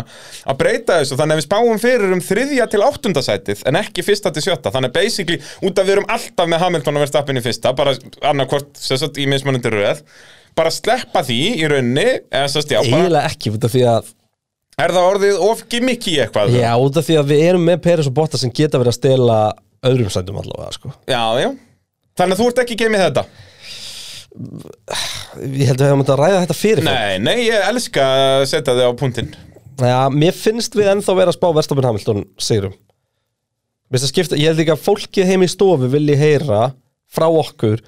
Speaker 3: að breyta þessu þannig að við spáum fyrir um þriðja til áttunda sætið en ekki fyrsta til sjötta þannig að basically út af við erum alltaf með Hamilton að verða stappin í fyrsta bara annarkvort sem sagt í mismunandi röð bara sleppa því í rauninni eða sest, já, bara,
Speaker 2: Eiginlega ekki, út af því að
Speaker 3: er það orðið of gimmicky eitthvað?
Speaker 2: Já, út af því að við erum með Peres og Bottas sem geta verið að stela öðrum sændum allavega, sko
Speaker 3: já, já. Þannig að þú ert ekki geimið þetta?
Speaker 2: Ég held að við hefum þetta að ræða þetta fyrir
Speaker 3: Nei, nei, ég elska að setja þig á punktinn
Speaker 2: Já, mér finnst við ennþá vera að spá Verstafinn Hamilton sigrum Mér finnst að skipta, ég held ekki að fólkið heim í stofu vilji heyra frá okkur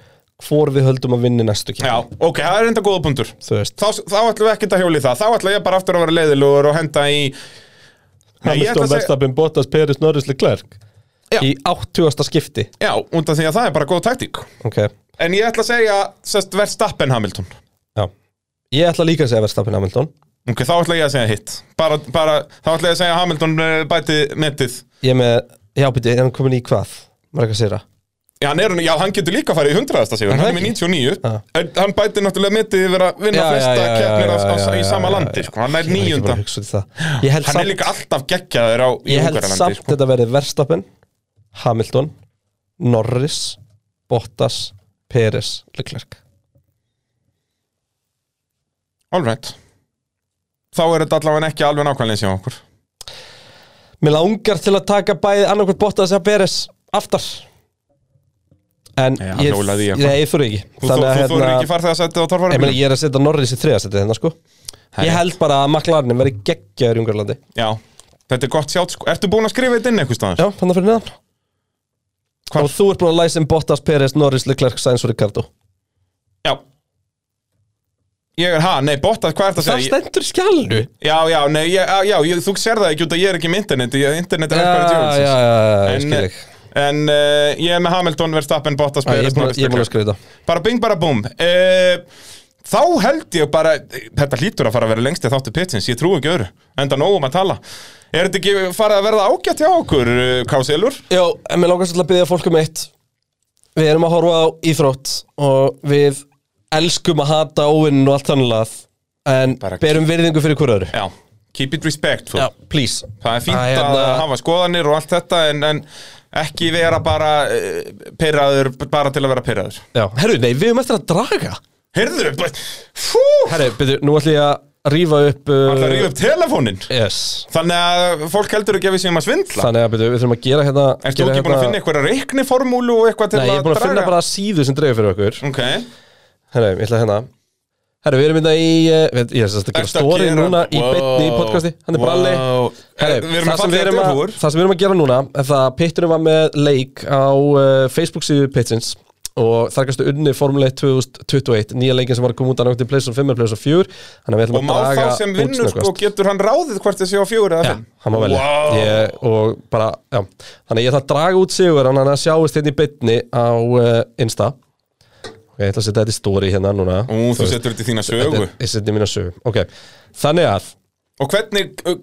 Speaker 2: hvor við höldum að vinni næstu kemur
Speaker 3: Já, ok, það er enda góða punktur
Speaker 2: Þú veist,
Speaker 3: þá, þá ætlum við ekkert að hjóli það Þá ætla ég bara aftur að vera leiðilugur og henda í Nei, ég ætla
Speaker 2: Hamilton,
Speaker 3: að segja
Speaker 2: Verstafinn, Bottas, Peres, Norris, Leclerc
Speaker 3: Já.
Speaker 2: Í 80. skipti
Speaker 3: Já, undan því að það er bara góð taktík
Speaker 2: Ok, já
Speaker 3: En ég ætla að segja, sest, Verstappen Hamilton
Speaker 2: Ég ætla líka að segja Verstafinn Hamilton
Speaker 3: Ok, þá ætla ég að segja hitt bara, bara, Þá ætla ég að segja Hamilton eh, bæti metið
Speaker 2: Ég er með, já byrju, er hann komin í hvað? Marga sýra
Speaker 3: Já, hann, er, já, hann getur líka að fara í 100. sigur,
Speaker 2: Er
Speaker 3: hann er
Speaker 2: það
Speaker 3: með 99
Speaker 2: Já.
Speaker 3: En Hann bæti náttúrulega metið yfir að vinna
Speaker 2: Já, já,
Speaker 3: flesta
Speaker 2: já, já,
Speaker 3: keppnir
Speaker 2: já,
Speaker 3: á-
Speaker 2: já,
Speaker 3: á- í
Speaker 2: já,
Speaker 3: sama
Speaker 2: já,
Speaker 3: landi sko. Hann er
Speaker 2: Ég var ekki
Speaker 3: níunda
Speaker 2: bara að hugsa út í það. Ég held
Speaker 3: Hann er
Speaker 2: samt,
Speaker 3: líka alltaf geggjaður á í
Speaker 2: ég held
Speaker 3: Ungarlandi,
Speaker 2: samt
Speaker 3: sko.
Speaker 2: þetta verið Verstappen, Hamilton, Norris, Bottas, Peres, Leclerc.
Speaker 3: Alright Þá er þetta allavega ekki alveg nákvæmlega sem okkur
Speaker 2: Mér langar til að taka bæði annarkvæmt Bottas eða Peres aftar. En
Speaker 3: Já,
Speaker 2: ég,
Speaker 3: hjólaði í
Speaker 2: ég,
Speaker 3: eitthvað.
Speaker 2: ég þurfi ekki.
Speaker 3: Þú,
Speaker 2: hérna-
Speaker 3: þú, þú, þú eru ekki farið að setja á
Speaker 2: ég, meina,
Speaker 3: torfari
Speaker 2: ég er að setja Norris í þriðasetti þennan sko. Ég held bara að McLarenin verið geggjaður í Ungarlandi.
Speaker 3: Já, þetta er gott sjátt sko Ertu búin að skrifa þetta inn eitthvað staðar?
Speaker 2: Já, þannig fyrir neðan.
Speaker 3: Hvar?
Speaker 2: Og þú ert búin að læsa um Bottas, Peres, Norris, Leclerc, Sainz og Ricardo.
Speaker 3: Já Ég er, ha, nei, Bottas, hvað ert að
Speaker 2: Það
Speaker 3: segja? Ég-
Speaker 2: stendur í skjálnu.
Speaker 3: Já, já, nei, ég, já, já, ég, þú sér það ekki út að ég er ekki með interneti ég- Internet er eitthvað
Speaker 2: já, já, já, ég
Speaker 3: En,
Speaker 2: skil þig
Speaker 3: En uh, ég er með Hamilton, Verstappen, Bottas,
Speaker 2: Já, Ég er
Speaker 3: Peres,
Speaker 2: búin að-
Speaker 3: Norris,
Speaker 2: ég er búin
Speaker 3: Leclerc.
Speaker 2: að skrifa þetta
Speaker 3: Bara bing, bara búm uh, Þá held ég bara Þetta hlýtur að fara að vera lengst í þáttu pitsins Ég trúi ekki öðru, enda nógum að tala Er þetta ekki farið að verða ágætt hjá okkur, eh, Kásilur?
Speaker 2: Já, en mér langast alltaf að byggja fólk um eitt Við erum að horfa á íþrótt og við elskum að hata óvinn og allt þannig að en
Speaker 3: Bara-
Speaker 2: berum virðingu fyrir hver öðru
Speaker 3: Já, keep it respectful
Speaker 2: Já, please
Speaker 3: Það er fínt
Speaker 2: Það er
Speaker 3: að,
Speaker 2: hérna-
Speaker 3: hafa skoðanir og allt þetta en, en ekki vera bara uh, pyrraður, bara til að vera pyrraður
Speaker 2: Já, herru, nei, við erum eftir að draga
Speaker 3: Heyrðu, bara- fú,
Speaker 2: Herri, byrju, nú ætlum ég að rífa upp
Speaker 3: alltaf að rífa
Speaker 2: uh,
Speaker 3: upp telefónin
Speaker 2: yes.
Speaker 3: Þannig að fólk heldur ekki að við séum að svindla
Speaker 2: Þannig að byrju, við þurfum að gera hérna
Speaker 3: Erst þú
Speaker 2: gera
Speaker 3: ekki búin að
Speaker 2: hérna-
Speaker 3: finna eitthvað reikniformúlu og eitthvað til
Speaker 2: Nei, ég er búin að finna bara síðu sem dreifir fyrir okkur
Speaker 3: Ok,
Speaker 2: Herru, ég ætla hérna Herru, við erum hérna í eh, við- Ég er sérst að gera
Speaker 3: Ertu að
Speaker 2: stóri
Speaker 3: gera-
Speaker 2: núna í
Speaker 3: Wow.
Speaker 2: beinni í podcasti Hann er
Speaker 3: Wow.
Speaker 2: bralli
Speaker 3: Eh,
Speaker 2: Herru,
Speaker 3: við erum
Speaker 2: það
Speaker 3: með
Speaker 2: sem við
Speaker 3: fallegar
Speaker 2: erum að
Speaker 3: derhúfur.
Speaker 2: Það sem við erum að gera núna er það að Pitturinn var með leik á uh, Facebook síðu Pittins og þar kannstu unni Formule 1 2021 nýja leikin sem var að koma út að náttúrulega Playstation 5 eða Playstation 4 Þannig að við
Speaker 3: og
Speaker 2: ætlum
Speaker 3: má þá
Speaker 2: að draga
Speaker 3: sem
Speaker 2: út
Speaker 3: vinnur
Speaker 2: snöggvast.
Speaker 3: sko getur hann ráðið hvort þessi á fjögur eða
Speaker 2: Já,
Speaker 3: fimm
Speaker 2: hann má velja
Speaker 3: Vá.
Speaker 2: ég, og bara, já. Þannig að ég ætla að draga út sigur hann að sjáist hérna í bytni á uh, Insta og ég ætla að setja þetta í story hérna núna
Speaker 3: Ú, þú
Speaker 2: veist,
Speaker 3: setur þetta í þína
Speaker 2: þetta
Speaker 3: sögu
Speaker 2: er- Ég setja mína sögu, ok Þannig að
Speaker 3: Og hvernig uh,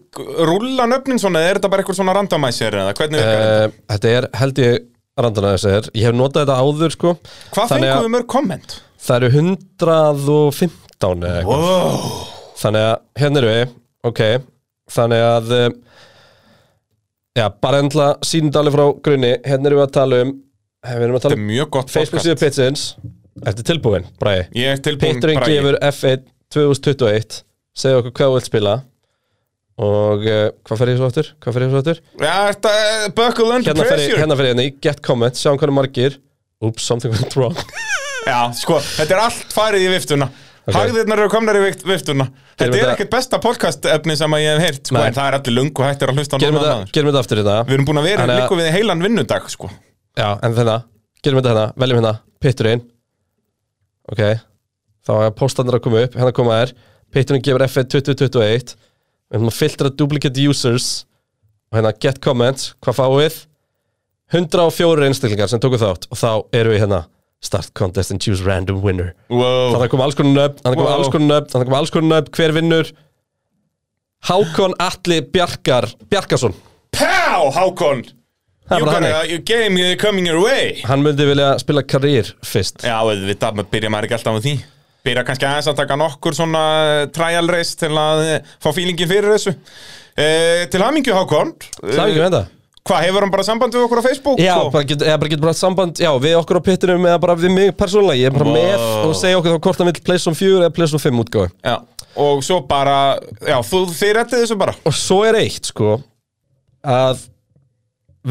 Speaker 3: rúlla nöfnin svona, eða er þetta bara eitthvað svona randomæsir eða hvernig virkar þetta?
Speaker 2: uh, þetta er, held ég randana þessi er, ég hef notað þetta áður sko
Speaker 3: Hvað
Speaker 2: þannig að-
Speaker 3: fengum við mörg komment?
Speaker 2: Það eru 115 eða eitthvað Þannig að, hérna eru við, ok Þannig að um, Já, bara endla sínudali frá grunni Hérna eru við að tala um Við erum að
Speaker 3: Þetta
Speaker 2: tala
Speaker 3: er
Speaker 2: um
Speaker 3: mjög gott
Speaker 2: Facebook
Speaker 3: podcast
Speaker 2: síðu Pitsins Ertu tilbúin, Bræði?
Speaker 3: Ég er tilbúin
Speaker 2: Pitturinn
Speaker 3: Bragi.
Speaker 2: gefur F1 2021 Segðu okkur hvað þú vilt spila Og uh, hvað fer ég svo aftur? Hvað fer ég svo aftur?
Speaker 3: Já, þetta er buckle under
Speaker 2: Hérna fer ég,
Speaker 3: pressure
Speaker 2: hérna fer ég, hérna í Get Comments Sjáum hvernig margir Oops, something went wrong
Speaker 3: Já, sko, þetta er allt farið í viftuna okay. Hagðirnar eru komnar í vift- viftuna Þetta er
Speaker 2: þetta-
Speaker 3: ekkert besta podcast efni sem að ég hef heyrt sko,
Speaker 2: Nei.
Speaker 3: En það er allir lung og hættir að hlusta
Speaker 2: Gerum
Speaker 3: núna
Speaker 2: þetta-
Speaker 3: maður.
Speaker 2: gerum þetta aftur í þetta
Speaker 3: Við erum búin að vera
Speaker 2: Þannig að-
Speaker 3: líka við heilan vinnudag sko.
Speaker 2: Já, en þetta, gerum þetta hérna, veljum hérna, pitturinn Ok, þá er postanir að koma upp, hérna koma þær Pitturinn gefur F1 2021 Við erum að filtra duplicate users Og hérna get comments, hvað fáum við? 104 einstaklingar sem tóku þátt Og þá eru við hérna Start contest and choose random winner
Speaker 3: wow.
Speaker 2: Þannig að koma alls konar nöfn, þannig að koma
Speaker 3: Wow.
Speaker 2: alls konar nöfn Þannig að koma alls konar nöfn, hver vinnur Hákon Atli Bjarkar Bjarkason
Speaker 3: Pá, Hákon You
Speaker 2: Það er bara
Speaker 3: got
Speaker 2: hann
Speaker 3: a game uh, coming your way
Speaker 2: Hann myndi vilja spila karýr fyrst
Speaker 3: Já, auðvitað, maður byrja maður ekki alltaf á því Byrja kannski aðeins að taka nokkur svona eh, trial race til að eh, fá fílingin fyrir þessu eh, Til hamingju Hákon Eh,
Speaker 2: Það er ekki með þetta
Speaker 3: Hvað, hefur hann bara samband við okkur á Facebook? sko?
Speaker 2: Já,
Speaker 3: svo?
Speaker 2: bara getur, eða bara getur bara haft samband Já, við okkur á pittinum eða bara við mig persónulega Ég er bara
Speaker 3: Vá.
Speaker 2: með og segja okkur þá hvort hann vill Playstation 4 eða Playstation 5 útgáfi
Speaker 3: Já, og svo bara, já, þú, þið rettið þessu bara
Speaker 2: Og svo er eitt, sko Að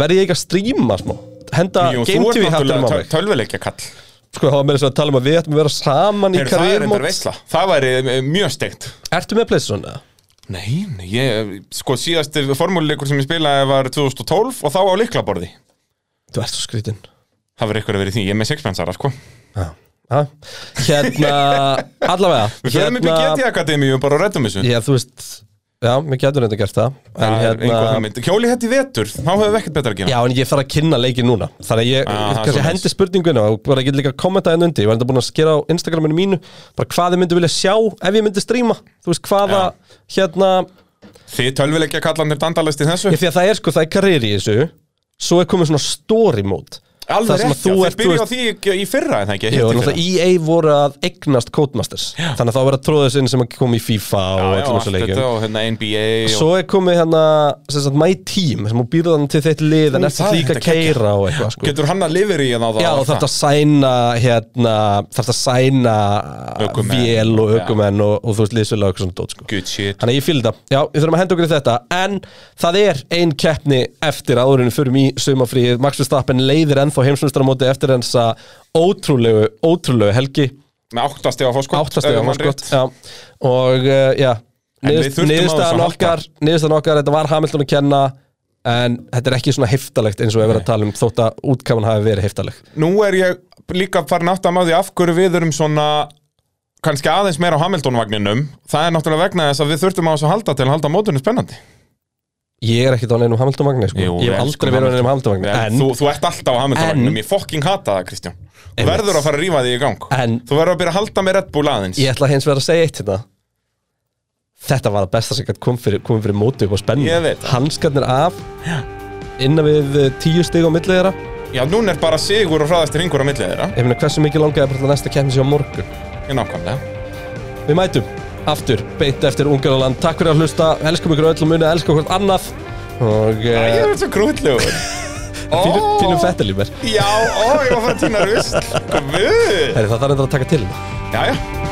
Speaker 2: verði ég ekki að stríma smá Henda
Speaker 3: Jú, þú
Speaker 2: Game
Speaker 3: ert
Speaker 2: TV hattunum á
Speaker 3: náttúrulega
Speaker 2: mig
Speaker 3: tölvuleikja kall
Speaker 2: Sko, það var meira svo að tala um að við ættum að vera saman í
Speaker 3: Heyrðu, Það er
Speaker 2: karriérmót
Speaker 3: reyndar veisla, það væri eh, mjög steikt
Speaker 2: Ertu með Playstation eða?
Speaker 3: Nei, nei, ég, sko síðasti formúluleikur sem ég spilaði var 2012 og þá á liklaborði
Speaker 2: Þú ert svo skrítin
Speaker 3: Það verið ykkur að vera í því, ég er með sexpensara sko
Speaker 2: ha? Hérna, allavega
Speaker 3: Við fyrir hérna... upp í GT Akademíu og bara reddum þessu
Speaker 2: Já, þú veist Já, mér getur þetta gert það En hérna-
Speaker 3: Það er einhver hugmynd. Hjóli hætti vetur, þá höfum við ekkert betra að gera
Speaker 2: Já, en ég þarf að kynna leikinn núna Þannig að ég
Speaker 3: Ah, það er
Speaker 2: kannski
Speaker 3: svoleiðis.
Speaker 2: hendi spurninguna og bara get líka að kommenta enn undir Ég var enda búin að skera á Instagraminu mínu bara hvað þið myndi vilja sjá ef ég myndi stríma Þú veist hvaða, hérna
Speaker 3: Þið tölvilegja kallanir dandalist í þessu
Speaker 2: ég, Því að það er sko, það er karrieri í þessu Svo er komið svona story mode
Speaker 3: Alveg
Speaker 2: það sem að
Speaker 3: rétt,
Speaker 2: þú
Speaker 3: já,
Speaker 2: ert,
Speaker 3: þið
Speaker 2: þú
Speaker 3: byrja á
Speaker 2: veist-
Speaker 3: því í- í fyrra en það ekki
Speaker 2: Jú,
Speaker 3: hitt í
Speaker 2: náttúrulega
Speaker 3: fyrra
Speaker 2: EA voru að eignast Codemasters Þannig að þá verða tróðið sinn sem að kom í FIFA
Speaker 3: Já,
Speaker 2: og
Speaker 3: já,
Speaker 2: öllum
Speaker 3: allt
Speaker 2: þessu
Speaker 3: þetta
Speaker 2: leikum
Speaker 3: og hérna NBA og...
Speaker 2: Svo er komið hérna, sem sagt, My Team sem hún býrða hann til þitt lið en
Speaker 3: Ú,
Speaker 2: eftir
Speaker 3: það er
Speaker 2: líka
Speaker 3: þetta geggjað.
Speaker 2: keira og eitthvað sko.
Speaker 3: Getur hann að lifir í hérna á það
Speaker 2: Já,
Speaker 3: og
Speaker 2: og þarf að sæna hérna, þarf að sæna
Speaker 3: Ökumenn.
Speaker 2: vél og ökumenn og, og þú veist liðsvöla og eitthvað svona dót sko.
Speaker 3: Good shit
Speaker 2: Þannig að ég fylg það, já, við þurfum að henda okkur í þetta En það er ein keppni eftir áðurinn fyrir mig sumafríð Max Verstappen leiðir ennþá heimsmyndstarmóti eftir hans að ótrúlegu, ótrúlegu helgi
Speaker 3: Með áttast eða fórskott
Speaker 2: Áttast eða hanskott Og uh, já,
Speaker 3: En við þurftum á þessu
Speaker 2: niðurstaðan
Speaker 3: að
Speaker 2: okkar, niðurstaðan okkar, þetta var Hamilton að kenna En þetta er ekki svona heftalegt eins og við erum að tala um þótt að útkaman hafi verið heftaleg
Speaker 3: Nú er ég líka farin átt að maður því af hverju við erum svona kannski aðeins meira á Hamilton-vagninum Það er náttúrulega vegna þess að við þurftum á þessu að halda til að halda mótunni spennandi
Speaker 2: Ég er ekkert á neinum Hamilton Magni sko.
Speaker 3: Jú,
Speaker 2: Ég
Speaker 3: við
Speaker 2: hef
Speaker 3: elskum
Speaker 2: aldrei verið á neinum Hamilton
Speaker 3: Við-
Speaker 2: Magni En
Speaker 3: þú, þú ert alltaf á
Speaker 2: En-
Speaker 3: Hamilton-vagnum, ég fokking hata það Kristján Þú
Speaker 2: Einmitt.
Speaker 3: verður að fara að rífa þig í gang
Speaker 2: En-
Speaker 3: Þú verður að byrja að halda með Red Bull aðeins
Speaker 2: ég ætla hins vegar að segja eitt hérna Þetta var það besta sem gætt kom fyrir, kom fyrir móti upp á
Speaker 3: Ég
Speaker 2: spennu
Speaker 3: veit.
Speaker 2: Hanskarnir af Innan við eh, tíu stig á milli þeirra
Speaker 3: Já, núna er bara sigur og hraðasti ringur á millið þeirra
Speaker 2: Ég meina hversu mikið langaði bara til að næsta kemur sér á morgun
Speaker 3: Ég nákvæmlega
Speaker 2: Við mætum aftur beint eftir Ungarland Takk fyrir að hlusta, elskum ykkur öll og munið að elska hvort annað Og
Speaker 3: Ég
Speaker 2: eh,
Speaker 3: er svo krútlegur
Speaker 2: Fínum,
Speaker 3: Ó.
Speaker 2: fínum fettil í mér
Speaker 3: Já, ó, ég var að fara að týna rusl Guð
Speaker 2: Herri, það þarf endur að taka til hérna
Speaker 3: Jæja